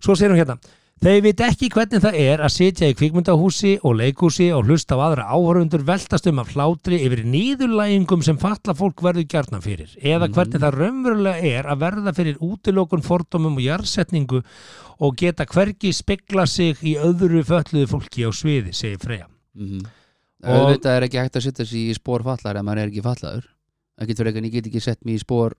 Speaker 4: svo segir hún hérna Þeir vita ekki hvernig það er að sitja í kvikmyndahúsi og leikhúsi og hlusta á aðra áhörundur veltast um af hlátri yfir nýðurlægingum sem falla fólk verður gjarnan fyrir eða hvernig það raunverulega er að verða fyrir útilokun fordómum og jarðsetningu og geta hvergi spegla sig í öðru fölluðu fólki á sviði, segir Freyja.
Speaker 3: mm -hmm.
Speaker 4: Og-
Speaker 3: auðvitað er ekki hægt að setja sig í spór fallar ef maður er ekki fallaður ekki fyrir ekki, en ég get ekki sett mér í spór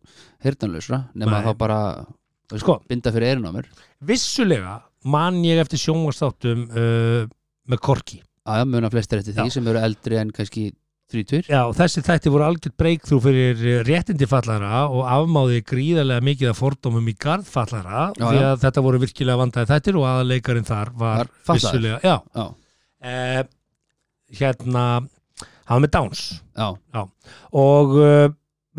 Speaker 3: hirtanlausra, nema
Speaker 4: Nei.
Speaker 3: þá bara þú veist,
Speaker 4: Sko.
Speaker 3: binda fyrir eirinn á mér
Speaker 4: Vissulega man ég eftir sjónvastáttum uh, með korki.
Speaker 3: aðja, muna flestir eftir því
Speaker 4: Já.
Speaker 3: sem eru eldri en kannski þrítur
Speaker 4: Já, og þessi þætti voru algjörð breykþrú fyrir eh, réttindi fallara og afmáði gríðarlega mikið af fordómum í garð fallara
Speaker 3: Já,
Speaker 4: því
Speaker 3: já.
Speaker 4: að þetta voru virkilega vandaði þættir og aðleikarinn þar var,
Speaker 3: Var fatlaður.
Speaker 4: vissulega já,
Speaker 3: já,
Speaker 4: eh, hérna hann var með Downs
Speaker 3: já,
Speaker 4: og uh,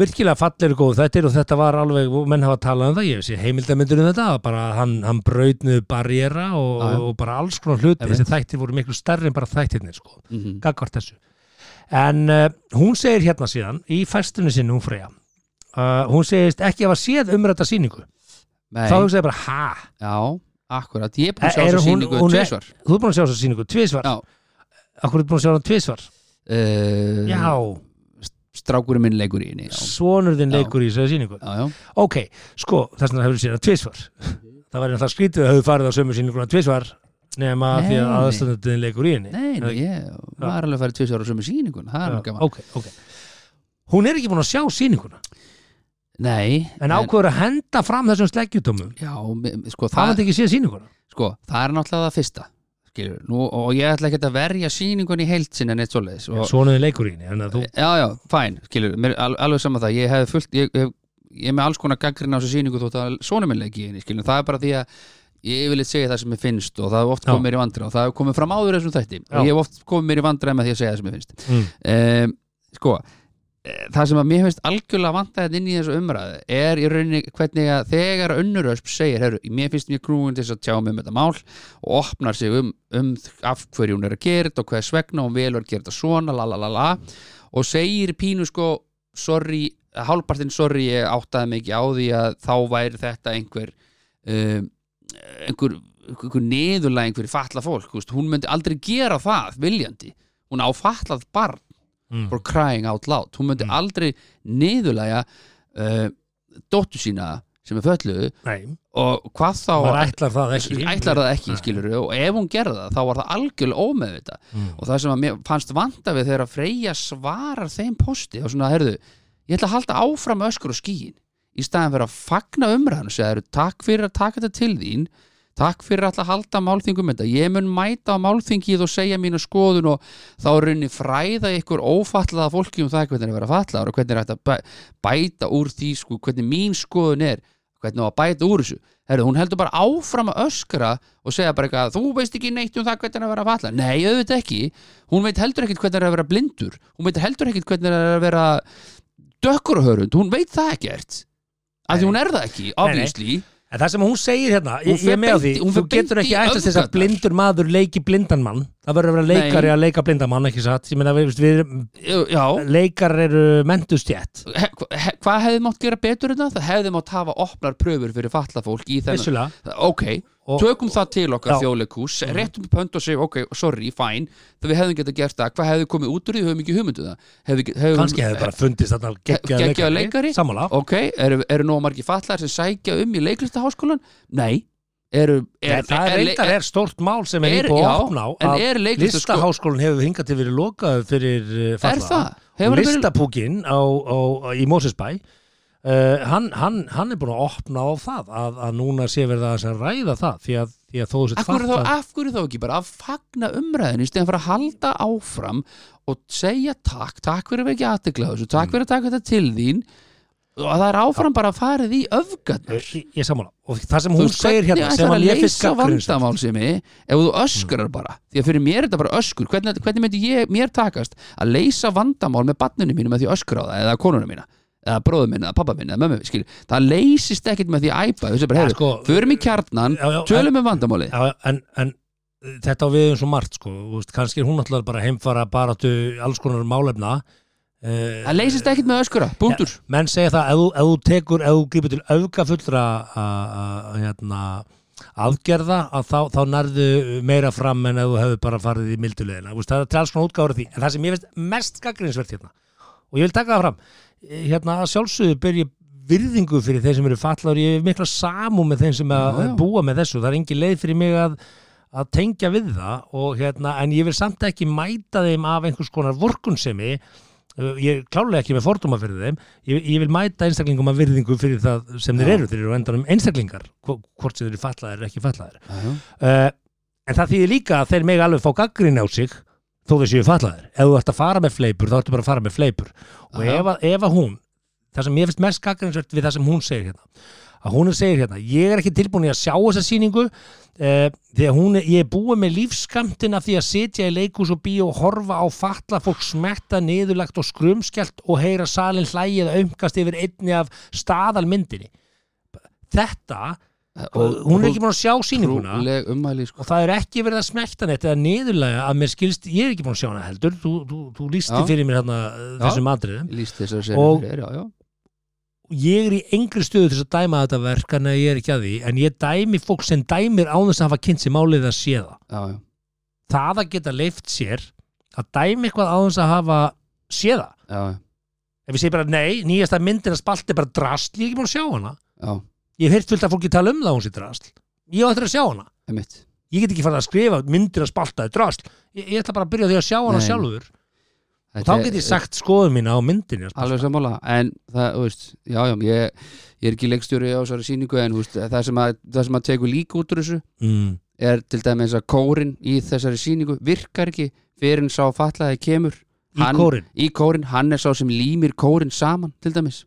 Speaker 4: virkilega fallir og góð þættir og þetta var alveg, og menn hafa talað um það ég sé heimildamindur um þetta, að bara hann, hann brautnuð barjera og,
Speaker 3: Já, já.
Speaker 4: og bara alls konar hluti,
Speaker 3: Einmitt.
Speaker 4: þessi þættir voru miklu stærri en bara þættirnir sko
Speaker 3: mm
Speaker 4: gagvart þessu en uh, hún segir hérna síðan í fæstunni sinni hún Freyja uh, hún segist ekki hafa séð umrætta sýningu þá
Speaker 3: Nei,
Speaker 4: hugsaði ég bara ha
Speaker 3: já, akkurat ég er búin að sjá
Speaker 4: Er
Speaker 3: þessu
Speaker 4: hún-
Speaker 3: sýningu
Speaker 4: hún er-
Speaker 3: tvisvar
Speaker 4: þú er búin að sjá þessa sýningu tvisvar
Speaker 3: Já.
Speaker 4: akkur er búin að sjá hana tvisvar
Speaker 3: uh,
Speaker 4: já,
Speaker 3: strákurinn minn leikur í henni já,
Speaker 4: sonur þinn
Speaker 3: Já.
Speaker 4: leikur í þessa sýningu
Speaker 3: já, já.
Speaker 4: ok, sko, þess vegna hefur séð hana tvisvar það var náttúrulega skrítið að hefur farið á sömu sýninguna tvisvar nema
Speaker 3: Nei,
Speaker 4: því að
Speaker 3: nei.
Speaker 4: aðstændin leikur í henni
Speaker 3: Nei, nei, ég var alveg að fara tvisvar á sömu sýningun það er
Speaker 4: Já,
Speaker 3: alveg gaman
Speaker 4: ok, ok hún er ekki búin að sjá sýninguna
Speaker 3: Nei,
Speaker 4: en ákveður að henda fram þessum sleggjudómum
Speaker 3: Já, mi- sko
Speaker 4: það
Speaker 3: það,
Speaker 4: hafði ekki séð sýninguna
Speaker 3: sko það er náttúrulega það fyrsta skilur, nú, og ég ætla ekki að verja sýningun í heild sinni en eitt svoleiðis og,
Speaker 4: Svonuðin leikur í henni en að þú,
Speaker 3: Já, já, fæn, skilur, mér, al, alveg saman það ég hef fullt, ég, ég, ég er með alls konar gangrin á þessu sýningu þótt að sonum minn leiki í henni skilur, það er bara því að ég yfirleitt segja það sem ég finnst og það hef oft
Speaker 4: Já.
Speaker 3: komið mér í vandra og það hef komið fram áður í þessum þætti og
Speaker 4: Já.
Speaker 3: ég hef oft komið mér í vandra með því að segja það sem ég finnst
Speaker 4: Mm.
Speaker 3: um, sko eh, það sem að mér finnst algjörlega vantaðið inn í þessu umræðu er í rauninni hvernig að þegar önnurösp segir heru, mér finnst mér grúin til þess að tjá mig um þetta mál og opnar sig um, um af hverju hún er að gera þetta og hvers vegna hún velur að gera þetta svona la, la, la, la, og segir pínu sko sorry, hálpartinn sorry ég áttaði mig ekki á því að þá væri þetta einhver um, einhver, einhver neðurlæg einhver fatla fólk, þú veist, hún myndi aldrei gera það viljandi, hún á fatlað barn
Speaker 4: Mm.
Speaker 3: for crying out loud hún myndi
Speaker 4: Mm.
Speaker 3: aldrei niðurlæja uh, dóttu sína sem er fölluðu
Speaker 4: Nei,
Speaker 3: og hvað þá
Speaker 4: maður ætlar það ekki
Speaker 3: ætlar það ekki, skilur og ef hún gerði það, þá var það algjörlega ómeðvita
Speaker 4: Mm.
Speaker 3: og það sem að mér fannst vanda við þegar að Freyja svarar þeim posti og svona, heyrðu, ég ætla að halda áfram öskur og skýin í staðan fyrir að fagna umræðan og segja, heyrðu, takk fyrir að taka þetta til þín takk fyrir alltaf að halda málþingum um þetta ég mun mæta á málþingið og segja mínu skoðun og þá er rauninni fræða ykkur ófallaða fólki um það hvernig er að vera fallaðar og hvernig er hægt að bæ- bæta úr því sko, hvernig mín skoðun er hvernig á að bæta úr þessu Herru, hún heldur bara áfram að öskra og segja bara eitthvað, þú veist ekki neitt um það hvernig er að vera falla nei, auðvitað ekki, hún veit heldur ekkit hvernig er að vera blindur hún veit heldur ekkit hvernig er að vera dökkur hörund, hún veit það ekkert af því hún er það ekki,
Speaker 4: nei.
Speaker 3: obviously
Speaker 4: En það sem hún segir hérna, ég,
Speaker 3: Hún
Speaker 4: ég
Speaker 3: fer
Speaker 4: er með á því,
Speaker 3: beint í- hún
Speaker 4: þú
Speaker 3: fer beint
Speaker 4: getur ekki
Speaker 3: í
Speaker 4: ætlast þess að
Speaker 3: öfgarnar.
Speaker 4: blindur maður leiki blindan mann. Það verður að vera leikari
Speaker 3: Nei.
Speaker 4: að leika blindan mann, ekki satt? Ég meina, við, við,
Speaker 3: já,
Speaker 4: leikar eru mentustjætt,
Speaker 3: he, he, hvað hefði mátt gera betur en það? Það hefði mátt hafa opnar pröfur fyrir falla fólk í þennan
Speaker 4: vissulega.
Speaker 3: ok,
Speaker 4: Og-
Speaker 3: tökum það til okkar
Speaker 4: Já. Mhm.
Speaker 3: þjóðleikús, réttum pönd og segjum ok, sorry, fine, það við hefðum getað gert það hvað hefði komið út úr því, við höfum ekki hugmyndu það hefði, hefðum,
Speaker 4: Kanski hefði bara fundist þarna geggjaður
Speaker 3: geggjaður leikari.
Speaker 4: Sammála.
Speaker 3: ok, eru, eru nóg margir fallar sem sækja um í leiklistaháskólan? Nei eru,
Speaker 4: Er, það er, reyndar er stórt mál sem er
Speaker 3: er-
Speaker 4: íbúið
Speaker 3: já,
Speaker 4: að opna á
Speaker 3: en
Speaker 4: að
Speaker 3: er leiklistaskó-
Speaker 4: listaháskólinn hefur hingað til verið lokað fyrir uh, falla
Speaker 3: Er það?
Speaker 4: Og
Speaker 3: Hefur hann verið-
Speaker 4: listapúkinn á, á, á, í Mósesbæ uh, hann, hann, hann er búin að opna á það að, að núna sé verið að sem ræða það því að, því að þó þessi
Speaker 3: af hverju, þá,
Speaker 4: fatlað-
Speaker 3: af hverju þá ekki bara að fagna umræðinu í stegum fyrir að halda áfram og segja takk, takk fyrir að vekja aðtekla þessu,
Speaker 4: Mm.
Speaker 3: takk fyrir að taka þetta til þín og það er áfram bara að farið í öfgarnar
Speaker 4: Ég- ég sammála og það sem
Speaker 3: Þú
Speaker 4: hún
Speaker 3: veist,
Speaker 4: segir
Speaker 3: hvernig
Speaker 4: hérna sem
Speaker 3: ætlarðu
Speaker 4: að ég finnst Mm.
Speaker 3: leysa
Speaker 4: gaggrinst
Speaker 3: vandamál sem ég, ef þú öskrar bara því að fyrir mér er þetta bara öskur hvernig, hvernig myndi ég, mér takast að leysa vandamál með banninu mínu með því að öskra á það eða konuna mína, eða bróðu minna, eða pappa minna eða mömmu, skil, það leysist ekkit með því að æpa þessu bara,
Speaker 4: Já,
Speaker 3: hefur, sko,
Speaker 4: sko,
Speaker 3: förum í kjarnan
Speaker 4: já, já, en-
Speaker 3: tölum um vandamáli
Speaker 4: Já, en, en þetta á við um svo margt sko, þú veist, kannski er hún alltaf bara að heimfara bara alls konar málefna uh,
Speaker 3: það leysist ekkit með öskura, punktur
Speaker 4: menn segja það, ef þú- ef þú tekur ef þú gripur til öfgafullra a- a- hérna, aðgerða að þá, þá nærðu meira fram en ef þú hefur bara farið í mildulegina það er til alls konar útgáður því, en það sem ég veist mest gaggrinsvert hérna og ég vil taka það fram, eh, hérna að sjálfsögðu ber ég virðingu fyrir þeir sem eru fallar ég hef mikla samú með þeim sem að
Speaker 3: Já, já.
Speaker 4: búa með þessu, það er engin leið fyrir mig að að tengja við það og hérna, en ég vil samt ekki mæta þeim af einhvers konar vorkunsemi Uh, ég er klálega ekki með fordóma fyrir þeim ég, ég vil mæta einstaklingum að virðingu fyrir það sem þeir
Speaker 3: Já.
Speaker 4: eru, þeir eru á endanum einstaklingar hvo- hvort sem þeir eru fallaðir eða ekki fallaðir
Speaker 3: Já,
Speaker 4: uh, en það þýðir líka að þeir mega alveg fá gaggrinni á sig þó þeir séu fallaðir, ef þú ert að fara með fleipur þá ertu bara að fara með fleipur og
Speaker 3: Já.
Speaker 4: ef að, ef að hún, það sem ég finnst mest gaggrinsvert við það sem hún segir hérna að hún segir hérna, ég er ekki tilbúin í að sjá þessa sýningu uh, því að hún er, ég er búið með lífskamtin af því að sitja í leikús og bíó og horfa á fatla fólk smetta niðurlagt og skrumskelt og heyra salin hlægið að umkast yfir einni af staðalmyndinni þetta, og, hún er ekki búin að sjá sýninguna
Speaker 3: trúleg ummæli sko.
Speaker 4: og það er ekki verið að smekta neitt eða niðurlega að mér skilst, ég er ekki búin að sjá hana heldur þú, þú, þú lísti
Speaker 3: Já.
Speaker 4: fyrir mér hérna
Speaker 3: Já.
Speaker 4: þessum atriðum
Speaker 3: líst þess að
Speaker 4: Og-
Speaker 3: segja já, já.
Speaker 4: ég er í engri stöðu til þess að dæma þetta verk en ég er ekki að því, en ég dæmi fólk sem dæmir án þess að hafa kynnt sér málið að sé það
Speaker 3: Já, já.
Speaker 4: það að geta leift sér að dæmi eitthvað án þess að hafa sé það,
Speaker 3: Já, já.
Speaker 4: ef ég segi bara nei nýjasta myndin að spalti bara drast ég er ekki búin að sjá hana,
Speaker 3: Já,
Speaker 4: ég hef heyrt fullt að fólki tala um það að hún sé drast, ég á eftir að sjá hana
Speaker 3: einmitt
Speaker 4: ég get ekki farið að skrifa myndir að spalta er drast, ég, ég ætla bara að byrja á því að sjá hana
Speaker 3: Nei.
Speaker 4: sjálfur og þá
Speaker 3: Þetta
Speaker 4: get
Speaker 3: er-
Speaker 4: ég sagt skoðum mína á myndinni sko. að
Speaker 3: alveg sammála, en það, þú veist já, já, ég, ég er ekki leikstjóri á þessari síningu en þú veist, það sem að, það sem að tekur líka út úr þessu
Speaker 4: mm.
Speaker 3: er til dæmis að kórin í þessari síningu virkar ekki fyrir en sá fatlaði kemur
Speaker 4: í
Speaker 3: Hann-
Speaker 4: kórin
Speaker 3: í kórin, hann er sá sem límir kórin saman til dæmis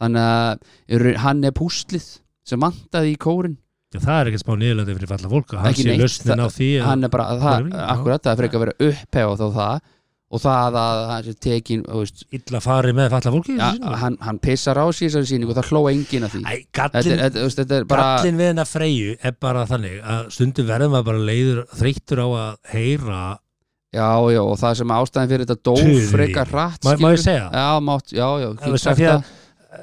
Speaker 3: þannig að eru- hann er púslið sem vantaði í kórin
Speaker 4: Já, það er ekkert smá niðurlandi fyrir falla fólk að hann
Speaker 3: Ekki
Speaker 4: sé
Speaker 3: neitt,
Speaker 4: lausnin á því að-
Speaker 3: hann er bara,
Speaker 4: bara
Speaker 3: það,
Speaker 4: við, já.
Speaker 3: akkurat, það er frekar að vera upphef á þá það og það að hann sé tekin, þú veist
Speaker 4: illa farið með falla fólki
Speaker 3: ja, hann, hann pissar á sig í þessari síningu og það hló enginn að því
Speaker 4: Æ,
Speaker 3: þetta er,
Speaker 4: gallin,
Speaker 3: þetta, þú veist, þetta er bara
Speaker 4: gallin við hennar freyju er bara þannig að stundum verðum að bara leiður þreyttur á að heyra
Speaker 3: Já, já, og það sem ástæðin fyrir þetta dóf
Speaker 4: Tuði.
Speaker 3: frekar hratt
Speaker 4: Má- má ég
Speaker 3: skilurðu?
Speaker 4: segja?
Speaker 3: Já, mátt, já, já,
Speaker 4: þú
Speaker 3: þú
Speaker 4: veist, af
Speaker 3: sagt
Speaker 4: því
Speaker 3: það
Speaker 4: að-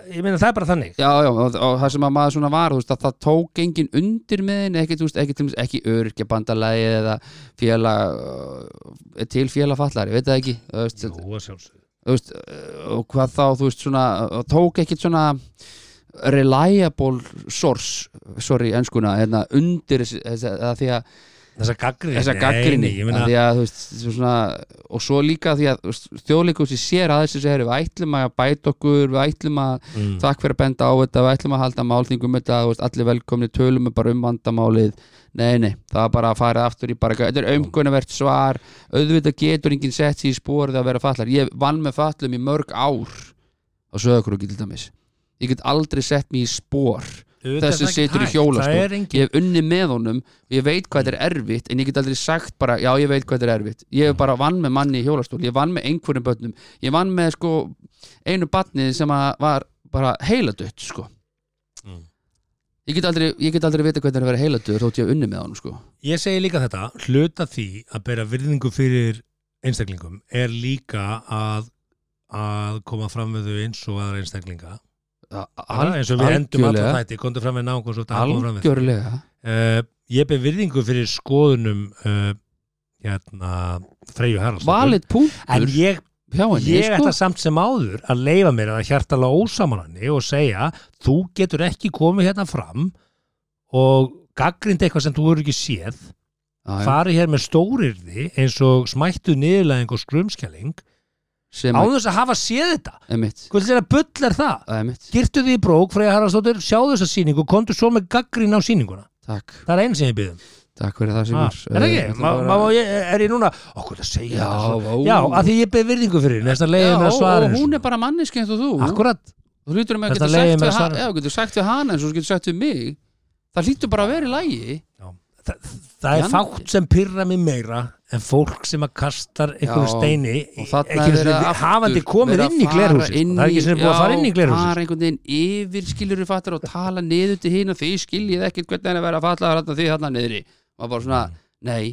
Speaker 4: ég meina það er bara þannig
Speaker 3: Já, já, og, og það sem að maður svona var þú veist, að það tók engin undir með henni ekki, veist, ekki, til dæmis- ekki örkjabandalagi eða fjöla til fjöla fallari, veit það ekki þú veist,
Speaker 4: Jú, að sjálfsögðu.
Speaker 3: þú veist, eh, og hvað þá, þú veist, svona og tók ekkit svona reliable source, sorry, enskuna, hérna, undir þessi, þessi, að því að
Speaker 4: Þessa gaggrinni
Speaker 3: þessa gaggrinni
Speaker 4: Nei, ég meina,
Speaker 3: að því að, þú veist, svona, og svo líka því að þjóðleikursi sér aðeins þessi herri, við ætlum að bæta okkur við ætlum að
Speaker 4: mm.
Speaker 3: takk fyrir að benda á þetta við ætlum að halda málningum þetta þú veist, allir velkomni, tölum við bara um vandamálið nei, nei, það er bara að fara aftur í bara, þetta er umgönavert svar auðvitað getur enginn sett sér í spórið að vera fallar ég vann með fallum í mörg ár á sögurkrúki til dæmis ég get aldrei sett mér í spór
Speaker 4: auðvitað er
Speaker 3: þessi
Speaker 4: það ekki
Speaker 3: situr í
Speaker 4: hægt. Það er
Speaker 3: hjólastól
Speaker 4: engin
Speaker 3: ég hef unni með honum og ég veit hvað þetta er erfitt en ég get aldrei sagt bara, já ég veit hvað þetta er erfitt ég hef bara vann með manni í hjólastól ég vann með einhverjum börnum ég vann með sko einu barni sem að var bara heiladött sko
Speaker 4: Mm.
Speaker 3: ég get aldrei, ég get aldrei vita hvað þetta er að vera heiladött þótt ég hef unni með honum sko
Speaker 4: Ég segi líka þetta, hluta því að bera virðingu fyrir einstaklingum er líka að að koma fram við þau eins og aðra einstaklinga Al, eins og við endum alltaf þætti, komdu fram við náungu og svo þetta koma fram við
Speaker 3: algjörlega
Speaker 4: uh, Ég ber virðingu fyrir skoðunum uh, hérna Freyju Haraldsdóttur
Speaker 3: valið punktur
Speaker 4: En ég,
Speaker 3: hjá henni
Speaker 4: ég
Speaker 3: sko
Speaker 4: ætla samt sem áður að leifa mér að hjartala ósamananni og segja þú getur ekki komið hérna fram og gaggrind eitthvað sem þú eru ekki séð
Speaker 3: Já, já,
Speaker 4: fari hér með stórirði eins og smættu niðurlæðing og skrumskjæling
Speaker 3: sem
Speaker 4: án þess að hafa séð þetta
Speaker 3: er mitt
Speaker 4: hvað þér að bull er það?
Speaker 3: það er mitt,
Speaker 4: Girtu því í brók, Freyja Haraldsdóttir, sjáðu þessa sýningu og komdu svo með gaggrín á sýninguna
Speaker 3: takk
Speaker 4: það er einn sem ég byggðum
Speaker 3: takk fyrir það
Speaker 4: ah, er það
Speaker 3: Sigur Eh,
Speaker 4: ekki?
Speaker 3: ætla
Speaker 4: Ma,
Speaker 3: bara-
Speaker 4: ma, ma, ég, er ég núna okkur að segja
Speaker 3: Já,
Speaker 4: það
Speaker 3: ó.
Speaker 4: svo já, að því ég beð virðingu fyrir henni, þess að leiði
Speaker 3: Já,
Speaker 4: með
Speaker 3: og- og
Speaker 4: svarinu
Speaker 3: hún er bara manneski eins og þú
Speaker 4: akkurat,
Speaker 3: þú hlýtur um að
Speaker 4: Þetta
Speaker 3: geta
Speaker 4: leiðir mér að
Speaker 3: sagt við hana
Speaker 4: svara.
Speaker 3: já, þú getur sagt við hana eins og þú getur sagt við mig það hlýtur bara að vera í lægi
Speaker 4: Þa, það er
Speaker 3: Fjandi.
Speaker 4: fátt sem pyrra mig meira en fólk sem að kastar einhverju
Speaker 3: Já,
Speaker 4: steini
Speaker 3: og
Speaker 4: ekki
Speaker 3: þarna er
Speaker 4: einu sinni
Speaker 3: verið aftur-
Speaker 4: hafandi komið
Speaker 3: verið að
Speaker 4: inn í
Speaker 3: fara
Speaker 4: glerhúsi
Speaker 3: inn
Speaker 4: það er ekki sem búið að fara inn í
Speaker 3: já,
Speaker 4: glerhúsi
Speaker 3: fara einhvern veginn yfir skilur við fattar og tala niður til hinn og þið skiljið ekkert hvernig hann er að vera fatlaðar þarna því þarna niðri maður bara svona, nei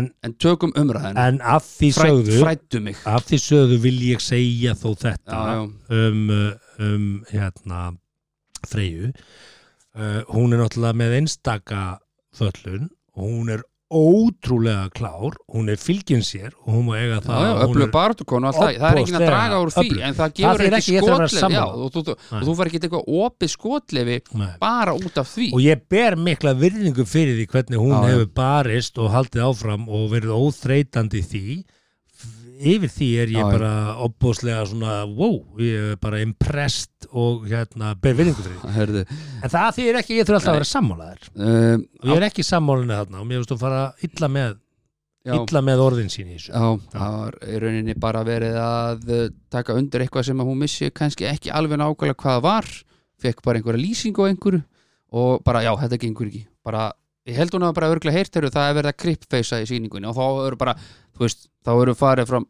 Speaker 4: En-
Speaker 3: en tökum umræðin
Speaker 4: en af því
Speaker 3: Frædd-
Speaker 4: sögðu
Speaker 3: fræddu mig já,
Speaker 4: af því sögðu vil ég segja þó þetta
Speaker 3: já,
Speaker 4: um, uh, um hérna Freyju uh, hún er náttúrulega með einstaka föllun og hún er ótrúlega klár, hún er fylgin sér og hún má eiga
Speaker 3: já,
Speaker 4: það
Speaker 3: já
Speaker 4: að hún
Speaker 3: öflug
Speaker 4: er,
Speaker 3: bartukonu og allt það, það er enginn að
Speaker 4: Ofboðslega
Speaker 3: draga úr því
Speaker 4: öflug.
Speaker 3: en það
Speaker 4: Það
Speaker 3: gefur
Speaker 4: þýðir
Speaker 3: ekki
Speaker 4: ekki ég þarf að vera
Speaker 3: skotlefi já,
Speaker 4: sammála.
Speaker 3: og þú, þú,
Speaker 4: Nei.
Speaker 3: og þú verður ekki eitthvað opið skotlefi
Speaker 4: Nei.
Speaker 3: bara út af því
Speaker 4: og ég ber mikla virðingu fyrir því hvernig hún
Speaker 3: Já, já.
Speaker 4: hefur barist og haldið áfram og verið óþreytandi í því yfir því er ég
Speaker 3: Já, já.
Speaker 4: bara opbóðslega svona, wow, ég er bara impressed og hérna, ber virðingu fyrir því
Speaker 3: Hörðu,
Speaker 4: en það því er ekki, ég þurf alltaf að vera sammálaðir
Speaker 3: um,
Speaker 4: og ég er ekki sammálinu þarna og mér finnst hún fara illa með,
Speaker 3: já,
Speaker 4: illa með orðin sín í þessu
Speaker 3: já, það var í rauninni bara verið að uh, taka undir eitthvað sem að hún missi kannski ekki alveg nákvæmlega hvað það var fekk bara einhverja lýsingu á einhverju og bara já, þetta gengur ekki bara, ég held hún að bara örglega heyrt þegar það er verið að krippfeysa í sýningunni og þá eru bara, þú veist, þá eru farið frá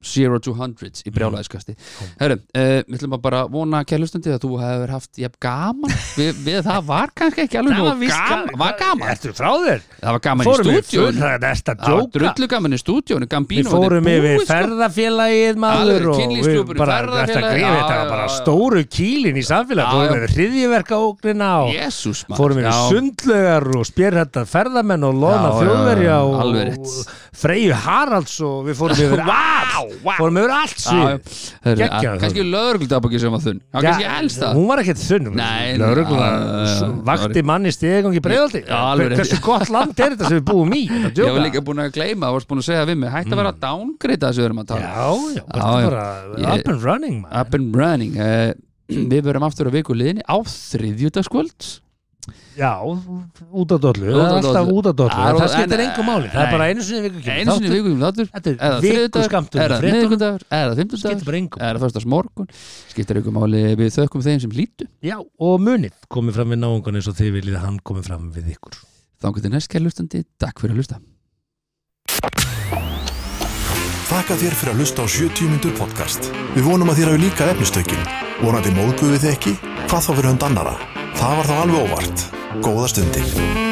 Speaker 3: zero to hundreds í brjálæðiskasti mm. Herru, uh, við ætlum að bara vona kærlustandi að þú hefur haft jafn gaman við, við það var kannski ekki alveg nógu gaman, var gaman,
Speaker 4: Ertu frá þér?
Speaker 3: það var gaman
Speaker 4: Fórum
Speaker 3: í
Speaker 4: við
Speaker 3: stúdíun
Speaker 4: það er næsta
Speaker 3: Það var
Speaker 4: djóka
Speaker 3: drullu gaman í stúdíónu
Speaker 4: Við
Speaker 3: Gambino
Speaker 4: fórum
Speaker 3: þetta er
Speaker 4: yfir
Speaker 3: búið, sko.
Speaker 4: ferðafélagið maður og
Speaker 3: Alveg,
Speaker 4: við
Speaker 3: kynlífsklúbburinn,
Speaker 4: bara, þetta
Speaker 3: ferðafélagið,
Speaker 4: grífið,
Speaker 3: já,
Speaker 4: þetta
Speaker 3: já,
Speaker 4: var bara
Speaker 3: já, já.
Speaker 4: stóru kýlin í samfélag,
Speaker 3: Já,
Speaker 4: fórum
Speaker 3: já.
Speaker 4: við hriðjiverka ógnina og
Speaker 3: Jesús maður
Speaker 4: fórum við
Speaker 3: Já,
Speaker 4: sundlögar og spjörhættar ferðamenn og loðna
Speaker 3: Já, já,
Speaker 4: þjóðverja
Speaker 3: já, alveg
Speaker 4: og,
Speaker 3: rétt.
Speaker 4: og Freyju Haralds og við fórum yfir allt, fórum yfir allt
Speaker 3: já, já.
Speaker 4: svið.
Speaker 3: Hörru,
Speaker 4: Geggjað,
Speaker 3: að- Kannski lögurgldabaki sem var þunn Það var
Speaker 4: Já,
Speaker 3: kannski elst það
Speaker 4: hún var ekkert þunn
Speaker 3: Nei,
Speaker 4: Lögregla
Speaker 3: já, já, já,
Speaker 4: vakti
Speaker 3: sorry.
Speaker 4: manni stigangi breyðaldi
Speaker 3: Já, alveg rétt.
Speaker 4: Hversu gott land er þetta sem við búum í Þetta
Speaker 3: Ég var
Speaker 4: djóka.
Speaker 3: líka búin að gleyma, það varst búin að segja við mig Hætti að vera downgrade þessu við erum að tala
Speaker 4: Mm. Já, já, þetta
Speaker 3: Já, já.
Speaker 4: bara
Speaker 3: Ég-
Speaker 4: up and running man.
Speaker 3: Up and running uh, Við verum aftur á viku liðinni á þriðjúdagskvöld
Speaker 4: Já, út af dollu Það er
Speaker 3: Út af
Speaker 4: alltaf
Speaker 3: dollu.
Speaker 4: út af dollu
Speaker 3: Já,
Speaker 4: en Það
Speaker 3: en-
Speaker 4: skiptir engu máli, það
Speaker 3: nei.
Speaker 4: er bara einu sinni í viku kemur
Speaker 3: Einu sinni í
Speaker 4: þáttur.
Speaker 3: viku kemur þáttur
Speaker 4: Þetta
Speaker 3: Er
Speaker 4: er
Speaker 3: það
Speaker 4: vikuskammtur
Speaker 3: þriðjudagur, er það miðvikudagur, er það
Speaker 4: Skiptir
Speaker 3: fimmtudagur
Speaker 4: bara engu
Speaker 3: Er það föstarsmorgun Skiptir ykkur máli við þökkum þeim sem lítu
Speaker 4: Já, og munið komið fram við náungan eins og þið viljið að hann komið fram við ykkur
Speaker 3: Þangur til næst kærlustandi, takk fyrir að lusta
Speaker 2: Þakka þér fyrir að hlusta á 70 mínútur podcast. Við vonum að þér hafi líka efnistökin. Vonandi móðguðu þið ekki? Hvað þá fyrir hund annara? Það var þá alveg óvart. Góða stundir.